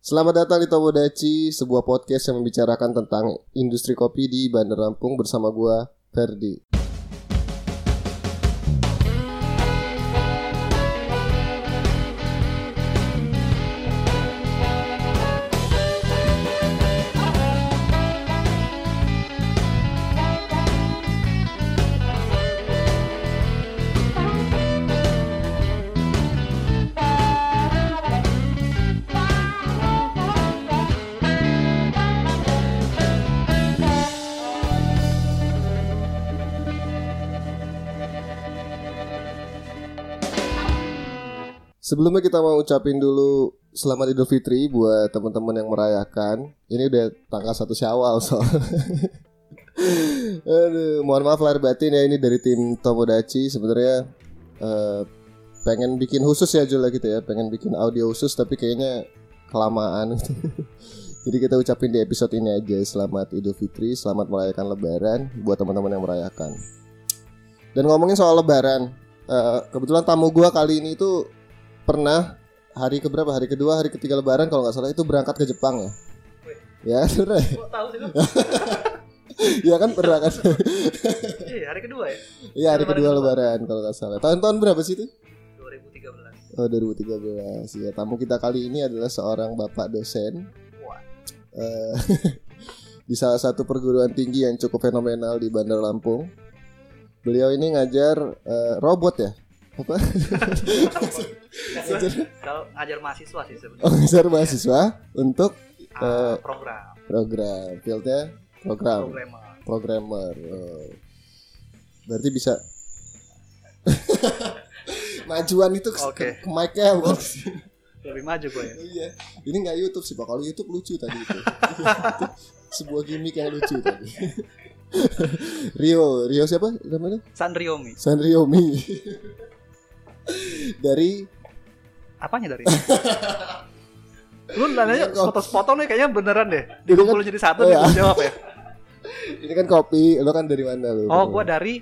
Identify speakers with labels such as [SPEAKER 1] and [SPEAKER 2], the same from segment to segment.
[SPEAKER 1] Selamat datang di Tomodachi, sebuah podcast yang membicarakan tentang industri kopi di Bandar Lampung bersama gua, Ferdi. Sebelumnya kita mau ucapin dulu selamat Idul Fitri buat teman-teman yang merayakan. Ini udah tanggal satu Syawal soalnya. Aduh, mohon maaf lahir batin ya ini dari tim Tomodachi sebenarnya eh, pengen bikin khusus ya Jul ya gitu ya, pengen bikin audio khusus tapi kayaknya kelamaan. Jadi kita ucapin di episode ini aja selamat Idul Fitri, selamat merayakan Lebaran buat teman-teman yang merayakan. Dan ngomongin soal Lebaran, eh, kebetulan tamu gua kali ini tuh pernah hari keberapa hari kedua hari ketiga lebaran kalau nggak salah itu berangkat ke Jepang ya ya sudah
[SPEAKER 2] Kok tahu sih lu?
[SPEAKER 1] ya kan berangkat
[SPEAKER 2] Iya, hari kedua ya.
[SPEAKER 1] ya hari
[SPEAKER 2] Lebaran
[SPEAKER 1] kedua
[SPEAKER 2] kedua.
[SPEAKER 1] lebaran kalau nggak salah tahun-tahun berapa sih itu
[SPEAKER 2] 2013.
[SPEAKER 1] oh 2013 ya tamu kita kali ini adalah seorang bapak dosen
[SPEAKER 2] Wah.
[SPEAKER 1] Eh, di salah satu perguruan tinggi yang cukup fenomenal di Bandar Lampung beliau ini ngajar eh, robot ya
[SPEAKER 2] Kalau ajar mahasiswa sih sebenarnya.
[SPEAKER 1] ngajar mahasiswa untuk eh,
[SPEAKER 2] Ah, program,
[SPEAKER 1] program fieldnya program
[SPEAKER 2] programmer.
[SPEAKER 1] programmer. Oh. Berarti bisa majuan itu ke,
[SPEAKER 2] Oke.
[SPEAKER 1] ke mic-nya, bukan ke sini.
[SPEAKER 2] Lebih maju gue ya.
[SPEAKER 1] Oh iya. Ini nggak YouTube sih, Pak. Kalau YouTube lucu tadi itu. Sebuah gimmick yang lucu tadi. Rio, Rio siapa namanya?
[SPEAKER 2] Sanriomi.
[SPEAKER 1] Sanriomi. Dari
[SPEAKER 2] Apanya dari? lu nanya
[SPEAKER 1] Iya, Kok-
[SPEAKER 2] foto-foto nih kayaknya beneran deh.
[SPEAKER 1] Ini kan-
[SPEAKER 2] Dikumpulin jadi
[SPEAKER 1] Oh,
[SPEAKER 2] satu nih
[SPEAKER 1] ya.
[SPEAKER 2] gua jawab ya.
[SPEAKER 1] ini kan kopi, lo kan dari mana lo?
[SPEAKER 2] Oh, gua dari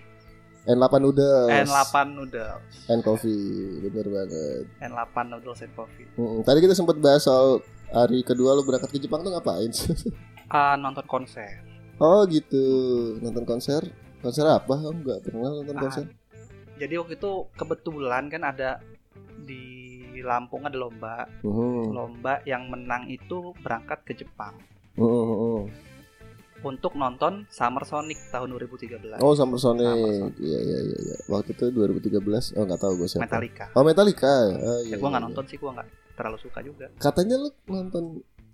[SPEAKER 1] N8 Noodles
[SPEAKER 2] N8 Noodle.
[SPEAKER 1] N Coffee, bener banget.
[SPEAKER 2] N8 Noodles and Coffee.
[SPEAKER 1] Mm-mm. Tadi kita sempat bahas soal hari kedua lo berangkat ke Jepang tuh ngapain sih?
[SPEAKER 2] Ah, nonton konser.
[SPEAKER 1] Oh gitu, nonton konser? Konser apa? Aku nggak pernah nonton
[SPEAKER 2] Ah,
[SPEAKER 1] konser.
[SPEAKER 2] Jadi waktu itu kebetulan kan ada di Lampung ada lomba,
[SPEAKER 1] Mhm.
[SPEAKER 2] lomba yang menang itu berangkat ke Jepang.
[SPEAKER 1] Mhm, mhm.
[SPEAKER 2] untuk nonton Summer Sonic tahun 2013
[SPEAKER 1] Oh Summer
[SPEAKER 2] Summer
[SPEAKER 1] Sonic,
[SPEAKER 2] Sonic.
[SPEAKER 1] iya iya iya. iya. Waktu itu 2013, oh nggak tahu gue siapa.
[SPEAKER 2] Metallica.
[SPEAKER 1] Oh Metallica. Oh, iya,
[SPEAKER 2] Ya
[SPEAKER 1] iya,
[SPEAKER 2] gua nggak
[SPEAKER 1] iya.
[SPEAKER 2] nonton sih, gua nggak terlalu suka juga.
[SPEAKER 1] Katanya lu nonton,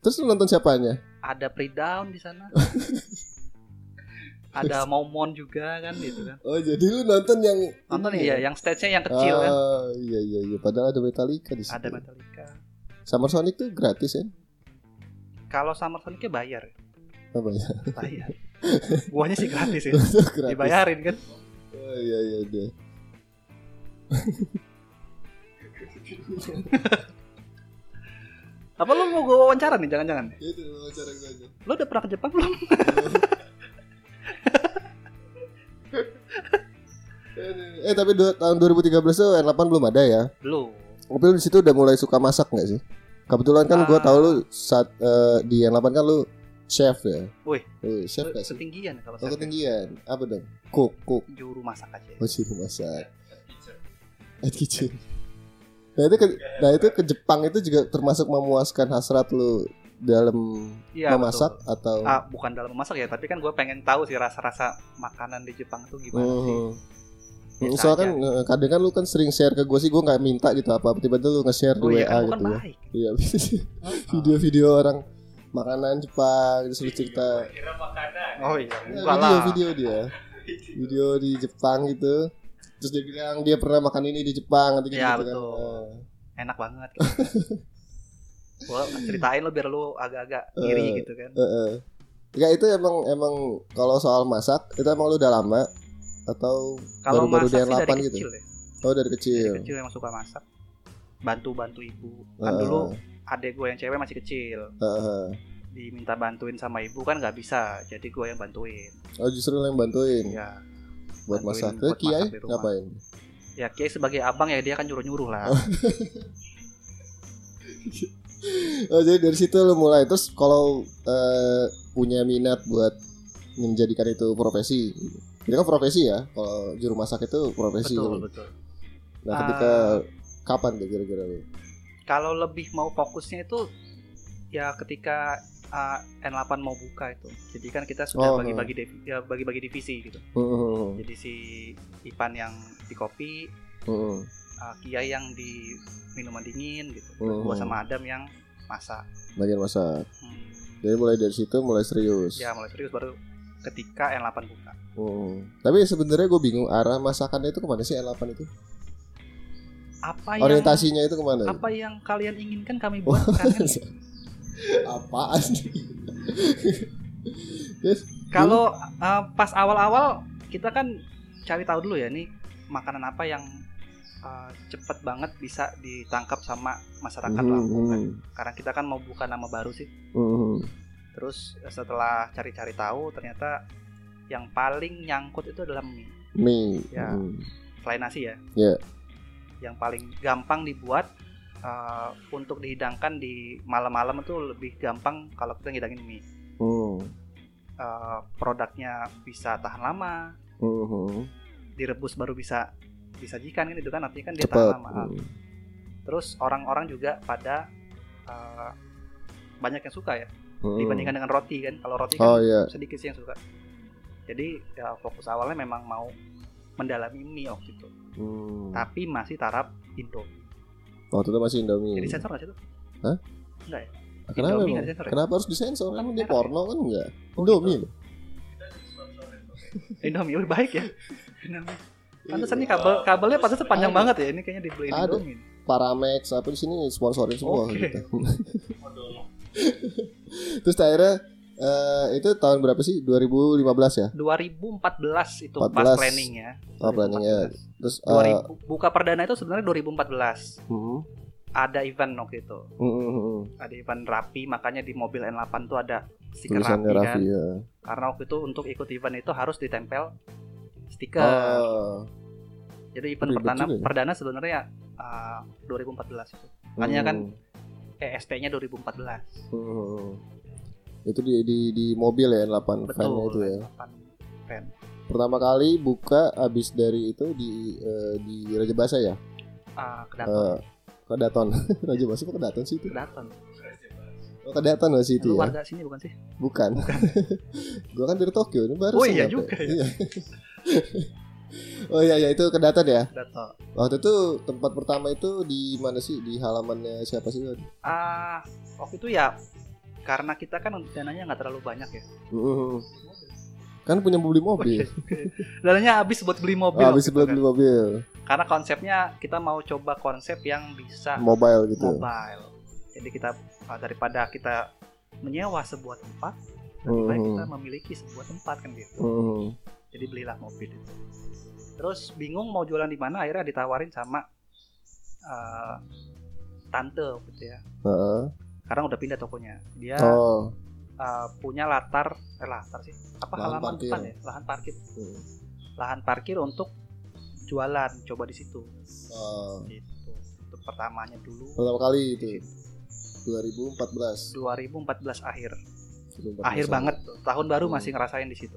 [SPEAKER 1] terus lu nonton siapanya?
[SPEAKER 2] Ada Pre Down di sana. ada Momon juga kan gitu kan.
[SPEAKER 1] Oh jadi lu nonton yang
[SPEAKER 2] Nonton
[SPEAKER 1] ini
[SPEAKER 2] ya, yang stage-nya yang kecil kan.
[SPEAKER 1] Ah, Iya iya iya. Padahal ada Metallica di situ.
[SPEAKER 2] Ada Metallica.
[SPEAKER 1] Summer Sonic tuh gratis ya?
[SPEAKER 2] Kalau Summer Sonicnya bayar, ya?
[SPEAKER 1] Apa ya?
[SPEAKER 2] bayar. Guanya sih gratis ya,
[SPEAKER 1] gratis.
[SPEAKER 2] dibayarin kan.
[SPEAKER 1] Oh iya iya deh.
[SPEAKER 2] Apa lu mau gua wawancara nih? Jangan-jangan.
[SPEAKER 1] Itu wawancara gue aja.
[SPEAKER 2] Lu udah pernah ke Jepang belum?
[SPEAKER 1] Eh tapi dua, tahun 2013 tuh N8 belum ada ya?
[SPEAKER 2] Belum.
[SPEAKER 1] Tapi lu di situ udah mulai suka masak nggak sih? Kebetulan kan gua
[SPEAKER 2] Ah.
[SPEAKER 1] tahu lu saat eh, di N8 kan lu chef ya.
[SPEAKER 2] Wih.
[SPEAKER 1] Wih, chef nggak sih?
[SPEAKER 2] Ketinggian kalau
[SPEAKER 1] Oh,
[SPEAKER 2] saya
[SPEAKER 1] ketinggian. Apa dong? Cook, cook.
[SPEAKER 2] juru masak aja. ya.
[SPEAKER 1] Oh, sih masak. At kitchen. Nah itu ke, nah itu ke Jepang itu juga termasuk memuaskan hasrat lu dalam
[SPEAKER 2] Iya,
[SPEAKER 1] memasak
[SPEAKER 2] betul.
[SPEAKER 1] atau
[SPEAKER 2] Ah, bukan dalam memasak ya, tapi kan gue pengen tahu sih rasa-rasa makanan di Jepang tuh gimana sih.
[SPEAKER 1] Hmm.
[SPEAKER 2] Biasa
[SPEAKER 1] Soalnya kan eh, kadang kan lu kan sering share ke gue sih gue nggak minta gitu apa tiba-tiba lu nge-share di
[SPEAKER 2] Oh
[SPEAKER 1] WA
[SPEAKER 2] iya, kamu kan
[SPEAKER 1] gitu ya.
[SPEAKER 2] baik.
[SPEAKER 1] Iya. Video-video orang makanan Jepang terus lu cerita
[SPEAKER 2] Oh iya,
[SPEAKER 1] Ya,
[SPEAKER 2] enggak lah.
[SPEAKER 1] video-video dia. Video di Jepang gitu. Terus dia bilang dia pernah makan ini di Jepang gitu,
[SPEAKER 2] Iya,
[SPEAKER 1] gitu kan.
[SPEAKER 2] betul.
[SPEAKER 1] Eh,
[SPEAKER 2] Enak banget. Gitu. gue ceritain lo biar lo agak-agak iri
[SPEAKER 1] Eh,
[SPEAKER 2] gitu kan.
[SPEAKER 1] eh, eh. Enggak, itu emang emang kalau soal masak itu emang lu udah lama atau
[SPEAKER 2] Kalau
[SPEAKER 1] baru-baru
[SPEAKER 2] masak
[SPEAKER 1] dia
[SPEAKER 2] sih
[SPEAKER 1] lapan
[SPEAKER 2] dari
[SPEAKER 1] gitu?
[SPEAKER 2] kecil ya.
[SPEAKER 1] oh dari
[SPEAKER 2] Dari
[SPEAKER 1] kecil.
[SPEAKER 2] kecil emang suka masak. Bantu-bantu ibu. Kan dulu adek gue yang cewek masih kecil.
[SPEAKER 1] Eh, eh, eh.
[SPEAKER 2] Diminta bantuin sama ibu kan nggak bisa. Jadi gue yang bantuin.
[SPEAKER 1] Oh justru lu yang bantuin
[SPEAKER 2] Ya,
[SPEAKER 1] buat
[SPEAKER 2] bantuin
[SPEAKER 1] masak.
[SPEAKER 2] buat
[SPEAKER 1] Ke Kiai
[SPEAKER 2] masak di rumah.
[SPEAKER 1] ngapain?
[SPEAKER 2] ya Kiai sebagai abang ya dia kan nyuruh-nyuruh lah.
[SPEAKER 1] Oh, jadi dari situ lo mulai terus kalau eh, punya minat buat menjadikan itu profesi. Ini kan profesi ya. Kalau juru masak itu profesi.
[SPEAKER 2] betul
[SPEAKER 1] kan.
[SPEAKER 2] betul
[SPEAKER 1] Nah,
[SPEAKER 2] Ah.
[SPEAKER 1] ketika kapan tuh kira-kira lo?
[SPEAKER 2] kalau lebih mau fokusnya itu ya ketika uh, N8 mau buka itu jadi kan kita
[SPEAKER 1] Oh.
[SPEAKER 2] sudah bagi-bagi divi- ya, bagi-bagi divisi gitu
[SPEAKER 1] Heeh,
[SPEAKER 2] jadi si Ipan yang di kopi
[SPEAKER 1] heeh,
[SPEAKER 2] uh, Kiai yang di minuman dingin gitu
[SPEAKER 1] heeh.
[SPEAKER 2] gua sama Adam yang masak
[SPEAKER 1] bagian masak.
[SPEAKER 2] Hmm,
[SPEAKER 1] Jadi mulai dari situ mulai serius.
[SPEAKER 2] ya mulai serius baru ketika N8 buka
[SPEAKER 1] Heeh. Tapi sebenarnya gue bingung arah masakannya itu kemana sih L8 itu?
[SPEAKER 2] apa yang
[SPEAKER 1] Orientasinya Oh, itu kemana?
[SPEAKER 2] Oh, iya. apa yang kalian inginkan kami buatkan kan?
[SPEAKER 1] Apaan? Terus,
[SPEAKER 2] Kalau uh, pas awal-awal kita kan cari tahu dulu ya nih makanan apa yang uh, cepet banget bisa ditangkap sama masyarakat
[SPEAKER 1] mhm,
[SPEAKER 2] Lampung kan.
[SPEAKER 1] mhm,
[SPEAKER 2] Karena kita kan mau buka nama baru sih.
[SPEAKER 1] mhm.
[SPEAKER 2] Terus eh, setelah cari-cari tahu ternyata yang paling nyangkut itu adalah mie.
[SPEAKER 1] Mie.
[SPEAKER 2] Ya.
[SPEAKER 1] mhm.
[SPEAKER 2] Selain nasi ya.
[SPEAKER 1] Iya.
[SPEAKER 2] Yang paling gampang dibuat uh, untuk dihidangkan di malam-malam itu lebih gampang kalau kita ngidangin mie.
[SPEAKER 1] Mhm,
[SPEAKER 2] Uh, produknya bisa tahan lama,
[SPEAKER 1] mhm.
[SPEAKER 2] direbus baru bisa disajikan kan itu kan artinya kan dia tahan
[SPEAKER 1] Cepat.
[SPEAKER 2] lama.
[SPEAKER 1] Mhm.
[SPEAKER 2] Terus orang-orang juga pada uh, banyak yang suka ya
[SPEAKER 1] Mhm.
[SPEAKER 2] dibandingkan dengan roti kan. Kalau roti
[SPEAKER 1] Oh
[SPEAKER 2] kan
[SPEAKER 1] iya.
[SPEAKER 2] sedikit sih yang suka. Jadi ya, fokus awalnya memang mau mendalami mie waktu itu.
[SPEAKER 1] Hmm.
[SPEAKER 2] Tapi masih taraf Indo.
[SPEAKER 1] Waktu itu masih Indomie.
[SPEAKER 2] Jadi sensor nggak sih itu?
[SPEAKER 1] Hah?
[SPEAKER 2] Enggak ya?
[SPEAKER 1] Hmm. kenapa
[SPEAKER 2] Indomie
[SPEAKER 1] emang?
[SPEAKER 2] nggak disensor ya? Oh, iya.
[SPEAKER 1] Kenapa harus disensor? Kan
[SPEAKER 2] Kan
[SPEAKER 1] dia
[SPEAKER 2] merah
[SPEAKER 1] porno kan enggak? Indomie. loh.
[SPEAKER 2] Indomie udah baik ya. Indomie. Pantesan nih kabel kabelnya pantesan panjang
[SPEAKER 1] Ada.
[SPEAKER 2] banget ya. Ini kayaknya dibeli
[SPEAKER 1] Ada.
[SPEAKER 2] Indomie.
[SPEAKER 1] Paramex apa di sini sponsorin semua
[SPEAKER 2] Oke.
[SPEAKER 1] gitu. Terus akhirnya eh, itu tahun berapa sih? 2015 ya?
[SPEAKER 2] 2014 itu pas
[SPEAKER 1] 14.
[SPEAKER 2] planning ya.
[SPEAKER 1] Oh, planningnya.
[SPEAKER 2] 2014.
[SPEAKER 1] Terus eh,
[SPEAKER 2] 2000 buka perdana itu sebenarnya 2014
[SPEAKER 1] mhm,
[SPEAKER 2] ada event waktu itu
[SPEAKER 1] mhm, mhm.
[SPEAKER 2] ada event rapi makanya di mobil N8 tuh ada stiker rapi,
[SPEAKER 1] tulisannya Raffi
[SPEAKER 2] kan
[SPEAKER 1] ya.
[SPEAKER 2] karena waktu itu untuk ikut event itu harus ditempel stiker
[SPEAKER 1] Oh.
[SPEAKER 2] jadi event
[SPEAKER 1] ribet
[SPEAKER 2] perdana
[SPEAKER 1] juga ya.
[SPEAKER 2] perdana sebenarnya uh, 2014 itu Makanya kan
[SPEAKER 1] Mhm,
[SPEAKER 2] ESP-nya 2014
[SPEAKER 1] mhm. Itu di, di di mobil ya 8 fan
[SPEAKER 2] betul
[SPEAKER 1] itu ya.
[SPEAKER 2] N8 event.
[SPEAKER 1] Pertama kali buka abis dari itu di eh, di Raja Basa ya?
[SPEAKER 2] Uh, kedaton
[SPEAKER 1] Eh, ke Daton. Raja Basa apa ke Daton sih itu?
[SPEAKER 2] kedaton
[SPEAKER 1] Oh, ke Daton lah sih itu
[SPEAKER 2] lu
[SPEAKER 1] ya?
[SPEAKER 2] warga sini bukan sih
[SPEAKER 1] Bukan. gua kan dari Tokyo ini baru.
[SPEAKER 2] Oh, iya juga ya.
[SPEAKER 1] Iya. oh iya iya itu ke Daton ya.
[SPEAKER 2] kedaton
[SPEAKER 1] Waktu itu tempat pertama itu di mana sih? Di halamannya siapa sih? Heeh.
[SPEAKER 2] ah waktu itu ya karena kita kan dananya nggak terlalu banyak ya
[SPEAKER 1] Mm-hmm. Kan punya beli mobil.
[SPEAKER 2] Dananya habis buat beli mobil.
[SPEAKER 1] Ah, habis
[SPEAKER 2] waktu itu
[SPEAKER 1] sebelum
[SPEAKER 2] kan.
[SPEAKER 1] beli mobil,
[SPEAKER 2] Karena konsepnya kita mau coba konsep yang bisa
[SPEAKER 1] mobile gitu.
[SPEAKER 2] mobile. Jadi kita ah, daripada kita menyewa sebuah tempat, lebih
[SPEAKER 1] Hmm.
[SPEAKER 2] baik kita memiliki sebuah tempat kan gitu.
[SPEAKER 1] Hmm.
[SPEAKER 2] Jadi belilah mobil itu. Terus bingung mau jualan di mana, akhirnya ditawarin sama ah, tante gitu ya.
[SPEAKER 1] Heeh.
[SPEAKER 2] Karena udah pindah tokonya. Dia
[SPEAKER 1] Oh.
[SPEAKER 2] ah, punya latar, eh, latar sih, apa
[SPEAKER 1] Lahan
[SPEAKER 2] halaman
[SPEAKER 1] parkir.
[SPEAKER 2] depan ya, lahan parkir,
[SPEAKER 1] Hmm.
[SPEAKER 2] lahan parkir untuk jualan, coba di situ.
[SPEAKER 1] Oh.
[SPEAKER 2] gitu itu pertamanya dulu
[SPEAKER 1] Pertama kali itu 2014.
[SPEAKER 2] 2014 akhir
[SPEAKER 1] 2014.
[SPEAKER 2] akhir banget tuh. tahun baru masih ngerasain di situ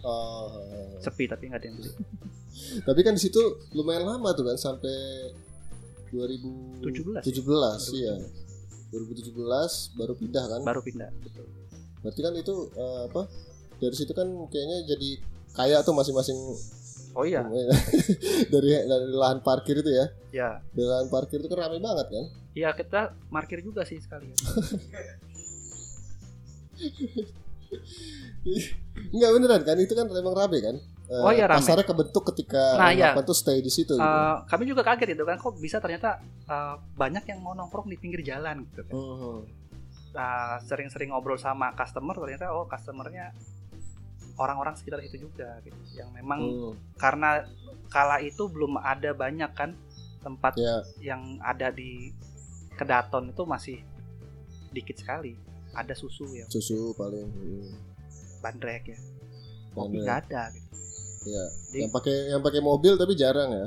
[SPEAKER 1] Oh.
[SPEAKER 2] sepi tapi nggak ada yang beli iya.
[SPEAKER 1] Tapi kan di situ lumayan lama tuh kan sampai 2017
[SPEAKER 2] 17.
[SPEAKER 1] iya. 2017 baru pindah kan.
[SPEAKER 2] baru pindah betul
[SPEAKER 1] Berarti kan itu eh, apa? Dari situ kan kayaknya jadi kaya tuh masing-masing
[SPEAKER 2] oh iya
[SPEAKER 1] dari dari lahan parkir itu ya.
[SPEAKER 2] ya
[SPEAKER 1] Dari lahan parkir itu kan ramai banget kan.
[SPEAKER 2] ya kita markir juga sih sekali ya.
[SPEAKER 1] Enggak beneran kan itu kan emang rame kan. Eh,
[SPEAKER 2] Oh, iya, rame.
[SPEAKER 1] Pasarnya kebentuk ketika
[SPEAKER 2] Nah, iya.
[SPEAKER 1] orang tuh stay di situ. gitu.
[SPEAKER 2] Eh, kami juga kaget itu kan kok bisa ternyata eh, banyak yang mau nongkrong di pinggir jalan gitu kan
[SPEAKER 1] Mhm.
[SPEAKER 2] Eh, sering-sering ngobrol sama customer ternyata oh customernya orang-orang sekitar situ juga gitu. yang memang
[SPEAKER 1] Mhm.
[SPEAKER 2] karena kala itu belum ada banyak kan tempat
[SPEAKER 1] Ya.
[SPEAKER 2] yang ada di kedaton itu masih dikit sekali ada susu ya
[SPEAKER 1] susu paling Mhm.
[SPEAKER 2] bandrek ya
[SPEAKER 1] Yang-
[SPEAKER 2] kopi nggak ada gitu.
[SPEAKER 1] Iya.
[SPEAKER 2] Jadi,
[SPEAKER 1] yang pakai yang pakai mobil tapi jarang ya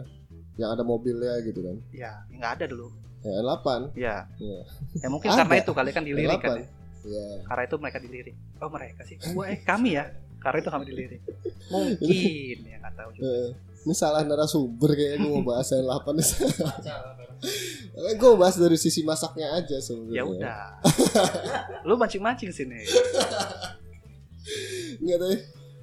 [SPEAKER 1] yang ada mobilnya gitu kan
[SPEAKER 2] ya nggak ada dulu
[SPEAKER 1] Ya, N8.
[SPEAKER 2] Ya.
[SPEAKER 1] Iya.
[SPEAKER 2] Ya mungkin
[SPEAKER 1] Ada.
[SPEAKER 2] karena itu kali kan dilirik kan. ya.
[SPEAKER 1] Ya.
[SPEAKER 2] Karena itu mereka dilirik. Oh mereka sih. Gua eh kami ya. Karena itu kami dilirik. Mungkin ya nggak tahu juga.
[SPEAKER 1] Eh, Ini salah narasumber kayaknya gue mau bahas N8 nih. gue Eh, bahas dari sisi masaknya aja sebenarnya.
[SPEAKER 2] Ya udah. Lu mancing-mancing sini.
[SPEAKER 1] Enggak tapi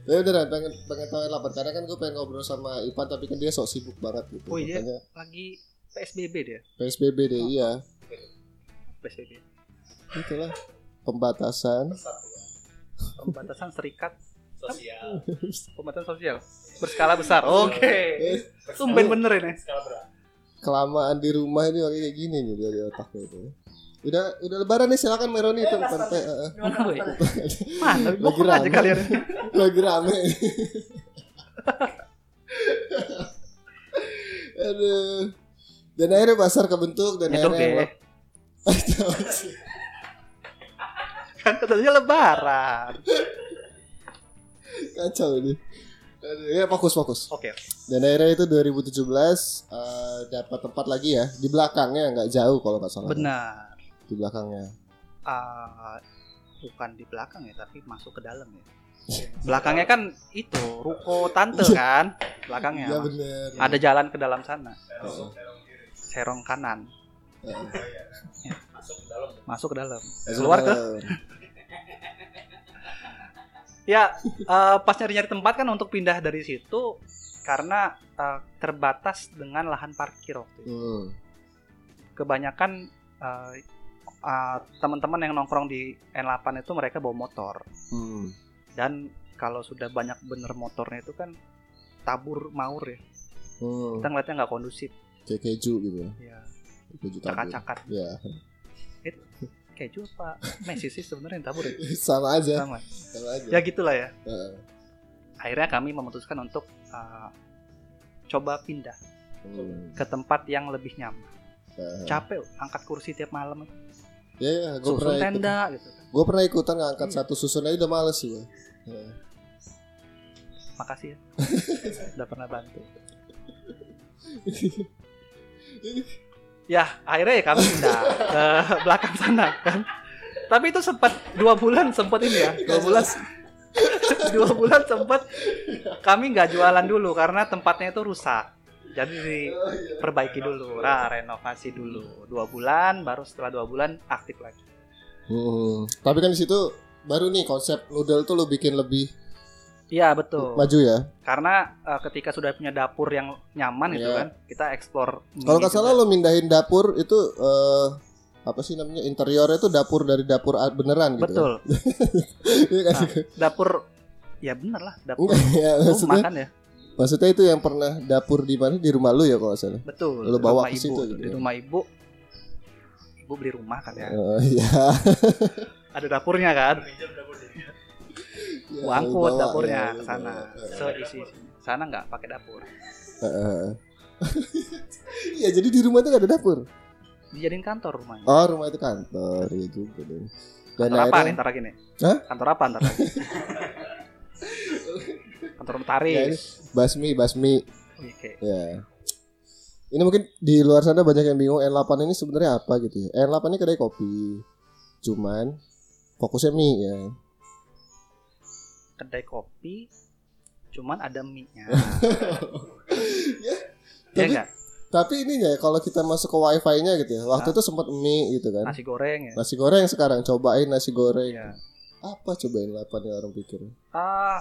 [SPEAKER 1] tapi beneran pengen pengen tahu N8 karena kan gue pengen ngobrol sama Ipan tapi kan dia sok sibuk banget gitu.
[SPEAKER 2] Oh, iya?
[SPEAKER 1] Makanya
[SPEAKER 2] Lagi PSBB dia.
[SPEAKER 1] PSBB deh iya.
[SPEAKER 2] PSBB.
[SPEAKER 1] Itulah pembatasan
[SPEAKER 2] Pembatasan serikat
[SPEAKER 3] sosial
[SPEAKER 2] pembatasan sosial berskala besar. Oke.
[SPEAKER 1] Eh,
[SPEAKER 2] Tumben bener ini.
[SPEAKER 3] skala berapa
[SPEAKER 1] kelamaan di rumah ini orangnya kayak gini nih dia di otaknya itu. Udah udah lebaran nih silakan Meroni itu lebaran Pe- eh, eh.
[SPEAKER 2] Woi. Mana
[SPEAKER 1] Lagi
[SPEAKER 2] bokong aja
[SPEAKER 1] rame.
[SPEAKER 2] kalian.
[SPEAKER 1] lagi rame. Aduh. Dan akhirnya pasar kebentuk dan
[SPEAKER 2] Itu
[SPEAKER 1] akhirnya
[SPEAKER 2] oke. ya? Kan katanya lebaran.
[SPEAKER 1] kacau ini. Aduh, ya fokus fokus.
[SPEAKER 2] Oke.
[SPEAKER 1] Dan akhirnya itu 2017 eh, dapat tempat lagi ya di belakangnya nggak jauh kalau nggak salah.
[SPEAKER 2] Benar.
[SPEAKER 1] Di belakangnya.
[SPEAKER 2] Ah, bukan di belakang ya tapi masuk ke dalam ya belakangnya kan itu ruko tante kan belakangnya
[SPEAKER 1] Iya Oh, bener.
[SPEAKER 2] ada jalan ke dalam sana
[SPEAKER 3] masuk ke dalam kiri
[SPEAKER 2] serong kanan
[SPEAKER 3] masuk ke dalam
[SPEAKER 2] masuk ke dalam
[SPEAKER 1] Masuk
[SPEAKER 2] keluar ke
[SPEAKER 1] dalam.
[SPEAKER 2] ya eh, pas nyari nyari tempat kan untuk pindah dari situ karena eh, terbatas dengan lahan parkir waktu itu
[SPEAKER 1] Hmm.
[SPEAKER 2] kebanyakan eh, eh, teman-teman yang nongkrong di N8 itu mereka bawa motor
[SPEAKER 1] Hmm.
[SPEAKER 2] dan kalau sudah banyak bener motornya itu kan tabur maur ya
[SPEAKER 1] Hmm.
[SPEAKER 2] kita ngeliatnya nggak kondusif
[SPEAKER 1] Kayak keju gitu ya.
[SPEAKER 2] ya
[SPEAKER 1] Keju tabur.
[SPEAKER 2] cakar-cakar
[SPEAKER 1] Ya.
[SPEAKER 2] keju apa Messi sih sebenarnya yang tabur ya
[SPEAKER 1] sama aja.
[SPEAKER 2] sama
[SPEAKER 1] Sama aja. Eh,
[SPEAKER 2] ya gitulah ya
[SPEAKER 1] Heeh.
[SPEAKER 2] akhirnya kami memutuskan untuk uh, coba pindah
[SPEAKER 1] Hmm.
[SPEAKER 2] ke tempat yang lebih nyaman
[SPEAKER 1] Heeh.
[SPEAKER 2] capek angkat kursi tiap malam
[SPEAKER 1] Ya, ya, gue pernah
[SPEAKER 2] susun
[SPEAKER 1] ikut.
[SPEAKER 2] tenda gitu kan
[SPEAKER 1] Gue pernah ikutan ngangkat satu susun aja udah males gue.
[SPEAKER 2] makasih ya udah pernah bantu ya akhirnya ya kami pindah ke belakang sana kan tapi itu sempat dua bulan sempat ini ya dua bulan dua bulan sempat kami nggak jualan dulu karena tempatnya itu rusak
[SPEAKER 1] Oh,
[SPEAKER 2] jadi
[SPEAKER 1] iya.
[SPEAKER 2] diperbaiki dulu nah, renovasi dulu dua bulan baru setelah dua bulan aktif lagi
[SPEAKER 1] Hmm. Tapi kan di situ baru nih konsep noodle tuh lu bikin lebih
[SPEAKER 2] iya betul
[SPEAKER 1] maju ya.
[SPEAKER 2] karena eh, ketika sudah punya dapur yang nyaman itu
[SPEAKER 1] Iya.
[SPEAKER 2] kan kita eksplor
[SPEAKER 1] Kalau
[SPEAKER 2] mini
[SPEAKER 1] nggak salah
[SPEAKER 2] juga.
[SPEAKER 1] lo mindahin dapur itu eh, apa sih namanya interiornya itu dapur dari dapur a- beneran gitu.
[SPEAKER 2] betul
[SPEAKER 1] kan? Iya kan?
[SPEAKER 2] dapur ya bener lah dapur
[SPEAKER 1] Enggak, ya,
[SPEAKER 2] rumah
[SPEAKER 1] maksudnya,
[SPEAKER 2] makan ya
[SPEAKER 1] maksudnya itu yang pernah dapur di mana di rumah lu ya kalau nggak salah.
[SPEAKER 2] betul
[SPEAKER 1] Lu
[SPEAKER 2] di
[SPEAKER 1] bawa
[SPEAKER 2] rumah
[SPEAKER 1] ke situ
[SPEAKER 2] ibu
[SPEAKER 1] gitu
[SPEAKER 2] di
[SPEAKER 1] ya.
[SPEAKER 2] rumah ibu ibu beli rumah kan ya
[SPEAKER 1] Oh, iya.
[SPEAKER 2] ada dapurnya kan
[SPEAKER 3] pinjam dapur dirinya
[SPEAKER 1] Ya,
[SPEAKER 2] Gua
[SPEAKER 1] Iya, lu
[SPEAKER 2] angkut
[SPEAKER 1] bawa, ya,
[SPEAKER 2] dapurnya
[SPEAKER 1] lu
[SPEAKER 2] ke sana
[SPEAKER 1] bawa. Eh,
[SPEAKER 2] seisi sana nggak pakai dapur
[SPEAKER 1] eh, eh. Iya jadi di rumah itu nggak ada dapur.
[SPEAKER 2] dijadiin kantor rumahnya
[SPEAKER 1] Oh rumah itu kantor ya juga dong. Dan
[SPEAKER 2] kantor apa nih
[SPEAKER 1] akhirnya
[SPEAKER 2] ntar lagi nih
[SPEAKER 1] ya? Hah?
[SPEAKER 2] kantor apa ntar lagi kantor
[SPEAKER 1] Ya, ini.
[SPEAKER 2] notaris
[SPEAKER 1] basmi basmi
[SPEAKER 2] oke
[SPEAKER 1] ya. Ini mungkin di luar sana banyak yang bingung N8 ini sebenarnya apa gitu ya. N8 ini kedai kopi. Cuman fokusnya mie ya.
[SPEAKER 2] kedai kopi cuman ada Iya mie nya ya
[SPEAKER 1] Tapi-
[SPEAKER 2] enggak
[SPEAKER 1] Tapi ini ya kalau kita masuk ke wifi-nya gitu ya. Waktu itu sempat mie gitu kan.
[SPEAKER 2] nasi goreng ya
[SPEAKER 1] Nasi goreng sekarang cobain nasi goreng.
[SPEAKER 2] Iya.
[SPEAKER 1] Apa cobain lapan yang orang pikir?
[SPEAKER 2] Ah,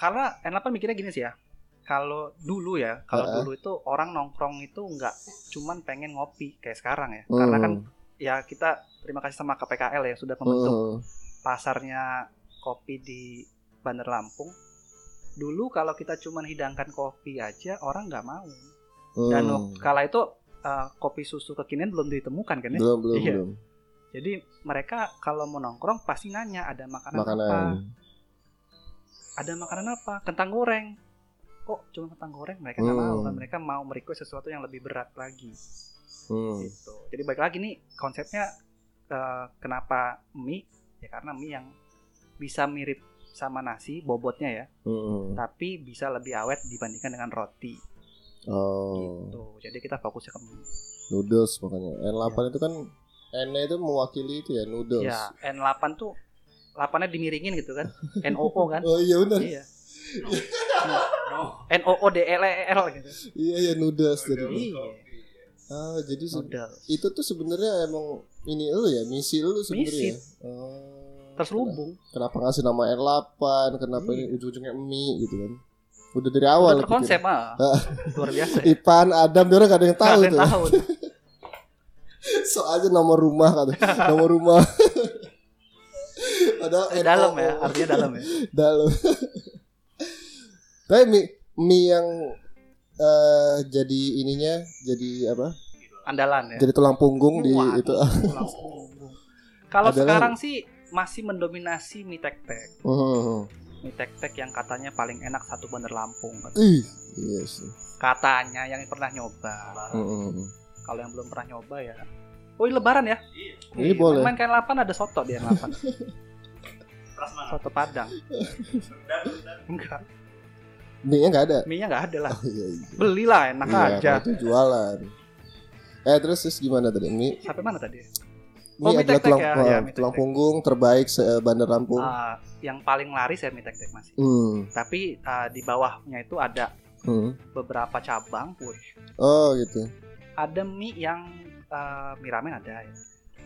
[SPEAKER 2] karena N8 mikirnya gini sih ya. Kalau dulu ya, kalau
[SPEAKER 1] Heeh.
[SPEAKER 2] dulu itu orang nongkrong itu nggak cuman pengen ngopi kayak sekarang ya.
[SPEAKER 1] Hmm.
[SPEAKER 2] Karena kan ya kita terima kasih sama KPKL ya sudah membentuk
[SPEAKER 1] Hmm.
[SPEAKER 2] pasarnya kopi di Bandar Lampung. Dulu kalau kita cuman hidangkan kopi aja orang nggak mau. Dan
[SPEAKER 1] Hmm.
[SPEAKER 2] kala itu eh, kopi susu kekinian belum ditemukan kan ya.
[SPEAKER 1] belum belum
[SPEAKER 2] Iya.
[SPEAKER 1] belum
[SPEAKER 2] Jadi mereka kalau mau nongkrong pasti nanya ada makanan, apa
[SPEAKER 1] makanan.
[SPEAKER 2] ada makanan apa kentang goreng kok cuma kentang goreng mereka nggak mau
[SPEAKER 1] Hmm.
[SPEAKER 2] kan mereka mau merequest sesuatu yang lebih berat lagi
[SPEAKER 1] Hmm.
[SPEAKER 2] gitu jadi balik lagi nih konsepnya eh, kenapa mie ya karena mie yang bisa mirip sama nasi bobotnya ya
[SPEAKER 1] Hmm.
[SPEAKER 2] tapi bisa lebih awet dibandingkan dengan roti
[SPEAKER 1] Oh.
[SPEAKER 2] gitu jadi kita fokusnya ke mie
[SPEAKER 1] noodles makanya N8
[SPEAKER 2] Iya.
[SPEAKER 1] itu kan N itu mewakili itu ya noodles
[SPEAKER 2] Ya, N8 tuh 8-nya dimiringin gitu kan. NOO kan.
[SPEAKER 1] oh iya benar
[SPEAKER 2] iya. NOO DLEL gitu. Iya,
[SPEAKER 1] iya iya noodles jadi
[SPEAKER 2] Noodles.
[SPEAKER 1] ah jadi se-
[SPEAKER 2] Noodle.
[SPEAKER 1] itu tuh sebenarnya emang ini lu ya misi lu sebenarnya ya? Oh,
[SPEAKER 2] Terselubung. Iya.
[SPEAKER 1] kenapa ngasih nama N8 kenapa ini ujung-ujungnya mie gitu kan udah dari awal
[SPEAKER 2] Udah
[SPEAKER 1] lu pikirin.
[SPEAKER 2] terkonsep ah. Luar biasa. ya.
[SPEAKER 1] Ipan, Adam, dia orang gak ada yang tahu
[SPEAKER 2] Kalian
[SPEAKER 1] tuh.
[SPEAKER 2] tahu. tuh.
[SPEAKER 1] Soalnya nomor rumah kan. Nomor rumah. Padahal NOO.
[SPEAKER 2] Dalam ya, artinya dalam ya.
[SPEAKER 1] Dalam. Tapi mie, mie yang eh jadi ininya jadi apa?
[SPEAKER 2] Andalan ya.
[SPEAKER 1] Jadi tulang punggung di
[SPEAKER 2] Waduh,
[SPEAKER 1] itu.
[SPEAKER 2] tulang punggung. Kalau
[SPEAKER 1] Adalah-
[SPEAKER 2] sekarang sih masih mendominasi mie tek-tek.
[SPEAKER 1] Hmm.
[SPEAKER 2] Mie tek-tek yang katanya paling enak satu bandar Lampung.
[SPEAKER 1] Ih, yes.
[SPEAKER 2] Katanya yang pernah nyoba.
[SPEAKER 1] Hmm.
[SPEAKER 2] Kalau yang belum pernah nyoba ya. Oh, ini lebaran ya?
[SPEAKER 1] Ini boleh.
[SPEAKER 2] Main kain lapan ada soto di yang lapan.
[SPEAKER 3] Ras mana?
[SPEAKER 2] soto Padang.
[SPEAKER 3] Dan dan
[SPEAKER 2] Enggak.
[SPEAKER 1] Mie-nya enggak ada.
[SPEAKER 2] Mie-nya enggak ada lah.
[SPEAKER 1] Oh, iya, iya.
[SPEAKER 2] Belilah enak
[SPEAKER 1] Iya,
[SPEAKER 2] aja.
[SPEAKER 1] kalau itu jualan. Eh terus, terus gimana tadi? Mie,
[SPEAKER 2] Sampai mana tadi?
[SPEAKER 1] mie
[SPEAKER 2] Oh, mie
[SPEAKER 1] adalah
[SPEAKER 2] tek-tek
[SPEAKER 1] tulang,
[SPEAKER 2] ya.
[SPEAKER 1] eh,
[SPEAKER 2] Iya, mie
[SPEAKER 1] tulang
[SPEAKER 2] tek-tek.
[SPEAKER 1] punggung terbaik se eh, Bandar Lampung.
[SPEAKER 2] Ah, yang paling laris ya mie tek-tek masih.
[SPEAKER 1] Hmm.
[SPEAKER 2] Tapi ah, di bawahnya itu ada
[SPEAKER 1] hmm.
[SPEAKER 2] beberapa cabang. Wih,
[SPEAKER 1] Oh gitu.
[SPEAKER 2] ada mie yang eh, mie ramen ada ya.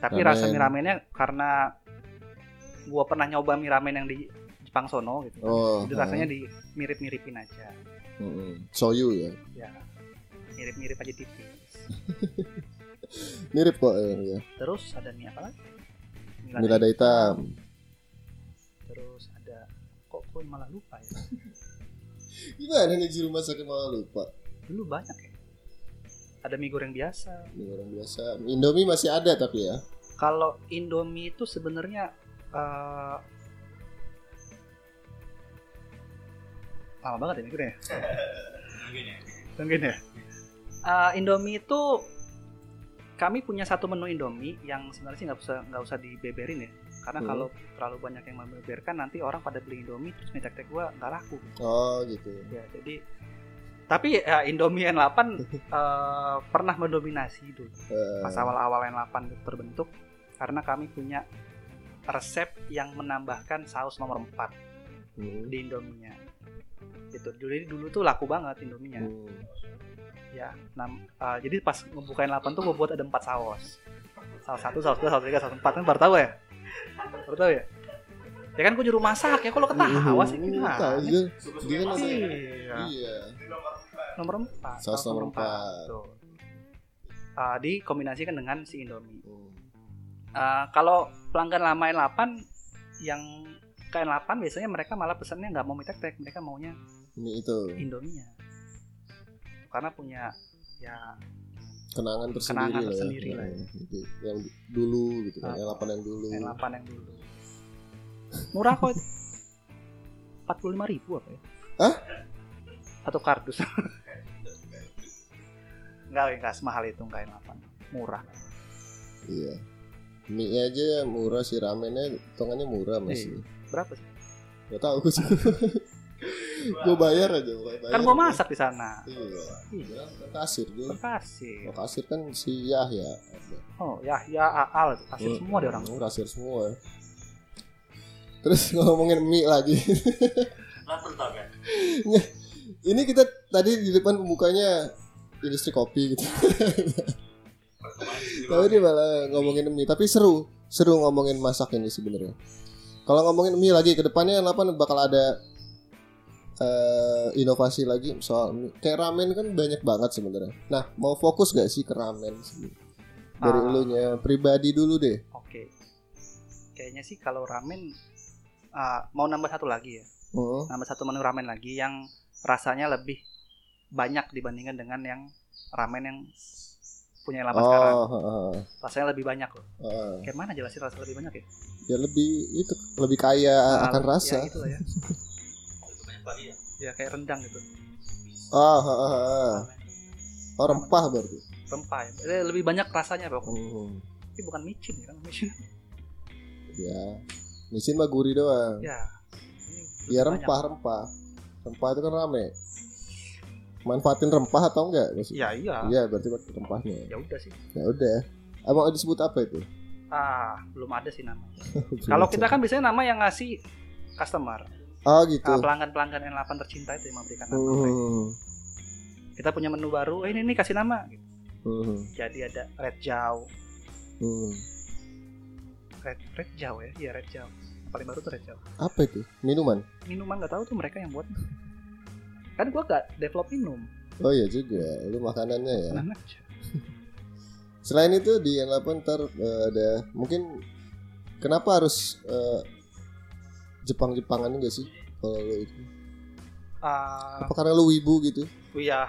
[SPEAKER 2] Tapi
[SPEAKER 1] Ramen.
[SPEAKER 2] rasa mie ramennya karena gua pernah nyoba mie ramen yang di Jepang sono gitu.
[SPEAKER 1] Oh.
[SPEAKER 2] Jadi rasanya di mirip-miripin aja.
[SPEAKER 1] Mm-mm. Soyu ya.
[SPEAKER 2] Ya. Mirip-mirip aja tipis.
[SPEAKER 1] Mirip kok eh, ya.
[SPEAKER 2] Terus ada mie apa lagi? Mie lada
[SPEAKER 1] Milada hitam.
[SPEAKER 2] Terus ada kok gue malah lupa ya.
[SPEAKER 1] Gimana nih juru masaknya malah lupa.
[SPEAKER 2] Dulu banyak ya. Ada mie goreng biasa.
[SPEAKER 1] Ini orang biasa. Indomie masih ada tapi ya.
[SPEAKER 2] Kalau Indomie itu sebenarnya eh, lama banget ya mie goreng ya.
[SPEAKER 3] mungkin ya.
[SPEAKER 2] Mungkin ya. Eh, Indomie itu kami punya satu menu Indomie yang sebenarnya sih nggak usah nggak usah dibeberin ya. Karena
[SPEAKER 1] Hmm.
[SPEAKER 2] kalau terlalu banyak yang membeberkan nanti orang pada beli Indomie terus mie tek-tek gua nggak laku.
[SPEAKER 1] Oh gitu.
[SPEAKER 2] Ya, jadi tapi ya, Indomie N8 eh, pernah mendominasi dulu
[SPEAKER 1] Eh,
[SPEAKER 2] pas awal-awal N8 terbentuk karena kami punya resep yang menambahkan saus nomor 4
[SPEAKER 1] hmm.
[SPEAKER 2] di Indominya. Itu jadi dulu tuh laku banget Indominya.
[SPEAKER 1] Hmm.
[SPEAKER 2] Ya, nam- eh, jadi pas ngebukain 8 tuh gue buat ada 4 saus. Saus satu, saus dua, saus tiga, saus empat kan baru tahu ya. Baru tahu ya. Ya kan gue juru masak ya, kalau ketawa sih
[SPEAKER 1] Hmm,
[SPEAKER 2] gimana?
[SPEAKER 1] tahu aja.
[SPEAKER 3] Suka-suka
[SPEAKER 1] Dia kan
[SPEAKER 3] yang masak ya.
[SPEAKER 2] Iya.
[SPEAKER 1] Iya.
[SPEAKER 3] Di nomor empat.
[SPEAKER 2] nomor 4
[SPEAKER 1] Saus nomor empat.
[SPEAKER 2] dikombinasikan dengan si Indomie
[SPEAKER 1] Hmm.
[SPEAKER 2] Ah, kalau pelanggan lama N8 yang ke N8 biasanya mereka malah pesannya nggak mau mie tek mereka maunya
[SPEAKER 1] Ini itu
[SPEAKER 2] Indomie karena punya ya
[SPEAKER 1] kenangan tersendiri lah.
[SPEAKER 2] Kenangan
[SPEAKER 1] ya.
[SPEAKER 2] tersendiri lah ya.
[SPEAKER 1] Nah, gitu. Yang dulu gitu kan.
[SPEAKER 2] Ah.
[SPEAKER 1] Yang lapan yang dulu.
[SPEAKER 2] N8 yang dulu murah kok itu 45 ribu apa ya
[SPEAKER 1] Hah?
[SPEAKER 2] satu kardus nggak nggak semahal itu nggak N8 murah
[SPEAKER 1] Iya. Mie aja murah sih ramennya, tongannya murah
[SPEAKER 2] Iya.
[SPEAKER 1] masih.
[SPEAKER 2] berapa sih
[SPEAKER 1] Gak tau gue sih. gue bayar aja bukan bayar.
[SPEAKER 2] kan gua masak di sana
[SPEAKER 1] Iya.
[SPEAKER 2] Iya.
[SPEAKER 1] Bilang ke kasir gue.
[SPEAKER 2] Bekasi.
[SPEAKER 1] Ke kasir kan si Yahya.
[SPEAKER 2] Oh, Yahya Aal itu kasir semua dia orang.
[SPEAKER 1] Oh, Kasir semua. Terus ngomongin mie lagi.
[SPEAKER 3] Lapar tau kan?
[SPEAKER 1] Ini kita tadi di depan pembukanya industri kopi gitu.
[SPEAKER 3] Perkembangan di
[SPEAKER 1] Tapi
[SPEAKER 3] luar.
[SPEAKER 1] dia malah ngomongin mie. Tapi seru, seru ngomongin masak ini sebenarnya. Kalau ngomongin mie lagi ke depannya apa bakal ada eh, inovasi lagi soal mie. Kayak ramen kan banyak banget sebenarnya. Nah, mau fokus gak sih ke ramen? Dari
[SPEAKER 2] Ah.
[SPEAKER 1] elunya pribadi dulu deh.
[SPEAKER 2] Oke. Kayaknya sih kalau ramen ah, mau nambah satu lagi ya.
[SPEAKER 1] Oh,
[SPEAKER 2] Nambah satu menu ramen lagi yang rasanya lebih banyak dibandingkan dengan yang ramen yang punya lama sekarang.
[SPEAKER 1] oh, oh, oh.
[SPEAKER 2] Rasanya lebih banyak loh.
[SPEAKER 1] Heeh.
[SPEAKER 2] Kayak mana jelasin rasa lebih banyak ya?
[SPEAKER 1] ya Ah, lebih itu lebih kaya akan
[SPEAKER 2] Ah,
[SPEAKER 1] rasa.
[SPEAKER 2] Ya, gitu lah ya.
[SPEAKER 3] Perkembangan pagi ya.
[SPEAKER 2] ya kayak rendang gitu.
[SPEAKER 1] Ah, ah, ah, ah. Oh, rempah berarti.
[SPEAKER 2] Rempah. ya. Eh, Lebih banyak rasanya pokoknya.
[SPEAKER 1] Hmm.
[SPEAKER 2] Tapi bukan micin ya kan micin.
[SPEAKER 1] Ah. Ya, misin mah gurih doang.
[SPEAKER 2] ya. ini
[SPEAKER 1] Ya
[SPEAKER 2] lebih banyak.
[SPEAKER 1] rempah, rempah. Rempah itu kan rame. manfaatin rempah atau enggak maksud-
[SPEAKER 2] ya iya
[SPEAKER 1] Iya, berarti pakai rempahnya.
[SPEAKER 2] ya udah sih
[SPEAKER 1] Ya udah. Emang disebut apa itu?
[SPEAKER 2] ah belum ada sih nama
[SPEAKER 1] Iya,
[SPEAKER 2] kalau kita kan biasanya nama yang ngasih customer
[SPEAKER 1] Oh gitu.
[SPEAKER 2] Ah, pelanggan-pelanggan N8 tercinta itu yang memberikan nama
[SPEAKER 1] Hmm.
[SPEAKER 2] kita punya menu baru eh, ini nih kasih nama
[SPEAKER 1] Hmm.
[SPEAKER 2] jadi ada red jau
[SPEAKER 1] Hmm.
[SPEAKER 2] red red jau ya iya red jau paling baru tuh red jau
[SPEAKER 1] Apa itu? Minuman.
[SPEAKER 2] minuman nggak tahu tuh mereka yang buat kan gua gak develop minum
[SPEAKER 1] Oh iya juga. Lu makanannya ya.
[SPEAKER 2] Enak aja.
[SPEAKER 1] Selain itu di N8 ntar eh, ada mungkin kenapa harus eh, Jepang-Jepangan enggak sih? Kalau lu itu.
[SPEAKER 2] Ah,
[SPEAKER 1] Apa karena lu wibu gitu?
[SPEAKER 2] iya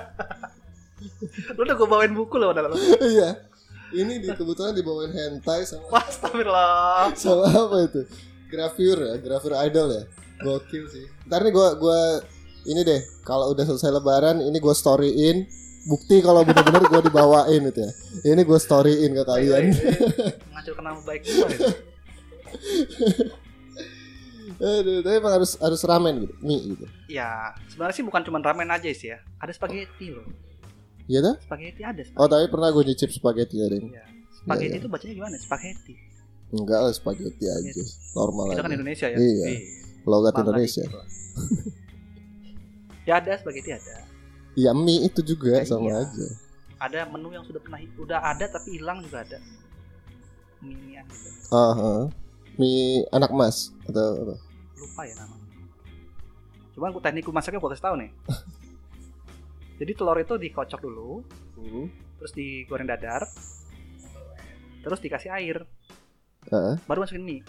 [SPEAKER 2] lu udah gue bawain buku loh dalam
[SPEAKER 1] Iya. Ini di, kebetulan dibawain hentai sama
[SPEAKER 2] wah astagfirullah
[SPEAKER 1] sama apa itu? Gravure ya, gravure idol ya. Gokil sih. Ntar nih gua gua ini deh, kalau udah selesai lebaran ini gua storyin bukti kalau bener-bener gua dibawain itu ya. Ini gua storyin ke kalian.
[SPEAKER 2] menghancurkan nama baik gua gitu. itu
[SPEAKER 1] Aduh, tapi emang harus harus ramen gitu, mie gitu.
[SPEAKER 2] ya sebenarnya sih bukan cuma ramen aja sih ya ada spaghetti loh
[SPEAKER 1] Iya dah?
[SPEAKER 2] spaghetti ada
[SPEAKER 1] Oh,
[SPEAKER 2] spaghetti.
[SPEAKER 1] tapi pernah gua nyicip spaghetti ada yang-
[SPEAKER 2] Iya. spaghetti
[SPEAKER 1] Iya,
[SPEAKER 2] itu bacanya gimana spaghetti
[SPEAKER 1] Enggak lah spaghetti aja, normal
[SPEAKER 2] kita kan
[SPEAKER 1] aja.
[SPEAKER 2] Indonesia ya
[SPEAKER 1] Iya. Logat
[SPEAKER 2] Bangla
[SPEAKER 1] Indonesia.
[SPEAKER 2] gitu lah. ya ada spaghetti ada
[SPEAKER 1] Ya mie itu juga
[SPEAKER 2] Ya,
[SPEAKER 1] sama
[SPEAKER 2] iya.
[SPEAKER 1] aja.
[SPEAKER 2] ada menu yang sudah pernah udah ada tapi hilang juga ada minian gitu
[SPEAKER 1] Ah, ah. Mie anak mas atau apa?
[SPEAKER 2] lupa ya namanya cuman aku teknik masaknya gua kasih tahu nih jadi telur itu dikocok dulu terus digoreng dadar terus dikasih air
[SPEAKER 1] Heeh.
[SPEAKER 2] baru masukin mie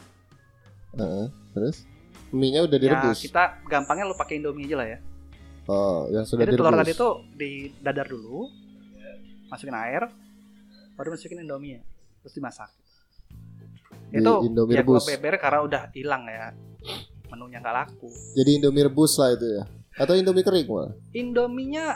[SPEAKER 1] Heeh, terus mie-nya udah
[SPEAKER 2] ya
[SPEAKER 1] direbus.
[SPEAKER 2] kita gampangnya lu pakai indomie aja lah ya
[SPEAKER 1] Oh, yang sudah
[SPEAKER 2] jadi
[SPEAKER 1] direbus.
[SPEAKER 2] telur tadi itu di dadar dulu masukin air baru masukin indomie ya, terus dimasak
[SPEAKER 1] Di
[SPEAKER 2] itu
[SPEAKER 1] Indomie
[SPEAKER 2] ya gua
[SPEAKER 1] rebus.
[SPEAKER 2] beber karena udah hilang ya menunya nggak laku
[SPEAKER 1] Jadi Indomie rebus lah itu ya. Atau Indomie kering malah.
[SPEAKER 2] Indominya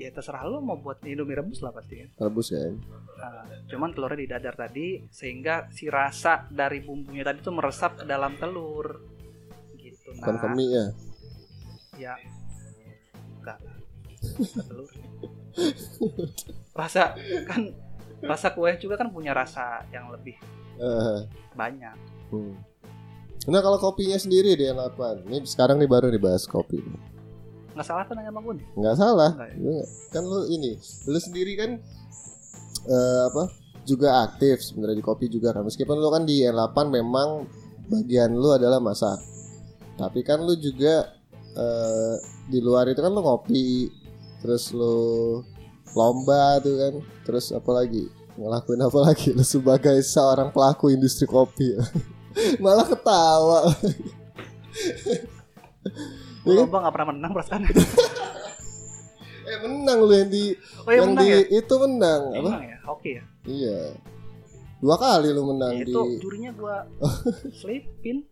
[SPEAKER 2] ya terserah lu mau buat Indomie rebus lah pasti ya.
[SPEAKER 1] Rebus kan.
[SPEAKER 2] Nah, cuman telurnya di dadar tadi sehingga si rasa dari bumbunya tadi tuh meresap ke dalam telur. Gitu
[SPEAKER 1] Bukan ke
[SPEAKER 2] nah.
[SPEAKER 1] mie ya.
[SPEAKER 2] Ya. Enggak. Telur. rasa kan rasa kue juga kan punya rasa yang lebih
[SPEAKER 1] Heeh.
[SPEAKER 2] banyak.
[SPEAKER 1] hmm. Nah kalau kopinya sendiri dia apa? Ini sekarang nih baru dibahas kopi.
[SPEAKER 2] Nggak salah kan nanya sama gue nih?
[SPEAKER 1] Nggak salah.
[SPEAKER 2] Nggak ya?
[SPEAKER 1] Lu- Kan lu ini, lu sendiri kan eh, apa? Juga aktif sebenarnya di kopi juga kan. Meskipun lu kan di N8 memang bagian lu adalah masak. Tapi kan lu juga eh, di luar itu kan lu ngopi, terus lu lomba tuh kan. Terus apa lagi? Ngelakuin apa lagi lu sebagai seorang pelaku industri kopi? Malah ketawa.
[SPEAKER 2] Gua
[SPEAKER 1] Iya.
[SPEAKER 2] lomba nggak pernah menang perasaan.
[SPEAKER 1] Eh menang lu yang di
[SPEAKER 2] Oh ya
[SPEAKER 1] yang di
[SPEAKER 2] menang ya?
[SPEAKER 1] itu menang apa?
[SPEAKER 2] Menang ya? Oke ya.
[SPEAKER 1] Iya. Dua kali lu menang
[SPEAKER 2] Ya,
[SPEAKER 1] di Oh.
[SPEAKER 2] itu jurinya gua selipin.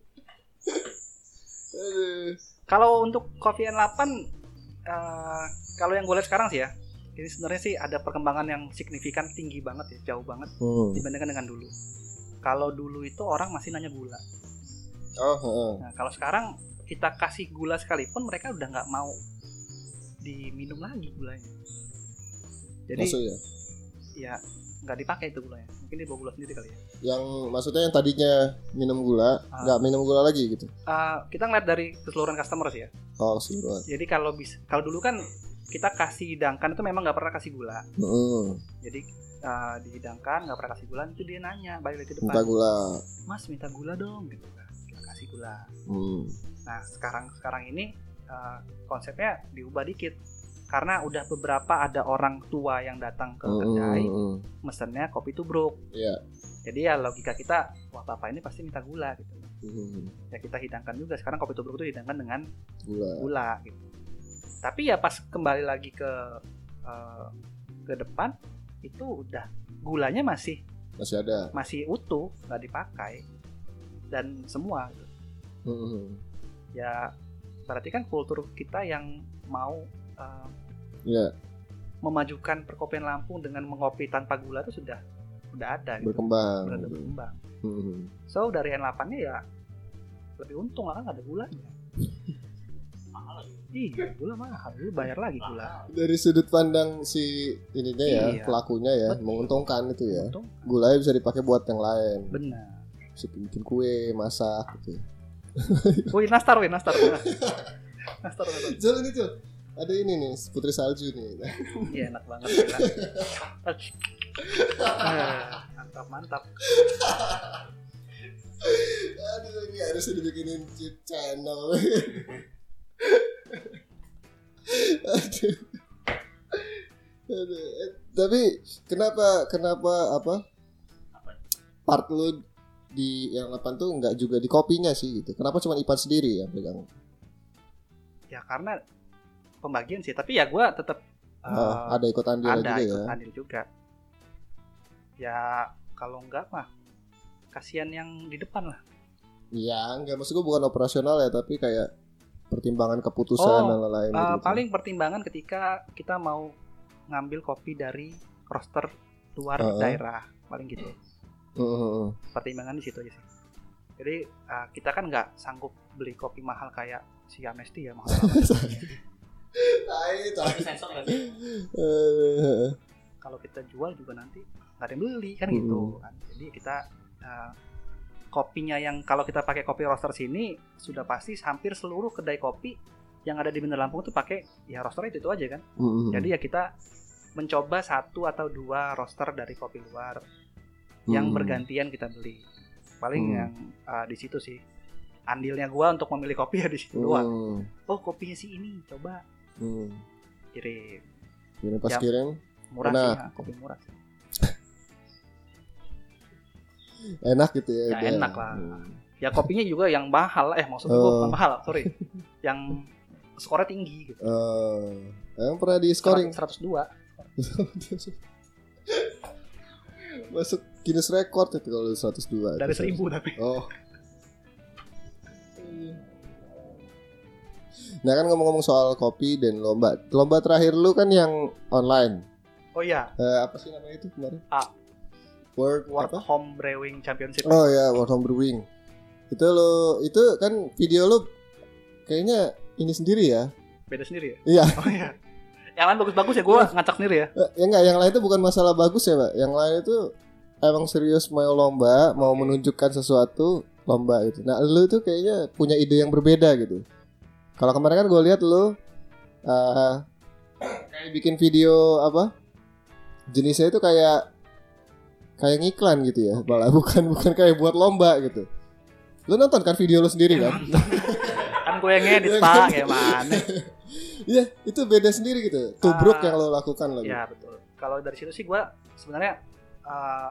[SPEAKER 1] Aduh.
[SPEAKER 2] Kalau untuk Coffee N8 eh, kalau yang gue lihat sekarang sih ya, ini sebenarnya sih ada perkembangan yang signifikan tinggi banget ya, jauh banget
[SPEAKER 1] Hmm.
[SPEAKER 2] dibandingkan dengan dulu. Kalau dulu itu orang masih nanya gula.
[SPEAKER 1] Oh, heeh.
[SPEAKER 2] Nah, kalau sekarang kita kasih gula sekalipun mereka udah nggak mau diminum lagi gulanya. Jadi
[SPEAKER 1] maksudnya
[SPEAKER 2] ya nggak dipakai itu gulanya. Mungkin dia bawa gula sendiri kali ya.
[SPEAKER 1] yang maksudnya yang tadinya minum gula
[SPEAKER 2] Ah.
[SPEAKER 1] nggak minum gula lagi gitu.
[SPEAKER 2] Eh, kita ngeliat dari keseluruhan customer sih ya.
[SPEAKER 1] Oh, keseluruhan.
[SPEAKER 2] Jadi kalau bis kalau dulu kan kita kasih hidangkan itu memang nggak pernah kasih gula.
[SPEAKER 1] Heeh.
[SPEAKER 2] jadi eh, dihidangkan nggak pernah kasih gula itu dia nanya balik lagi ke depan
[SPEAKER 1] Minta gula.
[SPEAKER 2] mas minta gula dong gitu kan kita kasih gula
[SPEAKER 1] Hmm.
[SPEAKER 2] nah sekarang sekarang ini eh, konsepnya diubah dikit karena udah beberapa ada orang tua yang datang ke kedai
[SPEAKER 1] Hmm.
[SPEAKER 2] mesennya kopi tubruk
[SPEAKER 1] Iya.
[SPEAKER 2] jadi ya logika kita wah bapak ini pasti minta gula gitu
[SPEAKER 1] Hmm.
[SPEAKER 2] ya kita hidangkan juga sekarang kopi tubruk itu hidangkan dengan
[SPEAKER 1] Gula.
[SPEAKER 2] gula gitu tapi ya pas kembali lagi ke eh, ke depan itu udah gulanya masih
[SPEAKER 1] Masih ada.
[SPEAKER 2] masih utuh nggak dipakai dan semua gitu.
[SPEAKER 1] Hmm.
[SPEAKER 2] ya berarti kan kultur kita yang mau eh,
[SPEAKER 1] Iya.
[SPEAKER 2] memajukan perkopian Lampung dengan mengopi tanpa gula itu sudah udah ada gitu.
[SPEAKER 1] Berkembang.
[SPEAKER 2] Sudah ada berkembang
[SPEAKER 1] Hmm.
[SPEAKER 2] so dari N8 nya ya lebih untung lah kan nggak ada gulanya
[SPEAKER 3] Mahal
[SPEAKER 2] Iya, gula mahal. Lu bayar lagi gula.
[SPEAKER 1] dari sudut pandang si ininya ya
[SPEAKER 2] Iya.
[SPEAKER 1] pelakunya ya
[SPEAKER 2] Betul.
[SPEAKER 1] menguntungkan itu ya
[SPEAKER 2] Untung
[SPEAKER 1] gulanya bisa dipakai buat yang lain
[SPEAKER 2] benar.
[SPEAKER 1] bisa bikin kue masak gitu
[SPEAKER 2] Woi, nastar, woi, nastar. nastar, nastar.
[SPEAKER 1] Jol ini Jol ada ini nih putri salju nih Nah,
[SPEAKER 2] Iya, enak banget. gila. Eh, Mantap, mantap.
[SPEAKER 1] aduh ini harus dibikinin chip channel aduh. aduh Eh, tapi kenapa kenapa apa part lu di yang 8 tuh nggak juga di kopinya sih gitu kenapa cuma Ipan sendiri yang pegang
[SPEAKER 2] Ya karena pembagian sih, tapi ya gua tetap
[SPEAKER 1] Oh,
[SPEAKER 2] eh,
[SPEAKER 1] ada ikut andil
[SPEAKER 2] ada
[SPEAKER 1] juga
[SPEAKER 2] ikut
[SPEAKER 1] ya
[SPEAKER 2] andil juga ya kalau enggak mah kasihan yang di depan lah
[SPEAKER 1] iya nggak maksud gua bukan operasional ya tapi kayak pertimbangan keputusan
[SPEAKER 2] Oh,
[SPEAKER 1] dan lain-lain
[SPEAKER 2] Eh,
[SPEAKER 1] gitu,
[SPEAKER 2] paling pertimbangan ketika kita mau ngambil kopi dari roster luar
[SPEAKER 1] Heeh.
[SPEAKER 2] daerah paling gitu
[SPEAKER 1] Heeh, heeh.
[SPEAKER 2] pertimbangan di situ aja sih jadi eh, kita kan nggak sanggup beli kopi mahal kayak si Amnesty ya mahal banget.
[SPEAKER 1] Tai, tai.
[SPEAKER 3] Tapi sensor nggak sih?
[SPEAKER 1] Eh,
[SPEAKER 2] kalau kita jual juga nanti nggak ada yang beli kan
[SPEAKER 1] Hmm.
[SPEAKER 2] gitu kan jadi kita eh, kopinya yang kalau kita pakai kopi roaster sini sudah pasti hampir seluruh kedai kopi yang ada di Bandar Lampung tuh pakai ya roaster itu itu aja kan
[SPEAKER 1] heeh.
[SPEAKER 2] jadi ya kita mencoba satu atau dua roaster dari kopi luar yang
[SPEAKER 1] Hmm.
[SPEAKER 2] bergantian kita beli paling
[SPEAKER 1] Hmm.
[SPEAKER 2] yang eh, di situ sih andilnya gua untuk memilih kopi ya di situ doang
[SPEAKER 1] Hmm,
[SPEAKER 2] oh kopinya sih ini coba
[SPEAKER 1] hmm.
[SPEAKER 2] kirim
[SPEAKER 1] Kirim pas
[SPEAKER 2] Jam.
[SPEAKER 1] kirim
[SPEAKER 2] murah
[SPEAKER 1] Enak.
[SPEAKER 2] sih ha, kopi murah sih.
[SPEAKER 1] enak gitu ya.
[SPEAKER 2] Ya,
[SPEAKER 1] dia.
[SPEAKER 2] enak lah.
[SPEAKER 1] Hmm.
[SPEAKER 2] ya kopinya juga yang mahal eh maksud gue
[SPEAKER 1] Oh.
[SPEAKER 2] bukan mahal sorry yang skornya tinggi gitu
[SPEAKER 1] Eh, emang pernah di scoring
[SPEAKER 2] 102
[SPEAKER 1] masuk Guinness Record itu kalau 102
[SPEAKER 2] dari
[SPEAKER 1] itu.
[SPEAKER 2] 1000 tapi
[SPEAKER 1] Oh. Nah kan ngomong-ngomong soal kopi dan lomba, lomba terakhir lu kan yang online.
[SPEAKER 2] oh iya
[SPEAKER 1] Eh, apa sih namanya itu kemarin?
[SPEAKER 2] Ah.
[SPEAKER 1] World
[SPEAKER 2] World
[SPEAKER 1] apa?
[SPEAKER 2] Home Brewing Championship
[SPEAKER 1] Oh ya, World Home Brewing. Itu lo, itu kan video lo kayaknya ini sendiri ya.
[SPEAKER 2] beda sendiri ya
[SPEAKER 1] Iya.
[SPEAKER 2] oh iya yang lain bagus-bagus ya gue ngacak sendiri ya
[SPEAKER 1] Eh, Ya enggak, yang lain itu bukan masalah bagus ya, Pak. Yang lain itu emang serius mau lomba, mau menunjukkan sesuatu lomba gitu. Nah, lu tuh kayaknya punya ide yang berbeda gitu. Kalau kemarin kan gue lihat lu eh, kayak bikin video apa? Jenisnya itu kayak kayak ngiklan gitu ya, malah bukan bukan kayak buat lomba gitu. Lu nonton kan video lu sendiri kan?
[SPEAKER 2] kan gue yang ngedit pak kayak mana
[SPEAKER 1] Iya, itu beda sendiri gitu. Tubruk
[SPEAKER 2] Ah.
[SPEAKER 1] yang lo lakukan lagi.
[SPEAKER 2] ya betul kalau dari situ sih gue sebenarnya eh,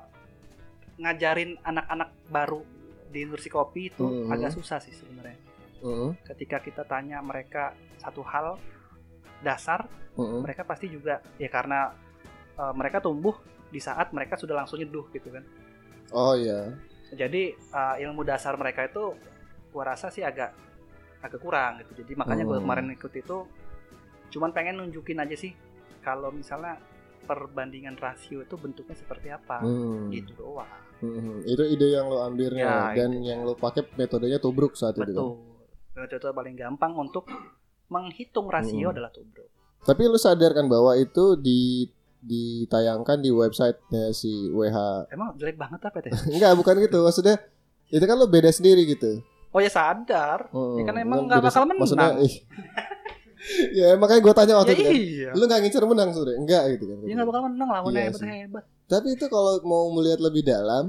[SPEAKER 2] ngajarin anak-anak baru di industri kopi itu
[SPEAKER 1] Mhm.
[SPEAKER 2] agak susah sih sebenarnya
[SPEAKER 1] Heeh,
[SPEAKER 2] ketika kita tanya mereka satu hal dasar
[SPEAKER 1] heeh.
[SPEAKER 2] mereka pasti juga ya karena eh, mereka tumbuh di saat mereka sudah langsung nyeduh gitu kan
[SPEAKER 1] Oh iya.
[SPEAKER 2] jadi eh, ilmu dasar mereka itu gua rasa sih agak agak kurang gitu jadi makanya gua
[SPEAKER 1] Hmm.
[SPEAKER 2] kemarin ikut itu cuman pengen nunjukin aja sih kalau misalnya perbandingan rasio itu bentuknya seperti apa
[SPEAKER 1] Hmm.
[SPEAKER 2] gitu doang
[SPEAKER 1] Mhm, Itu ide yang lo ambilnya
[SPEAKER 2] Ya,
[SPEAKER 1] dan yang lo pakai metodenya tubruk saat itu. kan?
[SPEAKER 2] betul itu paling gampang untuk menghitung rasio
[SPEAKER 1] Hmm.
[SPEAKER 2] adalah tubruk
[SPEAKER 1] Tapi lo sadar kan bahwa itu di ditayangkan di websitenya si WH.
[SPEAKER 2] emang jelek banget apa ya, teh
[SPEAKER 1] Enggak, bukan gitu. Maksudnya itu kan lo beda sendiri gitu.
[SPEAKER 2] oh ya sadar
[SPEAKER 1] Mhm,
[SPEAKER 2] Ya kan emang
[SPEAKER 1] lo
[SPEAKER 2] nggak
[SPEAKER 1] beda-
[SPEAKER 2] bakal menang.
[SPEAKER 1] Maksudnya, ih. ya makanya gue tanya waktu
[SPEAKER 2] ya
[SPEAKER 1] itu kan.
[SPEAKER 2] iya
[SPEAKER 1] Lu nggak ngincer menang sudah? Enggak gitu kan.
[SPEAKER 2] dia nggak bakal menang lawannya
[SPEAKER 1] Iya
[SPEAKER 2] hebat
[SPEAKER 1] sih.
[SPEAKER 2] hebat
[SPEAKER 1] Tapi itu kalau mau melihat lebih dalam,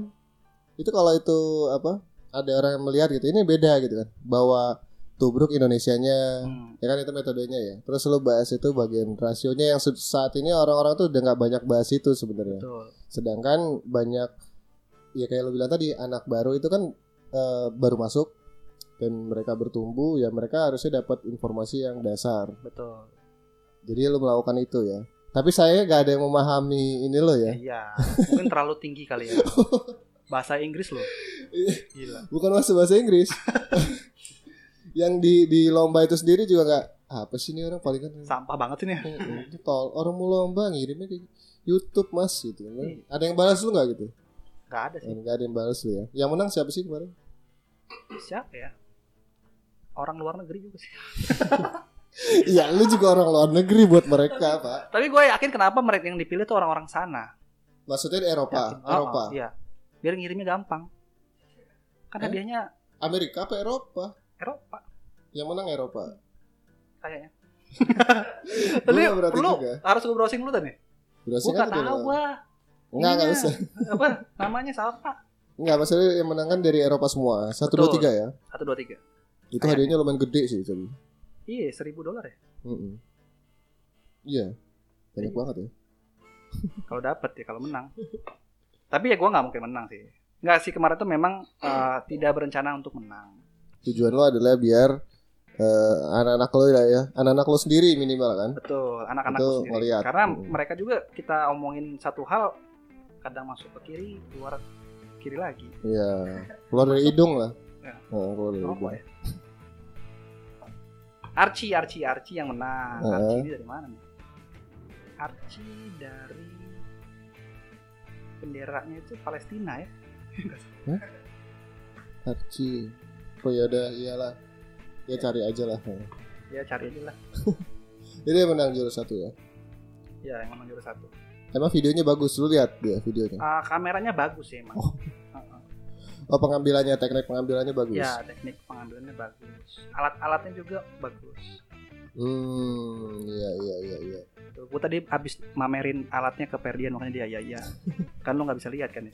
[SPEAKER 1] itu kalau itu apa? Ada orang yang melihat gitu. Ini beda gitu kan. Bahwa tubruk Indonesianya
[SPEAKER 2] Hmm.
[SPEAKER 1] ya kan itu metodenya ya terus lo bahas itu bagian rasionya yang se- saat ini orang-orang tuh udah nggak banyak bahas itu sebenarnya
[SPEAKER 2] Betul.
[SPEAKER 1] sedangkan banyak ya kayak lo bilang tadi anak baru itu kan eh, baru masuk dan mereka bertumbuh ya mereka harusnya dapat informasi yang dasar
[SPEAKER 2] Betul.
[SPEAKER 1] jadi lo melakukan itu ya tapi saya nggak ada yang memahami ini lo ya
[SPEAKER 2] Iya. Mungkin terlalu tinggi kali ya. Bahasa Inggris loh. Gila.
[SPEAKER 1] bukan masuk bahasa Inggris yang di di lomba itu sendiri juga nggak apa sih ini orang paling kan
[SPEAKER 2] Sampah banget ini.
[SPEAKER 1] Oh, itu tol orang mau lomba ngirimnya ke YouTube mas gitu kan.
[SPEAKER 2] Iya.
[SPEAKER 1] ada yang balas lu nggak gitu
[SPEAKER 2] Gak ada sih.
[SPEAKER 1] nggak ada yang balas lu ya yang menang siapa sih kemarin
[SPEAKER 2] Siapa ya? Orang luar negeri juga sih.
[SPEAKER 1] Iya, lu juga orang luar negeri buat mereka, Pak.
[SPEAKER 2] Tapi gue yakin kenapa mereka yang dipilih tuh orang-orang sana.
[SPEAKER 1] Maksudnya di Eropa,
[SPEAKER 2] Yakin. Oh,
[SPEAKER 1] Eropa.
[SPEAKER 2] oh, iya. Biar ngirimnya gampang. Kan
[SPEAKER 1] Eh?
[SPEAKER 2] hadiahnya
[SPEAKER 1] Amerika apa Eropa?
[SPEAKER 2] Eropa
[SPEAKER 1] Yang menang Eropa.
[SPEAKER 2] kayaknya.
[SPEAKER 1] Gua
[SPEAKER 2] Tapi
[SPEAKER 1] nggak berarti
[SPEAKER 2] lu
[SPEAKER 1] juga.
[SPEAKER 2] harus gue browsing dulu tadi.
[SPEAKER 1] Berarti
[SPEAKER 2] Gue
[SPEAKER 1] kan udah
[SPEAKER 2] gak tahu
[SPEAKER 1] menang.
[SPEAKER 2] gue.
[SPEAKER 1] Enggak, enggak
[SPEAKER 2] Ininya.
[SPEAKER 1] usah.
[SPEAKER 2] Apa namanya siapa?
[SPEAKER 1] Enggak, maksudnya yang menang kan dari Eropa semua. Satu, dua,
[SPEAKER 2] Betul. Iya.
[SPEAKER 1] tiga ya.
[SPEAKER 2] Satu dua tiga.
[SPEAKER 1] Itu
[SPEAKER 2] Kayaknya.
[SPEAKER 1] hadiahnya lumayan gede sih itu.
[SPEAKER 2] Iya seribu dolar ya.
[SPEAKER 1] Mm-mm. Iya. Banyak
[SPEAKER 2] Iya.
[SPEAKER 1] banget ya.
[SPEAKER 2] Kalau dapet ya kalau menang. Tapi ya gue nggak mungkin menang sih. Nggak sih kemarin tuh memang eh, tidak berencana untuk menang.
[SPEAKER 1] Tujuan lo adalah biar eh, anak-anak lo ya, ya. anak-anak lo sendiri minimal kan.
[SPEAKER 2] Betul, anak-anak
[SPEAKER 1] Itu
[SPEAKER 2] lu sendiri.
[SPEAKER 1] ngeliat.
[SPEAKER 2] Karena
[SPEAKER 1] Hmm.
[SPEAKER 2] mereka juga kita omongin satu hal kadang masuk ke kiri, keluar kiri lagi.
[SPEAKER 1] Iya. Keluar dari hidung lah.
[SPEAKER 2] Ya.
[SPEAKER 1] Nah, keluar dari hidung.
[SPEAKER 2] Apa ya? Archie, Archie, Archie yang menang.
[SPEAKER 1] Heeh.
[SPEAKER 2] Archie ini dari mana nih? Archie dari benderanya itu Palestina ya.
[SPEAKER 1] Archie. Oh ya udah, iyalah. Ya cari aja lah.
[SPEAKER 2] Ya cari aja lah.
[SPEAKER 1] Jadi yang menang juara satu ya.
[SPEAKER 2] Ya yang menang juara satu.
[SPEAKER 1] Emang videonya bagus lu lihat dia videonya.
[SPEAKER 2] Ah, kameranya bagus ya emang.
[SPEAKER 1] Oh. Oh pengambilannya teknik pengambilannya bagus.
[SPEAKER 2] Ya teknik pengambilannya bagus. Alat-alatnya juga bagus.
[SPEAKER 1] Hmm, iya iya iya iya.
[SPEAKER 2] Gue Gitu. tadi abis mamerin alatnya ke Perdian makanya dia ya ya. kan lo nggak bisa lihat kan ya.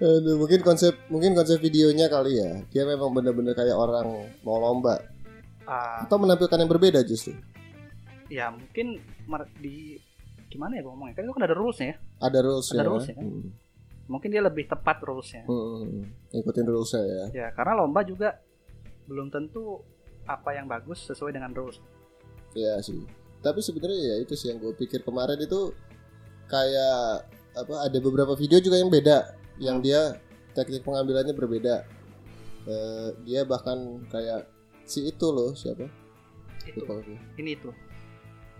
[SPEAKER 1] Aduh, mungkin konsep mungkin konsep videonya kali ya. Dia memang bener-bener kayak orang mau lomba
[SPEAKER 2] Ah,
[SPEAKER 1] atau menampilkan yang berbeda justru.
[SPEAKER 2] ya mungkin mer- di gimana ya gue ngomongnya kan itu kan ada rulesnya ya.
[SPEAKER 1] Ada rules
[SPEAKER 2] Ada rules-nya, kan?
[SPEAKER 1] Hmm.
[SPEAKER 2] Mungkin dia lebih tepat rulesnya.
[SPEAKER 1] Hmm, hmm, hmm. Ikutin rulesnya ya.
[SPEAKER 2] Ya karena lomba juga belum tentu apa yang bagus sesuai dengan rules.
[SPEAKER 1] Iya sih. Tapi sebenarnya ya itu sih yang gue pikir kemarin itu kayak apa ada beberapa video juga yang beda, yang dia teknik pengambilannya berbeda. Eh, dia bahkan kayak si itu loh siapa?
[SPEAKER 2] Itu
[SPEAKER 1] Lupa gue.
[SPEAKER 2] ini itu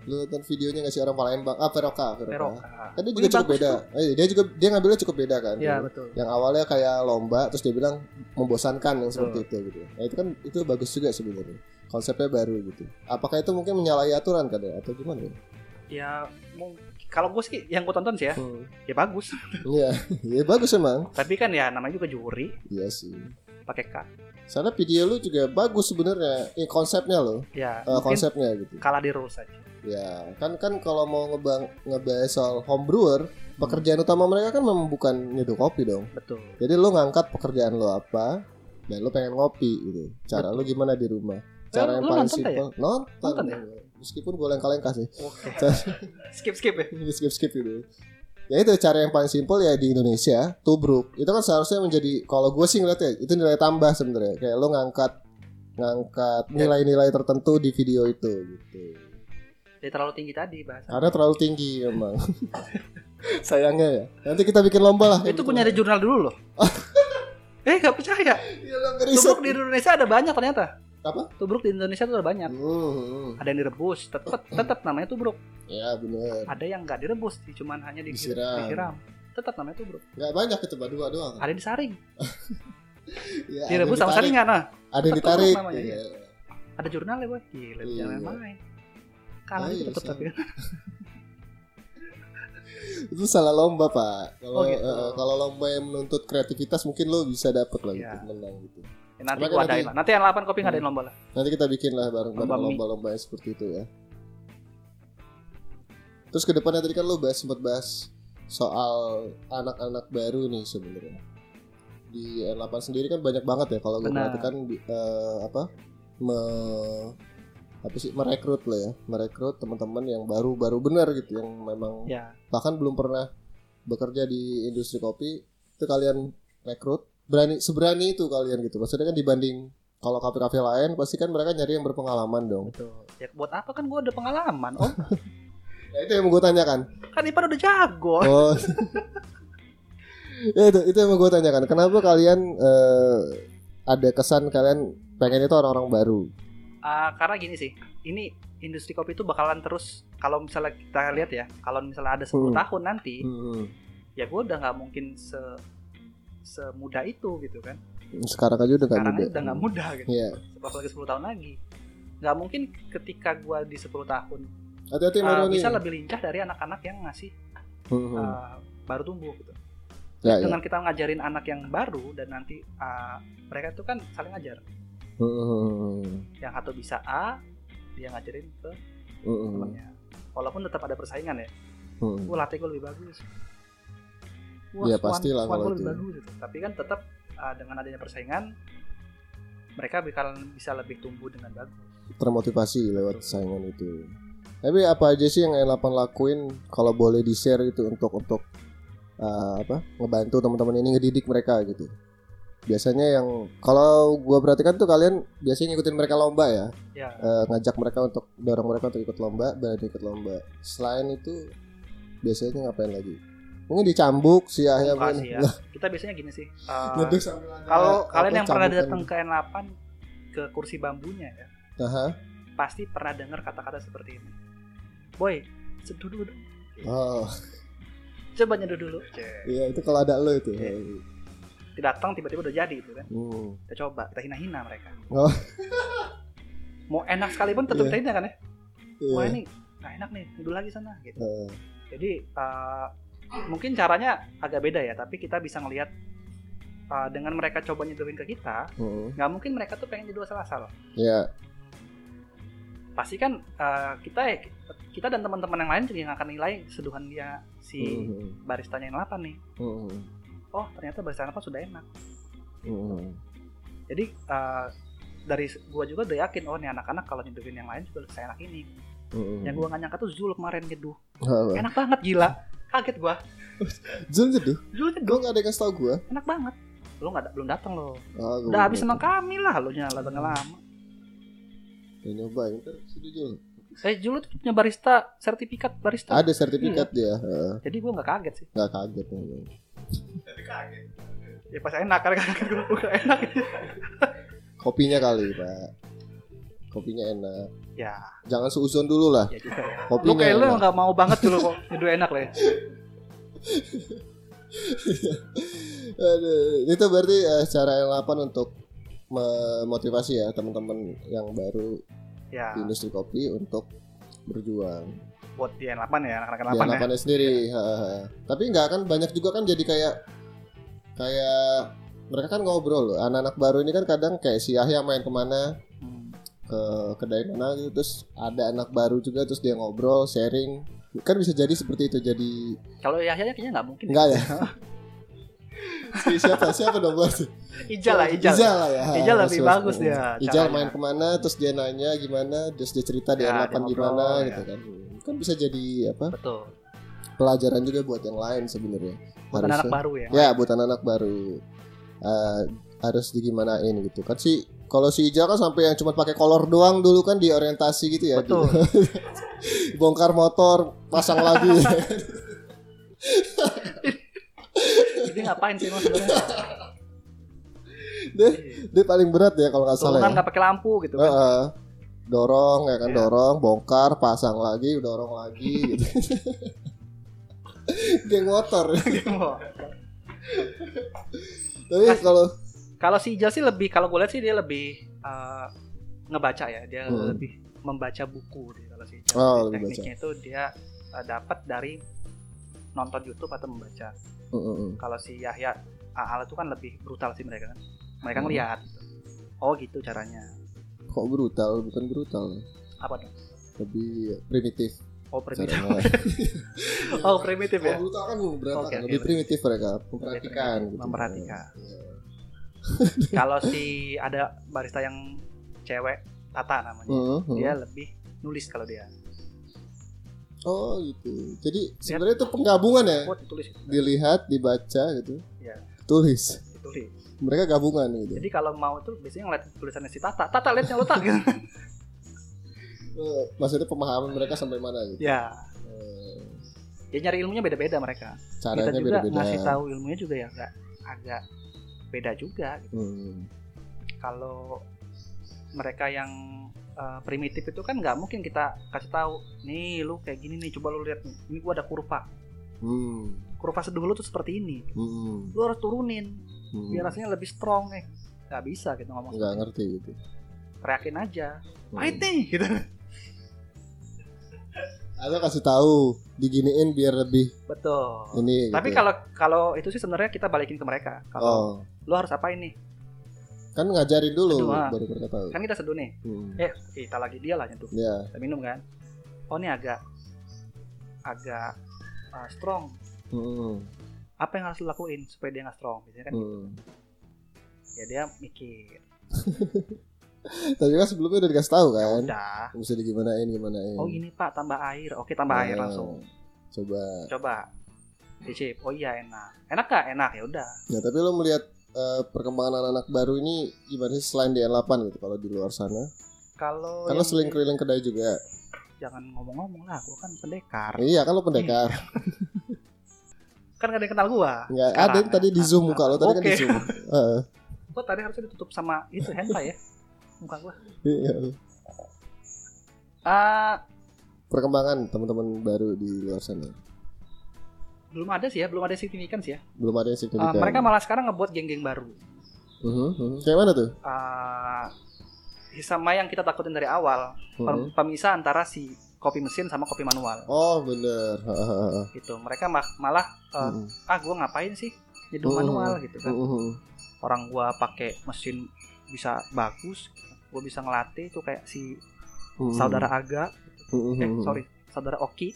[SPEAKER 1] Lu nonton videonya nggak sih orang Palembang? Ah Veroka, Veroka.
[SPEAKER 2] Veroka.
[SPEAKER 1] Kan dia
[SPEAKER 2] Wih,
[SPEAKER 1] juga cukup
[SPEAKER 2] Ah. bagus
[SPEAKER 1] beda. Eh, dia juga dia ngambilnya cukup beda kan.
[SPEAKER 2] itu. Ya betul.
[SPEAKER 1] Yang awalnya kayak lomba terus dia bilang membosankan yang seperti itu gitu. Nah, itu kan itu bagus juga sebenarnya. Konsepnya baru gitu. Apakah itu mungkin menyalahi aturan kan ya? atau gimana ya?
[SPEAKER 2] Ya mau kalau gue sih yang gue tonton sih ya,
[SPEAKER 1] Hmm.
[SPEAKER 2] ya bagus.
[SPEAKER 1] Iya, ya bagus emang.
[SPEAKER 2] Tapi kan ya namanya juga juri
[SPEAKER 1] Iya sih.
[SPEAKER 2] pakai K.
[SPEAKER 1] Soalnya video lu juga bagus sebenarnya. Eh konsepnya loh,
[SPEAKER 2] Ya
[SPEAKER 1] Eh,
[SPEAKER 2] mungkin
[SPEAKER 1] konsepnya gitu.
[SPEAKER 2] kalah di rules aja.
[SPEAKER 1] Ya, kan kan kalau mau ngebang ngebahas soal homebrewer, pekerjaan utama mereka kan memang bukan nyeduh kopi dong.
[SPEAKER 2] Betul.
[SPEAKER 1] Jadi lu ngangkat pekerjaan lu apa dan lu pengen ngopi gitu. Cara lu gimana di rumah? Cara
[SPEAKER 2] Eh,
[SPEAKER 1] yang
[SPEAKER 2] lu
[SPEAKER 1] paling
[SPEAKER 2] nonton tak
[SPEAKER 1] simpel nonton.
[SPEAKER 2] Nonton ya?
[SPEAKER 1] gua. Meskipun gue lengkal-lengkah sih.
[SPEAKER 2] Oke. skip skip ya.
[SPEAKER 1] Skip-skip gitu. Ya itu cara yang paling simpel ya di Indonesia, tubruk. Itu kan seharusnya menjadi kalau gue sih ngeliatnya itu nilai tambah sebenarnya. Kayak lu ngangkat ngangkat
[SPEAKER 2] Ya.
[SPEAKER 1] nilai-nilai tertentu di video itu gitu.
[SPEAKER 2] Jadi terlalu tinggi tadi bahasa.
[SPEAKER 1] Karena terlalu tinggi emang. Sayangnya ya. Nanti kita bikin lomba lah.
[SPEAKER 2] Itu gue nyari jurnal dulu loh. eh gak percaya.
[SPEAKER 1] Iya, lu ngeriset.
[SPEAKER 2] Tubruk di Indonesia ada banyak ternyata.
[SPEAKER 1] Apa?
[SPEAKER 2] Tubruk di Indonesia tuh ada banyak.
[SPEAKER 1] Hmm, hmm.
[SPEAKER 2] Ada yang direbus, tetep tetep namanya tubruk.
[SPEAKER 1] Ya bener
[SPEAKER 2] Ada yang nggak direbus, di- cuman hanya di-
[SPEAKER 1] Disiram.
[SPEAKER 2] disiram. Tetap namanya tubruk.
[SPEAKER 1] Gak banyak itu, Pak. Dua doang.
[SPEAKER 2] Ada yang disaring,
[SPEAKER 1] Ya, ada
[SPEAKER 2] direbus
[SPEAKER 1] yang
[SPEAKER 2] sama
[SPEAKER 1] ditarik.
[SPEAKER 2] saringan. Nah,
[SPEAKER 1] Ada yang
[SPEAKER 2] Tetep
[SPEAKER 1] ditarik.
[SPEAKER 2] namanya,
[SPEAKER 1] Iya.
[SPEAKER 2] ada jurnalnya boy. Gila,
[SPEAKER 1] Iya.
[SPEAKER 2] jangan main. Kalah
[SPEAKER 1] Ah,
[SPEAKER 2] juga
[SPEAKER 1] iya,
[SPEAKER 2] tetep tapi. Ya,
[SPEAKER 1] Itu salah lomba, Pak. Kalau
[SPEAKER 2] Oh, gitu.
[SPEAKER 1] eh, kalau lomba yang menuntut kreativitas mungkin lo bisa dapet lah gitu,
[SPEAKER 2] Iya.
[SPEAKER 1] menang gitu.
[SPEAKER 2] Ya, nanti
[SPEAKER 1] Makanya
[SPEAKER 2] gua adain
[SPEAKER 1] nanti-
[SPEAKER 2] lah. Nanti yang 8 kopi
[SPEAKER 1] Hmm.
[SPEAKER 2] ngadain lomba lah.
[SPEAKER 1] Nanti kita bikin lah bareng-bareng
[SPEAKER 2] Lomba mie.
[SPEAKER 1] lomba-lomba yang seperti itu ya. Terus ke depannya tadi kan lo bahas sempat bahas soal anak-anak baru nih sebenarnya. Di N8 sendiri kan banyak banget ya kalau gue
[SPEAKER 2] Benar.
[SPEAKER 1] perhatikan di- eh, apa me- apa sih merekrut lah ya, merekrut teman-teman yang baru-baru benar gitu yang memang
[SPEAKER 2] Ya,
[SPEAKER 1] bahkan belum pernah bekerja di industri kopi itu kalian rekrut berani seberani itu kalian gitu maksudnya kan dibanding kalau kafe-kafe lain pasti kan mereka nyari yang berpengalaman dong
[SPEAKER 2] betul. Ya buat apa kan gua ada pengalaman, Om?
[SPEAKER 1] ya, itu yang mau gue tanyakan
[SPEAKER 2] kan Ipan udah jago.
[SPEAKER 1] oh ya, itu itu yang mau gue tanyakan kenapa kalian eh, ada kesan kalian pengen itu orang-orang baru
[SPEAKER 2] Ah, karena gini sih, ini industri kopi itu bakalan terus kalau misalnya kita lihat ya, kalau misalnya ada 10
[SPEAKER 1] Hmm.
[SPEAKER 2] tahun nanti, ya gue udah nggak mungkin se semudah itu gitu kan.
[SPEAKER 1] sekarang aja udah gak
[SPEAKER 2] Sekarang
[SPEAKER 1] muda
[SPEAKER 2] aja udah nggak mudah gitu.
[SPEAKER 1] Iya.
[SPEAKER 2] Sebab lagi 10 tahun lagi. nggak mungkin ketika gua di 10 tahun
[SPEAKER 1] Hati-hati
[SPEAKER 2] uh,
[SPEAKER 1] Maroni.
[SPEAKER 2] bisa lebih lincah dari anak-anak yang masih
[SPEAKER 1] Iya, Hmm, hmm.
[SPEAKER 2] uh, baru tumbuh gitu.
[SPEAKER 1] Ya, ya.
[SPEAKER 2] Dengan kita ngajarin anak yang baru dan nanti uh, mereka itu kan saling ngajar.
[SPEAKER 1] Hmm, hmm, hmm.
[SPEAKER 2] Yang satu bisa A, dia ngajarin ke
[SPEAKER 1] Hmm, hmm.
[SPEAKER 2] temannya. Walaupun tetap ada persaingan ya.
[SPEAKER 1] Hmm.
[SPEAKER 2] Wah latih gue lebih bagus. Wah,
[SPEAKER 1] Iya,
[SPEAKER 2] Swan-
[SPEAKER 1] pastilah
[SPEAKER 2] Swan
[SPEAKER 1] kalau
[SPEAKER 2] gue lebih
[SPEAKER 1] itu.
[SPEAKER 2] bagus gitu. Tapi kan tetap uh, dengan adanya persaingan mereka bakalan bisa lebih tumbuh dengan bagus.
[SPEAKER 1] Termotivasi lewat saingan itu. Tapi apa aja sih yang N8 lakuin kalau boleh di-share gitu untuk untuk eh, apa? ngebantu teman-teman ini ngedidik mereka gitu. Biasanya yang kalau gua perhatikan tuh kalian biasanya ngikutin mereka lomba ya.
[SPEAKER 2] Ya,
[SPEAKER 1] eh, ngajak mereka untuk dorong mereka untuk ikut lomba berani ikut lomba selain itu biasanya ngapain lagi mungkin dicambuk sih ya
[SPEAKER 2] bukan
[SPEAKER 1] mungkin.
[SPEAKER 2] sih ya. Kita biasanya gini sih. uh,
[SPEAKER 1] Duduk sambil ada-
[SPEAKER 2] kalau
[SPEAKER 1] apa,
[SPEAKER 2] kalian yang pernah
[SPEAKER 1] cambukan
[SPEAKER 2] datang ke N8 ke kursi bambunya ya,
[SPEAKER 1] gitu. Aha.
[SPEAKER 2] pasti pernah dengar kata-kata seperti ini. Boy, seduh dulu.
[SPEAKER 1] oh
[SPEAKER 2] Coba nyeduh dulu.
[SPEAKER 1] iya itu kalau ada lo itu
[SPEAKER 2] Iya. Tidak datang tiba-tiba udah jadi gitu kan.
[SPEAKER 1] hmm.
[SPEAKER 2] Kita coba, kita hina-hina mereka.
[SPEAKER 1] Oh.
[SPEAKER 2] Mau enak sekalipun tetap
[SPEAKER 1] Iya.
[SPEAKER 2] hina kan ya.
[SPEAKER 1] iya.
[SPEAKER 2] Wah ini nggak enak nih, nyeduh lagi sana gitu.
[SPEAKER 1] Eh,
[SPEAKER 2] Jadi eh, mungkin caranya agak beda ya, tapi kita bisa ngelihat eh, dengan mereka coba nyeduhin ke kita,
[SPEAKER 1] hmm.
[SPEAKER 2] nggak mungkin mereka tuh pengen nyeduh asal-asal.
[SPEAKER 1] ya
[SPEAKER 2] pasti kan eh, kita kita dan teman-teman yang lain juga yang akan nilai seduhan dia si
[SPEAKER 1] Hmm,
[SPEAKER 2] baristanya yang 8 nih
[SPEAKER 1] hmm, hmm,
[SPEAKER 2] oh ternyata barista yang 8 sudah enak
[SPEAKER 1] hmm.
[SPEAKER 2] jadi eh, dari s- gua juga udah yakin oh nih anak-anak kalau nyeduhin yang lain juga saya enak ini
[SPEAKER 1] Hmm.
[SPEAKER 2] yang gua Kan- nggak nyangka tuh Zul kemarin nyeduh
[SPEAKER 1] Apa?
[SPEAKER 2] enak banget gila kaget gua
[SPEAKER 1] Zul jeduh
[SPEAKER 2] Zul
[SPEAKER 1] Gue
[SPEAKER 2] nyeduh
[SPEAKER 1] gak ada yang kasih tau gue
[SPEAKER 2] enak banget lo nggak da- belum datang
[SPEAKER 1] oh,
[SPEAKER 2] lo
[SPEAKER 1] gua
[SPEAKER 2] udah
[SPEAKER 1] belum
[SPEAKER 2] habis sama kami lah lo nyala tengah lama
[SPEAKER 1] Udah nyobain Ntar situ, Zul.
[SPEAKER 2] eh Zul tuh punya barista sertifikat barista
[SPEAKER 1] Ada sertifikat
[SPEAKER 2] Iya.
[SPEAKER 1] dia Heeh.
[SPEAKER 2] jadi gua nggak kaget sih
[SPEAKER 1] Gak kaget nih.
[SPEAKER 3] Tapi kaget.
[SPEAKER 2] ya pas enak karena kan gua gak enak
[SPEAKER 1] Kopinya kali pak Kopinya enak
[SPEAKER 2] ya
[SPEAKER 1] Jangan seuzon dulu lah
[SPEAKER 2] ya juga ya lu
[SPEAKER 1] Kopinya
[SPEAKER 2] kayak lu
[SPEAKER 1] enak.
[SPEAKER 2] nggak mau banget dulu kok nyeduh enak lah ya
[SPEAKER 1] Aduh, itu berarti eh, cara yang 8 untuk memotivasi ya teman-teman yang baru
[SPEAKER 2] ya
[SPEAKER 1] di industri kopi untuk berjuang.
[SPEAKER 2] buat di N8 ya anak-anak
[SPEAKER 1] Di
[SPEAKER 2] N8 ya
[SPEAKER 1] anak-anaknya sendiri. ha, ha, ha. Tapi nggak akan banyak juga kan jadi kayak kayak mereka kan ngobrol loh. Anak-anak baru ini kan kadang kayak si Yahya main kemana
[SPEAKER 2] Hmm.
[SPEAKER 1] ke kedai mana gitu terus ada anak baru juga terus dia ngobrol sharing kan bisa jadi seperti itu jadi
[SPEAKER 2] kalau Yahya kayaknya nggak mungkin
[SPEAKER 1] enggak ya Si siapa siapa dong berarti
[SPEAKER 2] Ijal lah Ijal
[SPEAKER 1] Ijal lah ya.
[SPEAKER 2] Ijal
[SPEAKER 1] Mas,
[SPEAKER 2] lebih
[SPEAKER 1] mas,
[SPEAKER 2] bagus
[SPEAKER 1] mas.
[SPEAKER 2] dia
[SPEAKER 1] Ijal
[SPEAKER 2] caranya.
[SPEAKER 1] main kemana, terus dia nanya gimana, terus dia cerita dia
[SPEAKER 2] Ya, dia
[SPEAKER 1] delapan
[SPEAKER 2] ngobrol,
[SPEAKER 1] gimana
[SPEAKER 2] ya.
[SPEAKER 1] gitu kan. Kan bisa jadi apa
[SPEAKER 2] betul
[SPEAKER 1] pelajaran juga buat yang lain sebenarnya.
[SPEAKER 2] buat anak baru ya
[SPEAKER 1] Ya, buat anak baru. Eh, harus digimanain gitu kan si kalau si Ijal kan sampai yang cuma pakai kolor doang dulu kan di orientasi gitu ya.
[SPEAKER 2] betul
[SPEAKER 1] Di- Bongkar motor, pasang lagi.
[SPEAKER 2] jadi ngapain sih mas sebenarnya
[SPEAKER 1] Dia- Dia paling berat ya kalau nggak salah.
[SPEAKER 2] turunan
[SPEAKER 1] Ya.
[SPEAKER 2] nggak pakai lampu gitu kan
[SPEAKER 1] Heeh. dorong ya kan
[SPEAKER 2] Iya.
[SPEAKER 1] dorong bongkar pasang lagi dorong lagi gitu geng motor
[SPEAKER 2] Gitu.
[SPEAKER 1] tapi kalau
[SPEAKER 2] kalau si Ijal sih lebih kalau gue lihat sih dia lebih eh, ngebaca ya dia
[SPEAKER 1] Hmm.
[SPEAKER 2] lebih membaca buku dia kalau si Ijal
[SPEAKER 1] Oh,
[SPEAKER 2] Jadi
[SPEAKER 1] lebih baca.
[SPEAKER 2] tekniknya itu dia eh, dapat dari nonton YouTube atau membaca
[SPEAKER 1] Mm-mm.
[SPEAKER 2] kalau si Yahya Aal itu kan lebih brutal sih mereka kan mereka
[SPEAKER 1] Hmm.
[SPEAKER 2] ngelihat oh gitu caranya
[SPEAKER 1] kok brutal bukan brutal ya.
[SPEAKER 2] apa dong
[SPEAKER 1] lebih primitif
[SPEAKER 2] oh primitif
[SPEAKER 1] caranya.
[SPEAKER 2] oh primitif ya
[SPEAKER 1] Kalau brutal kan berantakan,
[SPEAKER 2] Oke, oke,
[SPEAKER 1] lebih
[SPEAKER 2] oke.
[SPEAKER 1] primitif mereka memperhatikan gitu.
[SPEAKER 2] memperhatikan kalau si ada barista yang cewek Tata namanya
[SPEAKER 1] Mm-mm.
[SPEAKER 2] dia lebih nulis kalau dia
[SPEAKER 1] oh gitu jadi
[SPEAKER 2] Iya.
[SPEAKER 1] sebenarnya itu penggabungan ya
[SPEAKER 2] buat ditulis
[SPEAKER 1] dilihat dibaca gitu
[SPEAKER 2] Iya.
[SPEAKER 1] tulis
[SPEAKER 2] ditulis
[SPEAKER 1] mereka gabungan gitu
[SPEAKER 2] jadi kalau mau tuh biasanya ngeliat tulisannya si Tata Tata lihat yang lo tak gitu.
[SPEAKER 1] Eh, maksudnya pemahaman mereka sampai mana gitu
[SPEAKER 2] ya
[SPEAKER 1] Eh,
[SPEAKER 2] dia nyari ilmunya beda-beda mereka
[SPEAKER 1] caranya
[SPEAKER 2] kita juga
[SPEAKER 1] beda-beda
[SPEAKER 2] ngasih tahu ilmunya juga ya agak agak beda juga
[SPEAKER 1] Hmm.
[SPEAKER 2] kalau mereka yang eh, primitif itu kan nggak mungkin kita kasih tahu nih lu kayak gini nih coba lu lihat nih ini gua ada kurva
[SPEAKER 1] Hmm.
[SPEAKER 2] kurva seduh lu tuh seperti ini
[SPEAKER 1] Hmm.
[SPEAKER 2] lu harus turunin
[SPEAKER 1] Hmm.
[SPEAKER 2] Iya, biar rasanya lebih strong eh nggak bisa gitu ngomong
[SPEAKER 1] nggak ngerti gitu.
[SPEAKER 2] teriakin aja
[SPEAKER 1] Hmm.
[SPEAKER 2] pahit nih gitu
[SPEAKER 1] Atau kasih tahu diginiin biar lebih
[SPEAKER 2] betul
[SPEAKER 1] ini.
[SPEAKER 2] Oh, tapi
[SPEAKER 1] gitu.
[SPEAKER 2] kalau kalau itu sih sebenarnya kita balikin ke mereka
[SPEAKER 1] oh
[SPEAKER 2] kalau lu harus apain nih
[SPEAKER 1] kan ngajarin dulu
[SPEAKER 2] Aduh, ah.
[SPEAKER 1] baru mereka tahu.
[SPEAKER 2] kan kita seduh nih
[SPEAKER 1] Hmm.
[SPEAKER 2] eh kita lagi dia lah nyentuh
[SPEAKER 1] Ya.
[SPEAKER 2] kita minum kan oh ini agak agak uh, strong
[SPEAKER 1] Hmm.
[SPEAKER 2] apa yang harus lu lakuin supaya dia nggak strong biasanya kan
[SPEAKER 1] Hmm.
[SPEAKER 2] ya dia mikir
[SPEAKER 1] Tapi kan sebelumnya udah dikasih tahu kan.
[SPEAKER 2] udah
[SPEAKER 1] Mesti digimanain gimanain.
[SPEAKER 2] oh ini pak tambah air oke tambah air
[SPEAKER 1] Nah,
[SPEAKER 2] langsung
[SPEAKER 1] Coba.
[SPEAKER 2] coba dicip oh iya enak enak gak enak ya udah
[SPEAKER 1] Nah tapi lo melihat eh, perkembangan anak-anak baru ini gimana sih selain di N8 gitu kalau di luar sana? Kalau
[SPEAKER 2] kalau Oh, yang-
[SPEAKER 1] sering keliling kedai juga.
[SPEAKER 2] jangan ngomong-ngomong lah gua kan pendekar
[SPEAKER 1] Iya kan lo pendekar.
[SPEAKER 2] kan gak ada yang kenal gua
[SPEAKER 1] Enggak
[SPEAKER 2] Sekarang
[SPEAKER 1] ada yang tadi di
[SPEAKER 2] ya.
[SPEAKER 1] Zoom muka lo tadi kan di
[SPEAKER 2] Oke.
[SPEAKER 1] Zoom. Heeh.
[SPEAKER 2] gua tadi harusnya ditutup sama itu handphone ya muka gua
[SPEAKER 1] Iya.
[SPEAKER 2] ah
[SPEAKER 1] Perkembangan teman-teman baru di luar sana.
[SPEAKER 2] belum ada sih ya belum ada yang signifikan sih ya
[SPEAKER 1] Belum ada yang
[SPEAKER 2] Ah,
[SPEAKER 1] signifikan.
[SPEAKER 2] mereka malah sekarang ngebuat geng-geng baru
[SPEAKER 1] Mhm, mhm. Kayak mana tuh?
[SPEAKER 2] Ah, sama yang kita takutin dari awal
[SPEAKER 1] Mhm.
[SPEAKER 2] pem- pemisah antara si kopi mesin sama kopi manual
[SPEAKER 1] Oh bener. Hahaha.
[SPEAKER 2] gitu mereka ma- malah eh,
[SPEAKER 1] Mhm,
[SPEAKER 2] ah gua ngapain sih nyeduh
[SPEAKER 1] Hmm.
[SPEAKER 2] manual gitu kan
[SPEAKER 1] mhm.
[SPEAKER 2] orang gua pakai mesin bisa bagus gua bisa ngelatih itu kayak si
[SPEAKER 1] Mhm.
[SPEAKER 2] saudara Aga
[SPEAKER 1] Mhm,
[SPEAKER 2] eh
[SPEAKER 1] mhm.
[SPEAKER 2] sorry saudara Oki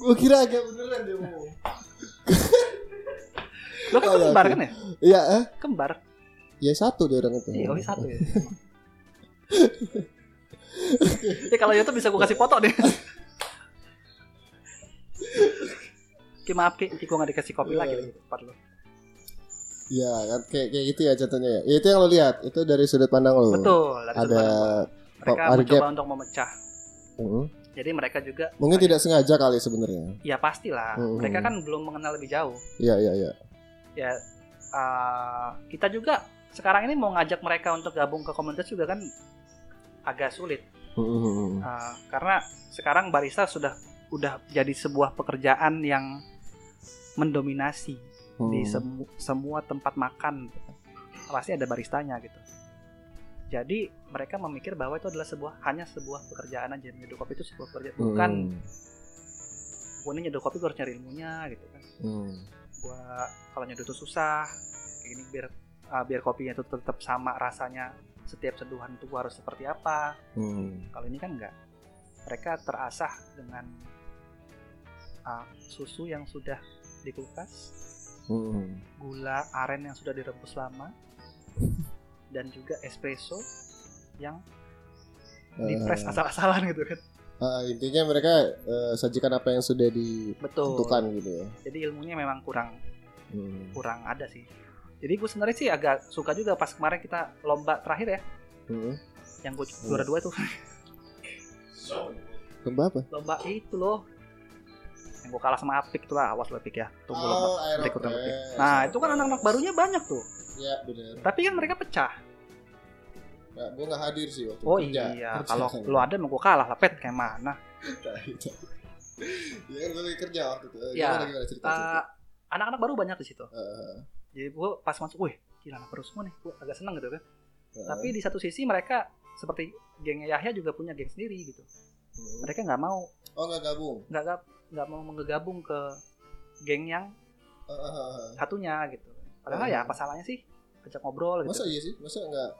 [SPEAKER 1] Gua kira agak beneran deh mau.
[SPEAKER 2] lo kan
[SPEAKER 1] Saudara
[SPEAKER 2] kembar
[SPEAKER 1] Oki.
[SPEAKER 2] kan ya
[SPEAKER 1] Iya eh?
[SPEAKER 2] kembar
[SPEAKER 1] Ya satu dia orang itu.
[SPEAKER 2] iya Oki satu ya ya kalau YouTube bisa gua kasih foto deh Ki maaf Ki, Ki gua gak dikasih kopi lagi di tempat lo.
[SPEAKER 1] Iya kan kayak kayak gitu ya contohnya ya. Ya, Itu yang lo lihat itu dari sudut pandang lo.
[SPEAKER 2] Betul, dari sudut
[SPEAKER 1] Ada
[SPEAKER 2] pandang gua. mereka
[SPEAKER 1] ada
[SPEAKER 2] mencoba untuk memecah.
[SPEAKER 1] Mhm.
[SPEAKER 2] Jadi mereka juga
[SPEAKER 1] mungkin tidak sengaja kali sebenarnya.
[SPEAKER 2] ya pastilah,
[SPEAKER 1] Hmm.
[SPEAKER 2] mereka kan belum mengenal lebih jauh.
[SPEAKER 1] Iya iya iya.
[SPEAKER 2] ya uh, kita juga sekarang ini mau ngajak mereka untuk gabung ke komunitas juga kan agak sulit
[SPEAKER 1] Mhm, mhm.
[SPEAKER 2] Uh, karena sekarang barista sudah udah jadi sebuah pekerjaan yang mendominasi di
[SPEAKER 1] Mhm.
[SPEAKER 2] semu- semua tempat makan pasti ada baristanya gitu jadi mereka memikir bahwa itu adalah sebuah hanya sebuah pekerjaan aja nyeduh kopi itu sebuah pekerjaan
[SPEAKER 1] Hmm.
[SPEAKER 2] bukan gue ini nyeduh kopi gue harus nyari ilmunya gitu kan
[SPEAKER 1] Mhm.
[SPEAKER 2] gua kalau nyeduh tuh susah kayak gini biar ah, biar kopinya itu tetap sama rasanya setiap seduhan itu gua harus seperti apa
[SPEAKER 1] Mhm.
[SPEAKER 2] kalau ini kan enggak mereka terasah dengan ah, susu yang sudah di kulkas
[SPEAKER 1] Mhm.
[SPEAKER 2] gula aren yang sudah direbus lama dan juga espresso yang di press
[SPEAKER 1] Eh,
[SPEAKER 2] asal-asalan gitu kan
[SPEAKER 1] eh, intinya mereka eh, sajikan apa yang sudah ditentukan
[SPEAKER 2] betul
[SPEAKER 1] gitu ya.
[SPEAKER 2] kan. jadi ilmunya memang kurang
[SPEAKER 1] Mhm.
[SPEAKER 2] kurang ada sih jadi gue sebenarnya sih agak suka juga pas kemarin kita lomba terakhir ya
[SPEAKER 1] Mhm.
[SPEAKER 2] yang gue juara dua tuh
[SPEAKER 1] Lomba apa?
[SPEAKER 2] lomba itu loh yang gue kalah sama Apik tuh lah awas lo Apik ya
[SPEAKER 1] Oh,
[SPEAKER 2] tunggu lomba
[SPEAKER 1] Aeropress.
[SPEAKER 2] berikut lomba Apik. nah itu kan anak-anak barunya banyak tuh
[SPEAKER 1] Iya benar.
[SPEAKER 2] tapi kan mereka pecah
[SPEAKER 1] Nah, gue nggak hadir sih waktu
[SPEAKER 2] oh
[SPEAKER 1] kerja.
[SPEAKER 2] iya
[SPEAKER 1] Kerja
[SPEAKER 2] kalau
[SPEAKER 1] kan.
[SPEAKER 2] lo ada emang gue kalah lah pet kayak mana
[SPEAKER 1] Iya kan gue lagi kerja waktu itu. Eh,
[SPEAKER 2] Ya.
[SPEAKER 1] Gimana gimana cerita? cerita?
[SPEAKER 2] Eh, anak-anak baru banyak di situ
[SPEAKER 1] Eh,
[SPEAKER 2] jadi gue pas masuk wih gila anak baru semua nih gue agak seneng gitu kan
[SPEAKER 1] eh,
[SPEAKER 2] tapi di satu sisi mereka seperti gengnya Yahya juga punya geng sendiri gitu
[SPEAKER 1] mhm.
[SPEAKER 2] mereka nggak mau
[SPEAKER 1] Oh nggak gabung.
[SPEAKER 2] nggak gab- nggak mau menggabung ke geng yang
[SPEAKER 1] Eh, eh, eh, eh.
[SPEAKER 2] satunya gitu padahal ya apa salahnya sih ajak ngobrol gitu
[SPEAKER 1] Masa iya sih? Masa nggak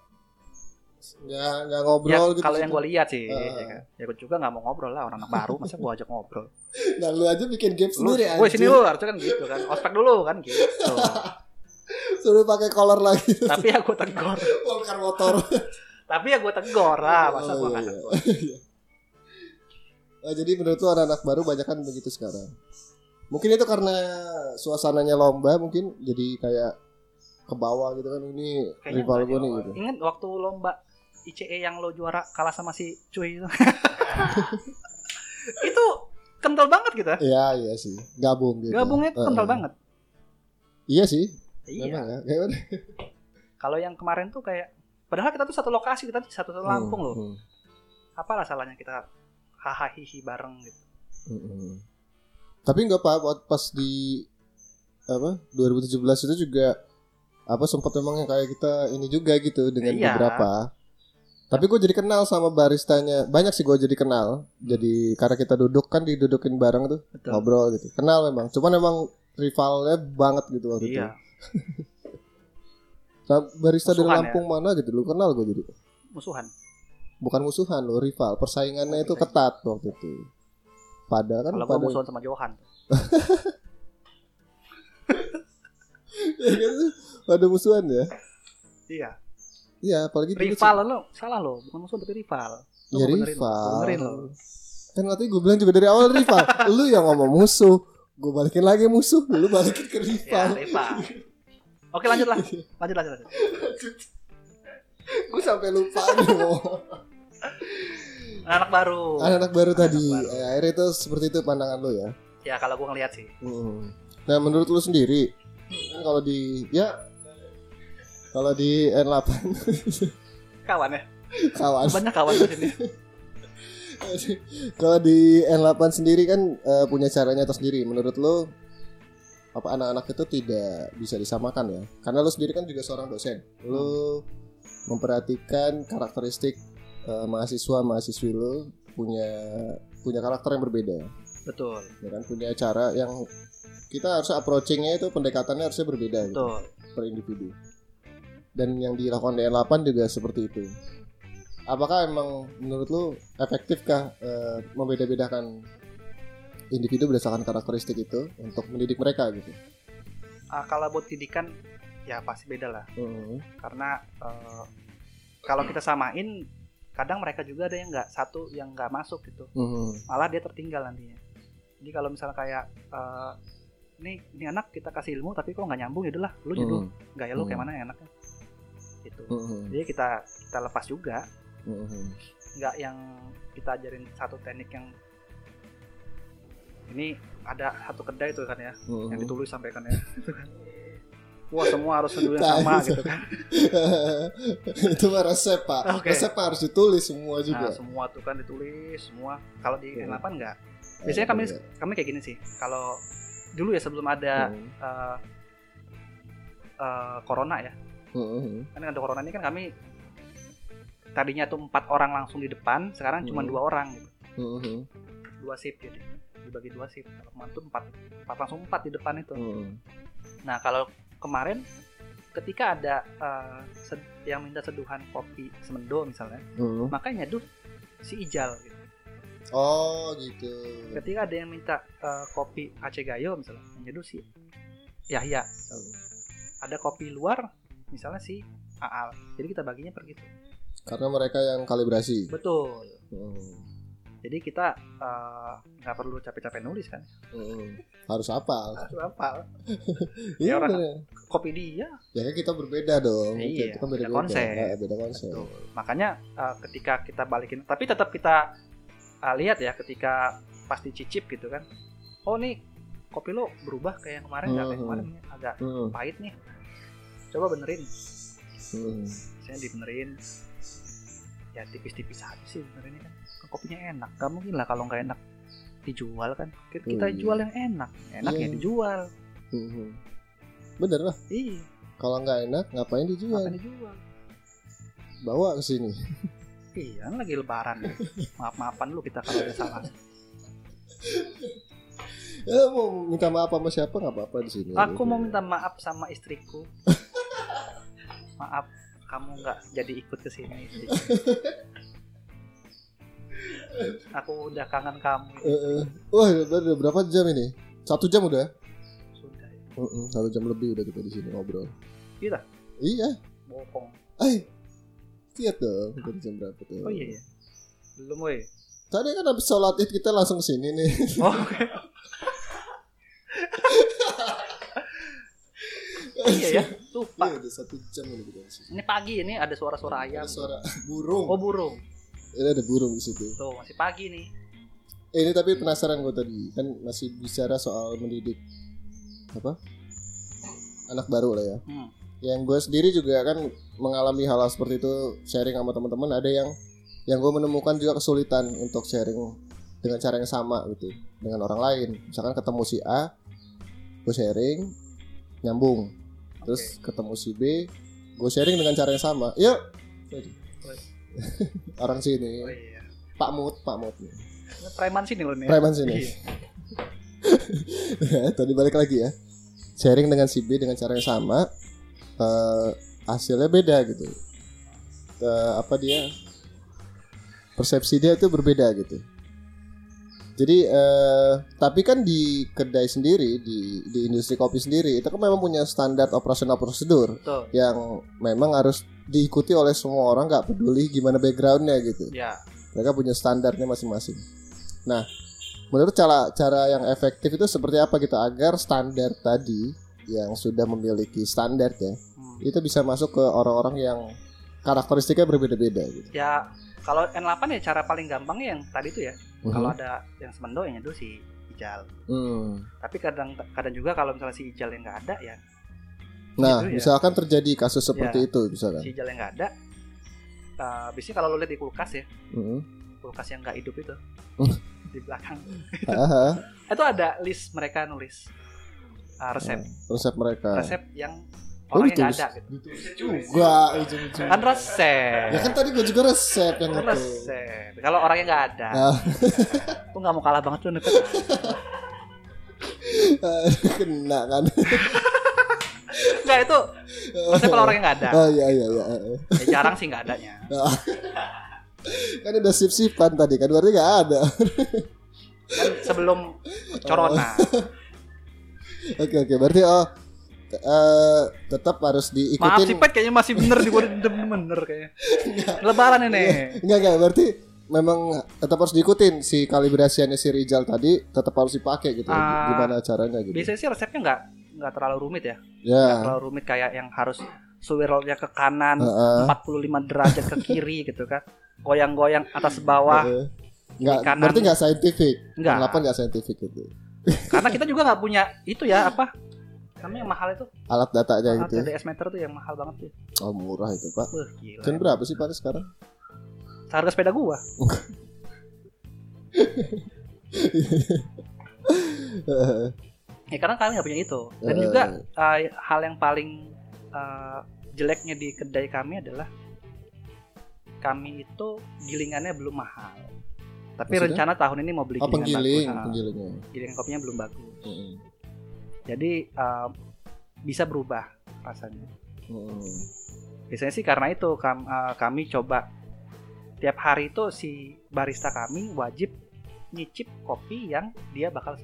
[SPEAKER 1] nggak nggak ngobrol
[SPEAKER 2] ya,
[SPEAKER 1] gitu?
[SPEAKER 2] kalau yang
[SPEAKER 1] sih?
[SPEAKER 2] gue lihat sih
[SPEAKER 1] Ah.
[SPEAKER 2] ya, kan? ya gue juga nggak mau ngobrol lah orang anak baru masa gue ajak ngobrol
[SPEAKER 1] Nah lu aja bikin game
[SPEAKER 2] lu
[SPEAKER 1] sendiri
[SPEAKER 2] gue sini
[SPEAKER 1] anjing.
[SPEAKER 2] lu harusnya kan gitu kan ospek dulu kan gitu
[SPEAKER 1] Suruh pakai collar lagi
[SPEAKER 2] tapi ya gue tegur
[SPEAKER 1] Bongkar motor
[SPEAKER 2] tapi ya gue tegur lah masa
[SPEAKER 1] Oh,
[SPEAKER 2] gue
[SPEAKER 1] iya,
[SPEAKER 2] nggak
[SPEAKER 1] iya.
[SPEAKER 2] tegur
[SPEAKER 1] Nah, Jadi menurut lu anak-anak baru banyak kan begitu sekarang Mungkin itu karena suasananya lomba mungkin jadi kayak ke bawah gitu kan ini
[SPEAKER 2] Kayaknya
[SPEAKER 1] rival
[SPEAKER 2] nggak
[SPEAKER 1] gue
[SPEAKER 2] ada
[SPEAKER 1] nih
[SPEAKER 2] orang.
[SPEAKER 1] gitu.
[SPEAKER 2] ingat waktu lomba ICE yang lo juara kalah sama si cuy itu itu kental banget gitu
[SPEAKER 1] Iya iya sih gabung gitu.
[SPEAKER 2] gabungnya itu
[SPEAKER 1] Eh,
[SPEAKER 2] kental
[SPEAKER 1] eh.
[SPEAKER 2] banget
[SPEAKER 1] Iya sih
[SPEAKER 2] iya
[SPEAKER 1] memang ya. Kayak mana?
[SPEAKER 2] kalau yang kemarin tuh kayak padahal kita tuh satu lokasi kita tuh satu, satu Lampung loh
[SPEAKER 1] Hmm,
[SPEAKER 2] apalah salahnya kita hahaha hihi bareng gitu
[SPEAKER 1] hmm, hmm. Tapi nggak apa pas di apa 2017 itu juga apa sempat memang yang kayak kita ini juga gitu dengan
[SPEAKER 2] Iya.
[SPEAKER 1] beberapa. Tapi gue jadi kenal sama baristanya. Banyak sih gue jadi kenal. Jadi karena kita duduk kan didudukin bareng tuh
[SPEAKER 2] Hmm. Betul.
[SPEAKER 1] ngobrol gitu. Kenal memang. Cuman emang rivalnya banget gitu waktu itu.
[SPEAKER 2] Iya,
[SPEAKER 1] Nah, barista dari
[SPEAKER 2] Musuhan ya?
[SPEAKER 1] Lampung mana gitu lu kenal gue jadi.
[SPEAKER 2] musuhan.
[SPEAKER 1] Bukan musuhan lo, rival. Persaingannya itu ketat waktu itu. Pada kan
[SPEAKER 2] Kalau gua
[SPEAKER 1] pada
[SPEAKER 2] musuhan sama Johan.
[SPEAKER 1] Ya kan? pada musuhan ya.
[SPEAKER 2] Iya.
[SPEAKER 1] Iya, apalagi dulu
[SPEAKER 2] Rival lo, salah lo, bukan musuhan tapi rival. Lo
[SPEAKER 1] Ya,
[SPEAKER 2] gua benerin lo,
[SPEAKER 1] rival.
[SPEAKER 2] gua Benerin lo.
[SPEAKER 1] Kan nanti gue bilang juga dari awal rival. lu yang ngomong musuh. Gue balikin lagi musuh. Lu balikin ke
[SPEAKER 2] Ya,
[SPEAKER 1] rival.
[SPEAKER 2] rival. Oke, lanjut lah. Lanjut, lanjut, lanjut.
[SPEAKER 1] gue sampai lupa nih ngomong.
[SPEAKER 2] Anak baru.
[SPEAKER 1] Anak-anak baru
[SPEAKER 2] Anak
[SPEAKER 1] tadi.
[SPEAKER 2] baru.
[SPEAKER 1] Eh, akhirnya itu seperti itu pandangan lu ya.
[SPEAKER 2] Ya, kalau gua ngeliat sih.
[SPEAKER 1] Mm. Nah, menurut lu sendiri. Kan kalau di... Ya... Kalau di N8
[SPEAKER 2] Kawan ya.
[SPEAKER 1] kawan.
[SPEAKER 2] Banyak kawan di sini.
[SPEAKER 1] kalau di N8 sendiri kan eh, punya caranya tersendiri. Menurut lu apa anak-anak itu tidak bisa disamakan ya? Karena lu sendiri kan juga seorang dosen. Lu memperhatikan karakteristik eh, mahasiswa mahasiswi lu punya punya karakter yang berbeda,
[SPEAKER 2] Betul,
[SPEAKER 1] ya kan? Punya cara yang kita harus approachingnya itu pendekatannya harusnya berbeda gitu,
[SPEAKER 2] betul.
[SPEAKER 1] per individu. Dan yang dilakukan di N8 juga seperti itu. Apakah emang menurut lu efektifkah eh, membeda-bedakan individu berdasarkan karakteristik itu untuk mendidik mereka gitu?
[SPEAKER 2] Ah, kalau buat pendidikan ya pasti beda lah karena eh, kalau kita samain kadang mereka juga ada yang nggak satu yang nggak masuk gitu
[SPEAKER 1] Mhm.
[SPEAKER 2] malah dia tertinggal nantinya jadi kalau misalnya kayak eh, ini ini anak kita kasih ilmu tapi kok nggak nyambung ya udahlah lu judul gaya lu kayak
[SPEAKER 1] Hmm.
[SPEAKER 2] mana yang enaknya gitu
[SPEAKER 1] Mhm.
[SPEAKER 2] jadi kita kita lepas juga
[SPEAKER 1] Mhm.
[SPEAKER 2] nggak yang kita ajarin satu teknik yang ini ada satu kedai tuh kan ya yang
[SPEAKER 1] Mhm.
[SPEAKER 2] ditulis sampaikan ya wah semua harus dulu
[SPEAKER 1] Nah,
[SPEAKER 2] yang sama gitu kan
[SPEAKER 1] itu mah resep pak.
[SPEAKER 2] Oke.
[SPEAKER 1] Resep harus ditulis semua
[SPEAKER 2] Nah,
[SPEAKER 1] juga.
[SPEAKER 2] semua tuh kan ditulis, semua. Kalau di
[SPEAKER 1] Iya.
[SPEAKER 2] N8 enggak. Nah, Biasanya kami kami kayak gini sih. Kalau dulu ya sebelum ada
[SPEAKER 1] Mhm.
[SPEAKER 2] eh, eh, corona ya.
[SPEAKER 1] Mhm.
[SPEAKER 2] Kan ada corona ini kan kami tadinya tuh empat orang langsung di depan, sekarang cuma
[SPEAKER 1] Mhm.
[SPEAKER 2] dua orang gitu.
[SPEAKER 1] Mhm.
[SPEAKER 2] Dua shift jadi. Dibagi dua shift. Kalau kemarin tuh empat, empat langsung empat di depan itu.
[SPEAKER 1] Mhm.
[SPEAKER 2] Nah, kalau kemarin ketika ada eh, sed- yang minta seduhan kopi semendo misalnya,
[SPEAKER 1] Mhm.
[SPEAKER 2] makanya nyeduh si Ijal gitu.
[SPEAKER 1] Oh gitu.
[SPEAKER 2] ketika ada yang minta eh, kopi Aceh Gayo misalnya yang nyeduh si Yahya misalnya. ada kopi luar misalnya si Aal jadi kita baginya per gitu
[SPEAKER 1] Karena mereka yang kalibrasi.
[SPEAKER 2] betul
[SPEAKER 1] Mhm.
[SPEAKER 2] jadi kita eh, nggak perlu capek-capek nulis kan
[SPEAKER 1] Mhm. Harus hafal.
[SPEAKER 2] apa
[SPEAKER 1] Iya
[SPEAKER 2] orang-
[SPEAKER 1] bener.
[SPEAKER 2] kopi dia
[SPEAKER 1] Ya kan kita berbeda dong.
[SPEAKER 2] Iya,
[SPEAKER 1] kita kan
[SPEAKER 2] beda
[SPEAKER 1] beda,
[SPEAKER 2] konsep.
[SPEAKER 1] beda konsep.
[SPEAKER 2] betul makanya eh, ketika kita balikin tapi tetap kita eh, lihat ya ketika pasti cicip gitu kan oh nih kopi lo berubah kayak yang kemarin nggak kayak
[SPEAKER 1] Mhm.
[SPEAKER 2] kemarin nih, agak
[SPEAKER 1] Hmm,
[SPEAKER 2] pahit nih coba benerin
[SPEAKER 1] hmm.
[SPEAKER 2] saya dibenerin ya tipis-tipis aja sih benerin kan Kan kopinya enak gak mungkin lah kalau nggak enak dijual kan kita, kita
[SPEAKER 1] Iya.
[SPEAKER 2] jual yang enak enak
[SPEAKER 1] Iya.
[SPEAKER 2] ya dijual
[SPEAKER 1] Hmm. Bener lah.
[SPEAKER 2] iya
[SPEAKER 1] Kalau nggak enak ngapain dijual?
[SPEAKER 2] makan dijual
[SPEAKER 1] Bawa ke sini.
[SPEAKER 2] iya kan lagi lebaran maaf maafan lu kita kalau ada salah
[SPEAKER 1] Ya, mau minta maaf sama siapa nggak apa-apa di sini.
[SPEAKER 2] aku mau minta maaf sama istriku maaf kamu nggak jadi ikut ke sini istriku. aku udah kangen kamu
[SPEAKER 1] Eh, eh. Wah, udah, udah berapa jam ini? Satu jam udah.
[SPEAKER 2] sudah ya.
[SPEAKER 1] Mm-mm, Satu jam lebih udah kita di sini ngobrol.
[SPEAKER 2] Iya.
[SPEAKER 1] Iya.
[SPEAKER 2] bohong
[SPEAKER 1] Eh, lihat dong. Kita di jam berapa tuh?
[SPEAKER 2] oh iya ya belum woi
[SPEAKER 1] Tadi kan habis sholat id kita langsung ke sini nih.
[SPEAKER 2] Oh, oke. iya ya, lupa.
[SPEAKER 1] Iya, udah satu jam ini kita di sini.
[SPEAKER 2] Ini pagi ini ada suara-suara ayam.
[SPEAKER 1] Ada suara burung.
[SPEAKER 2] Oh burung,
[SPEAKER 1] Ini ada burung di situ.
[SPEAKER 2] tuh masih pagi nih.
[SPEAKER 1] Eh, ini tapi penasaran gue tadi kan masih bicara soal mendidik apa anak baru lah ya.
[SPEAKER 2] Hmm.
[SPEAKER 1] Yang gue sendiri juga kan mengalami hal, -hal seperti itu sharing sama teman-teman ada yang yang gue menemukan juga kesulitan untuk sharing dengan cara yang sama gitu dengan orang lain. Misalkan ketemu si A, gue sharing nyambung. Terus ketemu si B, gue sharing dengan cara yang sama. Yuk. Orang sini,
[SPEAKER 2] Oh, iya.
[SPEAKER 1] Pak Mut, Pak Mut.
[SPEAKER 2] Preman sini loh nih.
[SPEAKER 1] Preman sini.
[SPEAKER 2] Iya.
[SPEAKER 1] Tadi balik lagi ya. Sharing dengan si B dengan cara yang sama, eh, hasilnya beda gitu. Eh, apa dia? Persepsi dia itu berbeda gitu. Jadi eh, tapi kan di kedai sendiri di di industri kopi sendiri itu kan memang punya standar operasional prosedur
[SPEAKER 2] Betul.
[SPEAKER 1] yang memang harus diikuti oleh semua orang nggak peduli gimana backgroundnya gitu
[SPEAKER 2] Ya.
[SPEAKER 1] mereka punya standarnya masing-masing nah menurut cara cara yang efektif itu seperti apa gitu agar standar tadi yang sudah memiliki standar ya
[SPEAKER 2] Hmm.
[SPEAKER 1] itu bisa masuk ke orang-orang yang karakteristiknya berbeda-beda gitu
[SPEAKER 2] Ya kalau N8 ya cara paling gampangnya yang tadi itu ya. Kalau ada yang semendo yang itu si Ijal.
[SPEAKER 1] Hmm.
[SPEAKER 2] Tapi kadang kadang juga kalau misalnya si Ijal yang nggak ada ya
[SPEAKER 1] nah
[SPEAKER 2] Gitu ya.
[SPEAKER 1] misalkan terjadi kasus seperti itu misalkan
[SPEAKER 2] si Ijal yang nggak ada. eh, biasanya kalau lo lihat di kulkas ya,
[SPEAKER 1] Mm.
[SPEAKER 2] kulkas yang nggak hidup itu
[SPEAKER 1] Hmm.
[SPEAKER 2] di belakang Gitu.
[SPEAKER 1] Haha.
[SPEAKER 2] itu ada list mereka nulis eh, resep
[SPEAKER 1] resep mereka Oh,
[SPEAKER 2] resep yang orang yang nggak
[SPEAKER 1] ditulis.
[SPEAKER 2] ada gitu.
[SPEAKER 1] juga ujung-ujung.
[SPEAKER 2] Kan resep.
[SPEAKER 1] gitu, ya kan tadi gue juga resep yang
[SPEAKER 2] Kan
[SPEAKER 1] itu
[SPEAKER 2] resep. Kalau orangnya nggak ada,
[SPEAKER 1] Ah.
[SPEAKER 2] tuh nggak mau kalah banget tuh Nuk.
[SPEAKER 1] kena kan
[SPEAKER 2] Nggak itu resep kalau orangnya nggak ada.
[SPEAKER 1] Oh iya iya iya.
[SPEAKER 2] Ya, jarang sih nggak adanya.
[SPEAKER 1] Kan udah sip-sipan tadi kan berarti nggak ada.
[SPEAKER 2] Kan sebelum
[SPEAKER 1] Oh.
[SPEAKER 2] corona.
[SPEAKER 1] Oke oke berarti oh t- eh, tetap harus
[SPEAKER 2] Maaf sih
[SPEAKER 1] diikutin.
[SPEAKER 2] Pet kayaknya masih bener di gua dendam bener kayaknya. Lebaran ini.
[SPEAKER 1] Enggak enggak berarti memang tetap harus diikutin si kalibrasiannya si Rizal tadi tetap harus dipakai gitu.
[SPEAKER 2] Ah,
[SPEAKER 1] Gimana caranya gitu.
[SPEAKER 2] Biasanya sih resepnya nggak nggak terlalu rumit ya. Nggak
[SPEAKER 1] Ya.
[SPEAKER 2] terlalu rumit kayak yang harus swirlnya ke kanan,
[SPEAKER 1] Heeh.
[SPEAKER 2] 45 derajat ke kiri gitu kan. Goyang-goyang atas bawah.
[SPEAKER 1] heeh. Nggak,
[SPEAKER 2] di kanan.
[SPEAKER 1] berarti nggak saintifik.
[SPEAKER 2] Nggak.
[SPEAKER 1] Delapan nggak saintifik gitu.
[SPEAKER 2] Karena kita juga nggak punya itu ya apa? Namanya yang mahal itu. Ah,
[SPEAKER 1] Alat datanya
[SPEAKER 2] Alat
[SPEAKER 1] gitu.
[SPEAKER 2] TDS meter tuh yang mahal banget tuh.
[SPEAKER 1] Oh murah itu pak.
[SPEAKER 2] Wah, gila.
[SPEAKER 1] Kan berapa sih pak sekarang?
[SPEAKER 2] Harga sepeda gua. Ya karena kalian nggak punya itu. Dan
[SPEAKER 1] Eh.
[SPEAKER 2] juga eh, hal yang paling eh, jeleknya di kedai kami adalah kami itu gilingannya belum mahal. Tapi
[SPEAKER 1] Maksudnya?
[SPEAKER 2] rencana tahun ini mau beli
[SPEAKER 1] Oh
[SPEAKER 2] gilingan
[SPEAKER 1] penggiling,
[SPEAKER 2] bagus. Ah,
[SPEAKER 1] penggilingnya.
[SPEAKER 2] gilingan kopinya belum bagus.
[SPEAKER 1] Heeh.
[SPEAKER 2] Jadi eh, bisa berubah rasanya.
[SPEAKER 1] Heeh.
[SPEAKER 2] Biasanya sih karena itu kam- eh, kami coba tiap hari itu si barista kami wajib nyicip kopi yang dia bakal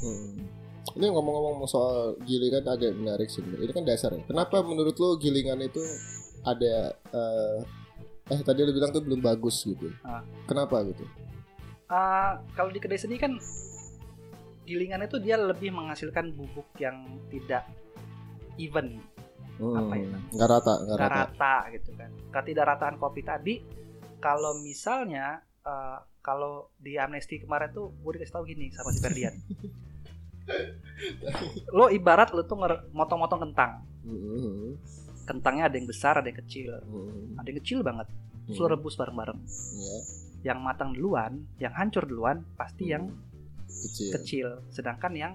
[SPEAKER 1] Hmm. Ini ngomong-ngomong soal gilingan agak menarik sih. Ini kan dasar ya. Kenapa menurut lo gilingan itu ada eh, eh tadi lo bilang tuh belum bagus gitu.
[SPEAKER 2] Ah.
[SPEAKER 1] Kenapa gitu?
[SPEAKER 2] Eh, kalau di kedai seni kan gilingan itu dia lebih menghasilkan bubuk yang tidak even, Apa ya?
[SPEAKER 1] Hmm. Nggak rata, nggak
[SPEAKER 2] nggak
[SPEAKER 1] rata.
[SPEAKER 2] rata gitu kan. Ketidakrataan kopi tadi, kalau misalnya eh, kalau di amnesti kemarin tuh gue dikasih tahu gini sama si Ferdian. lo ibarat lo tuh nger- motong-motong kentang,
[SPEAKER 1] Hmm,
[SPEAKER 2] kentangnya ada yang besar, ada yang kecil,
[SPEAKER 1] hmm,
[SPEAKER 2] ada yang kecil banget. Terus lo
[SPEAKER 1] hmm.
[SPEAKER 2] rebus bareng-bareng.
[SPEAKER 1] Iya.
[SPEAKER 2] Yang matang duluan, yang hancur duluan, pasti yang
[SPEAKER 1] kecil.
[SPEAKER 2] kecil sedangkan yang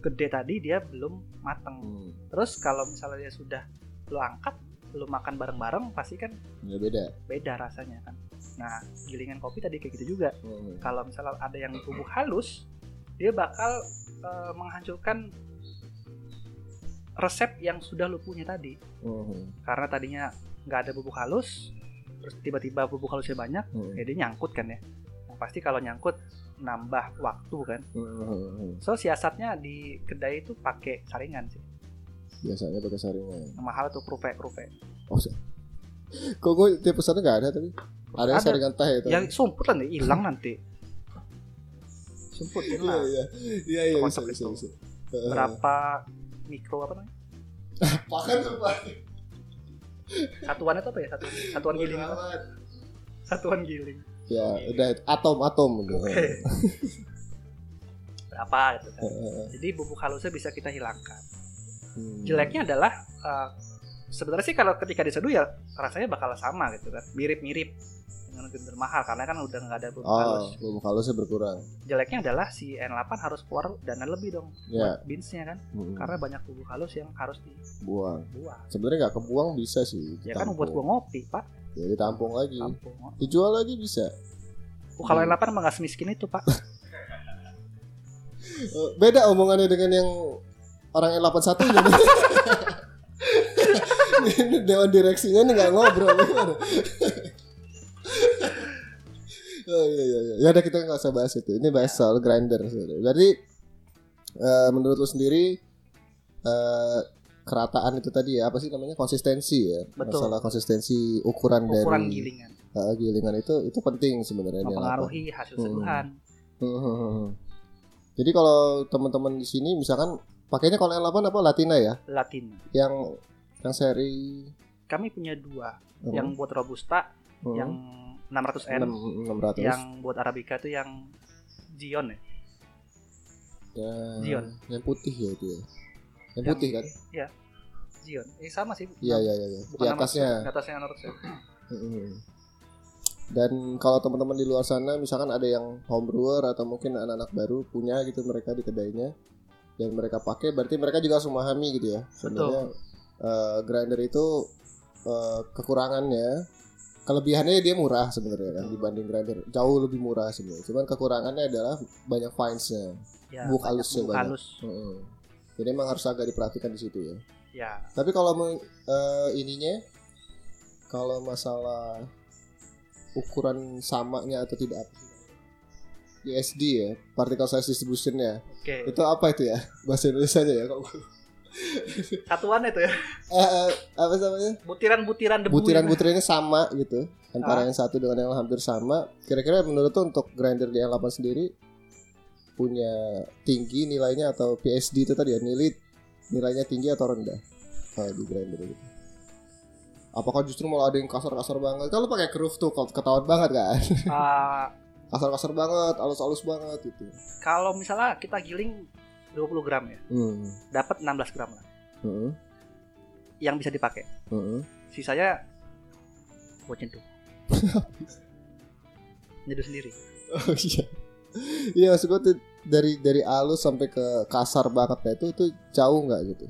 [SPEAKER 2] gede tadi dia belum mateng
[SPEAKER 1] Hmm,
[SPEAKER 2] terus kalau misalnya dia sudah lu angkat lu makan bareng-bareng pasti kan
[SPEAKER 1] ya beda.
[SPEAKER 2] beda rasanya kan nah gilingan kopi tadi kayak gitu juga
[SPEAKER 1] Hmm.
[SPEAKER 2] kalau misalnya ada yang tubuh halus dia bakal eh, menghancurkan resep yang sudah lu punya tadi
[SPEAKER 1] Hmm,
[SPEAKER 2] karena tadinya nggak ada bubuk halus terus tiba-tiba bubuk halusnya banyak
[SPEAKER 1] hmm,
[SPEAKER 2] jadi nyangkut kan ya Yang pasti kalau nyangkut nambah waktu kan
[SPEAKER 1] hmm.
[SPEAKER 2] So siasatnya di kedai itu pakai saringan sih.
[SPEAKER 1] Biasanya pakai saringan.
[SPEAKER 2] Yang Mahal tuh krupe krupe.
[SPEAKER 1] Oh, sa- kok gue tiap pesannya nggak ada tapi ada,
[SPEAKER 2] Ada.
[SPEAKER 1] saringan teh itu.
[SPEAKER 2] Ya sumput lah nih, hilang nanti. Sumput
[SPEAKER 1] Iya,
[SPEAKER 2] hilang.
[SPEAKER 1] iya, iya, iya, bisa,
[SPEAKER 2] Kocok
[SPEAKER 1] bisa,
[SPEAKER 2] Nah, itu.
[SPEAKER 1] bisa.
[SPEAKER 2] Berapa mikro apa namanya?
[SPEAKER 1] Pakan tuh pak.
[SPEAKER 2] Satuan itu apa ya? Satuan, satuan giling. apa? Satuan giling.
[SPEAKER 1] Ya, udah atom-atom gitu.
[SPEAKER 2] Berapa gitu kan.
[SPEAKER 1] Heeh.
[SPEAKER 2] Jadi bubuk halusnya bisa kita hilangkan.
[SPEAKER 1] Iya. Hmm.
[SPEAKER 2] Jeleknya adalah eh, sebenarnya sih kalau ketika diseduh ya rasanya bakal sama gitu kan. Mirip-mirip. dengan grinder mahal karena kan udah nggak ada bumbu halus.
[SPEAKER 1] Oh, bumbu halusnya berkurang.
[SPEAKER 2] Jeleknya adalah si N8 harus keluar dana lebih dong
[SPEAKER 1] Ya,
[SPEAKER 2] buat binsnya kan
[SPEAKER 1] mm,
[SPEAKER 2] karena banyak bumbu halus yang harus
[SPEAKER 1] buang.
[SPEAKER 2] dibuang.
[SPEAKER 1] Sebenarnya nggak kebuang bisa sih.
[SPEAKER 2] Ya kan buat gua ngopi, Pak.
[SPEAKER 1] Ya ditampung lagi.
[SPEAKER 2] Kampung. Oh,
[SPEAKER 1] Dijual lagi bisa.
[SPEAKER 2] kalau
[SPEAKER 1] Iya.
[SPEAKER 2] N8 emang nggak semiskin itu, Pak.
[SPEAKER 1] Eh, beda omongannya dengan yang orang L81 jadi. Ini Dewan direksinya nih nggak ngobrol. Gimana? oh, iya, iya, iya. Ya udah kita nggak usah bahas itu. Ini bahas soal grinder. sebenarnya. Jadi eh, menurut lu sendiri eh, kerataan itu tadi ya apa sih namanya konsistensi ya
[SPEAKER 2] Betul.
[SPEAKER 1] masalah konsistensi ukuran, dari
[SPEAKER 2] Ukuran gilingan
[SPEAKER 1] eh, gilingan itu itu penting sebenarnya di lapangan.
[SPEAKER 2] mempengaruhi hasil
[SPEAKER 1] Hmm.
[SPEAKER 2] seduhan.
[SPEAKER 1] Hmm. Jadi kalau teman-teman di sini misalkan pakainya kalau L8 apa Latina ya?
[SPEAKER 2] Latin.
[SPEAKER 1] Yang yang seri
[SPEAKER 2] Kami punya dua,
[SPEAKER 1] hmm,
[SPEAKER 2] yang buat robusta
[SPEAKER 1] hmm,
[SPEAKER 2] yang 600 N,
[SPEAKER 1] enam- 600
[SPEAKER 2] yang buat arabica itu yang Gion ya.
[SPEAKER 1] yang,
[SPEAKER 2] Zion.
[SPEAKER 1] Ya, yang putih ya itu ya. Yang
[SPEAKER 2] Yang-
[SPEAKER 1] putih kan?
[SPEAKER 2] Gion. Eh sama sih.
[SPEAKER 1] Iya iya iya. iya. Di
[SPEAKER 2] Bukan 600,
[SPEAKER 1] atasnya.
[SPEAKER 2] Di atasnya 600 N.
[SPEAKER 1] Hmm. Dan kalau teman-teman di luar sana misalkan ada yang homebrewer atau mungkin anak-anak baru punya gitu mereka di kedainya dan mereka pakai berarti mereka juga harus memahami gitu ya. Sebenarnya eh, grinder itu eh, kekurangannya kelebihannya ya dia murah sebenarnya kan dibanding grinder jauh lebih murah sebenarnya. Cuman kekurangannya adalah banyak fines-nya.
[SPEAKER 2] Ya,
[SPEAKER 1] Buk
[SPEAKER 2] banyak
[SPEAKER 1] halusnya
[SPEAKER 2] buk
[SPEAKER 1] banyak.
[SPEAKER 2] halus.
[SPEAKER 1] Mm-mm. Jadi emang harus agak diperhatikan di situ ya.
[SPEAKER 2] Ya,
[SPEAKER 1] Tapi kalau mau- eh, ininya kalau masalah ukuran samanya atau tidak apa sih namanya? USD ya, particle size distribution-nya.
[SPEAKER 2] oke.
[SPEAKER 1] Itu apa itu ya? Bahasa Indonesia-nya ya kalau
[SPEAKER 2] Satuan itu ya.
[SPEAKER 1] eh, eh, apa namanya?
[SPEAKER 2] Butiran-butiran debu. ya. itu.
[SPEAKER 1] Butiran-butirannya sama gitu. Antara yang satu dengan yang hampir sama. Kira-kira menurut tuh untuk grinder di L8 sendiri punya tinggi nilainya atau PSD itu tadi ya, nilai nilainya tinggi atau rendah kalau di grinder gitu. Apakah justru malah ada yang kasar-kasar banget? Kalau pakai keruf tuh kalau ketahuan banget kan.
[SPEAKER 2] Ah,
[SPEAKER 1] Kasar-kasar banget, alus-alus banget gitu.
[SPEAKER 2] kalau misalnya kita giling 20 gram ya,
[SPEAKER 1] Hmm.
[SPEAKER 2] dapat 16 gram lah
[SPEAKER 1] Heeh.
[SPEAKER 2] yang bisa dipakai.
[SPEAKER 1] Heeh.
[SPEAKER 2] Sisanya buat nyeduh. nyeduh sendiri.
[SPEAKER 1] Oh iya. Iya maksud gue tuh dari dari alus sampai ke kasar bangetnya itu itu jauh nggak gitu?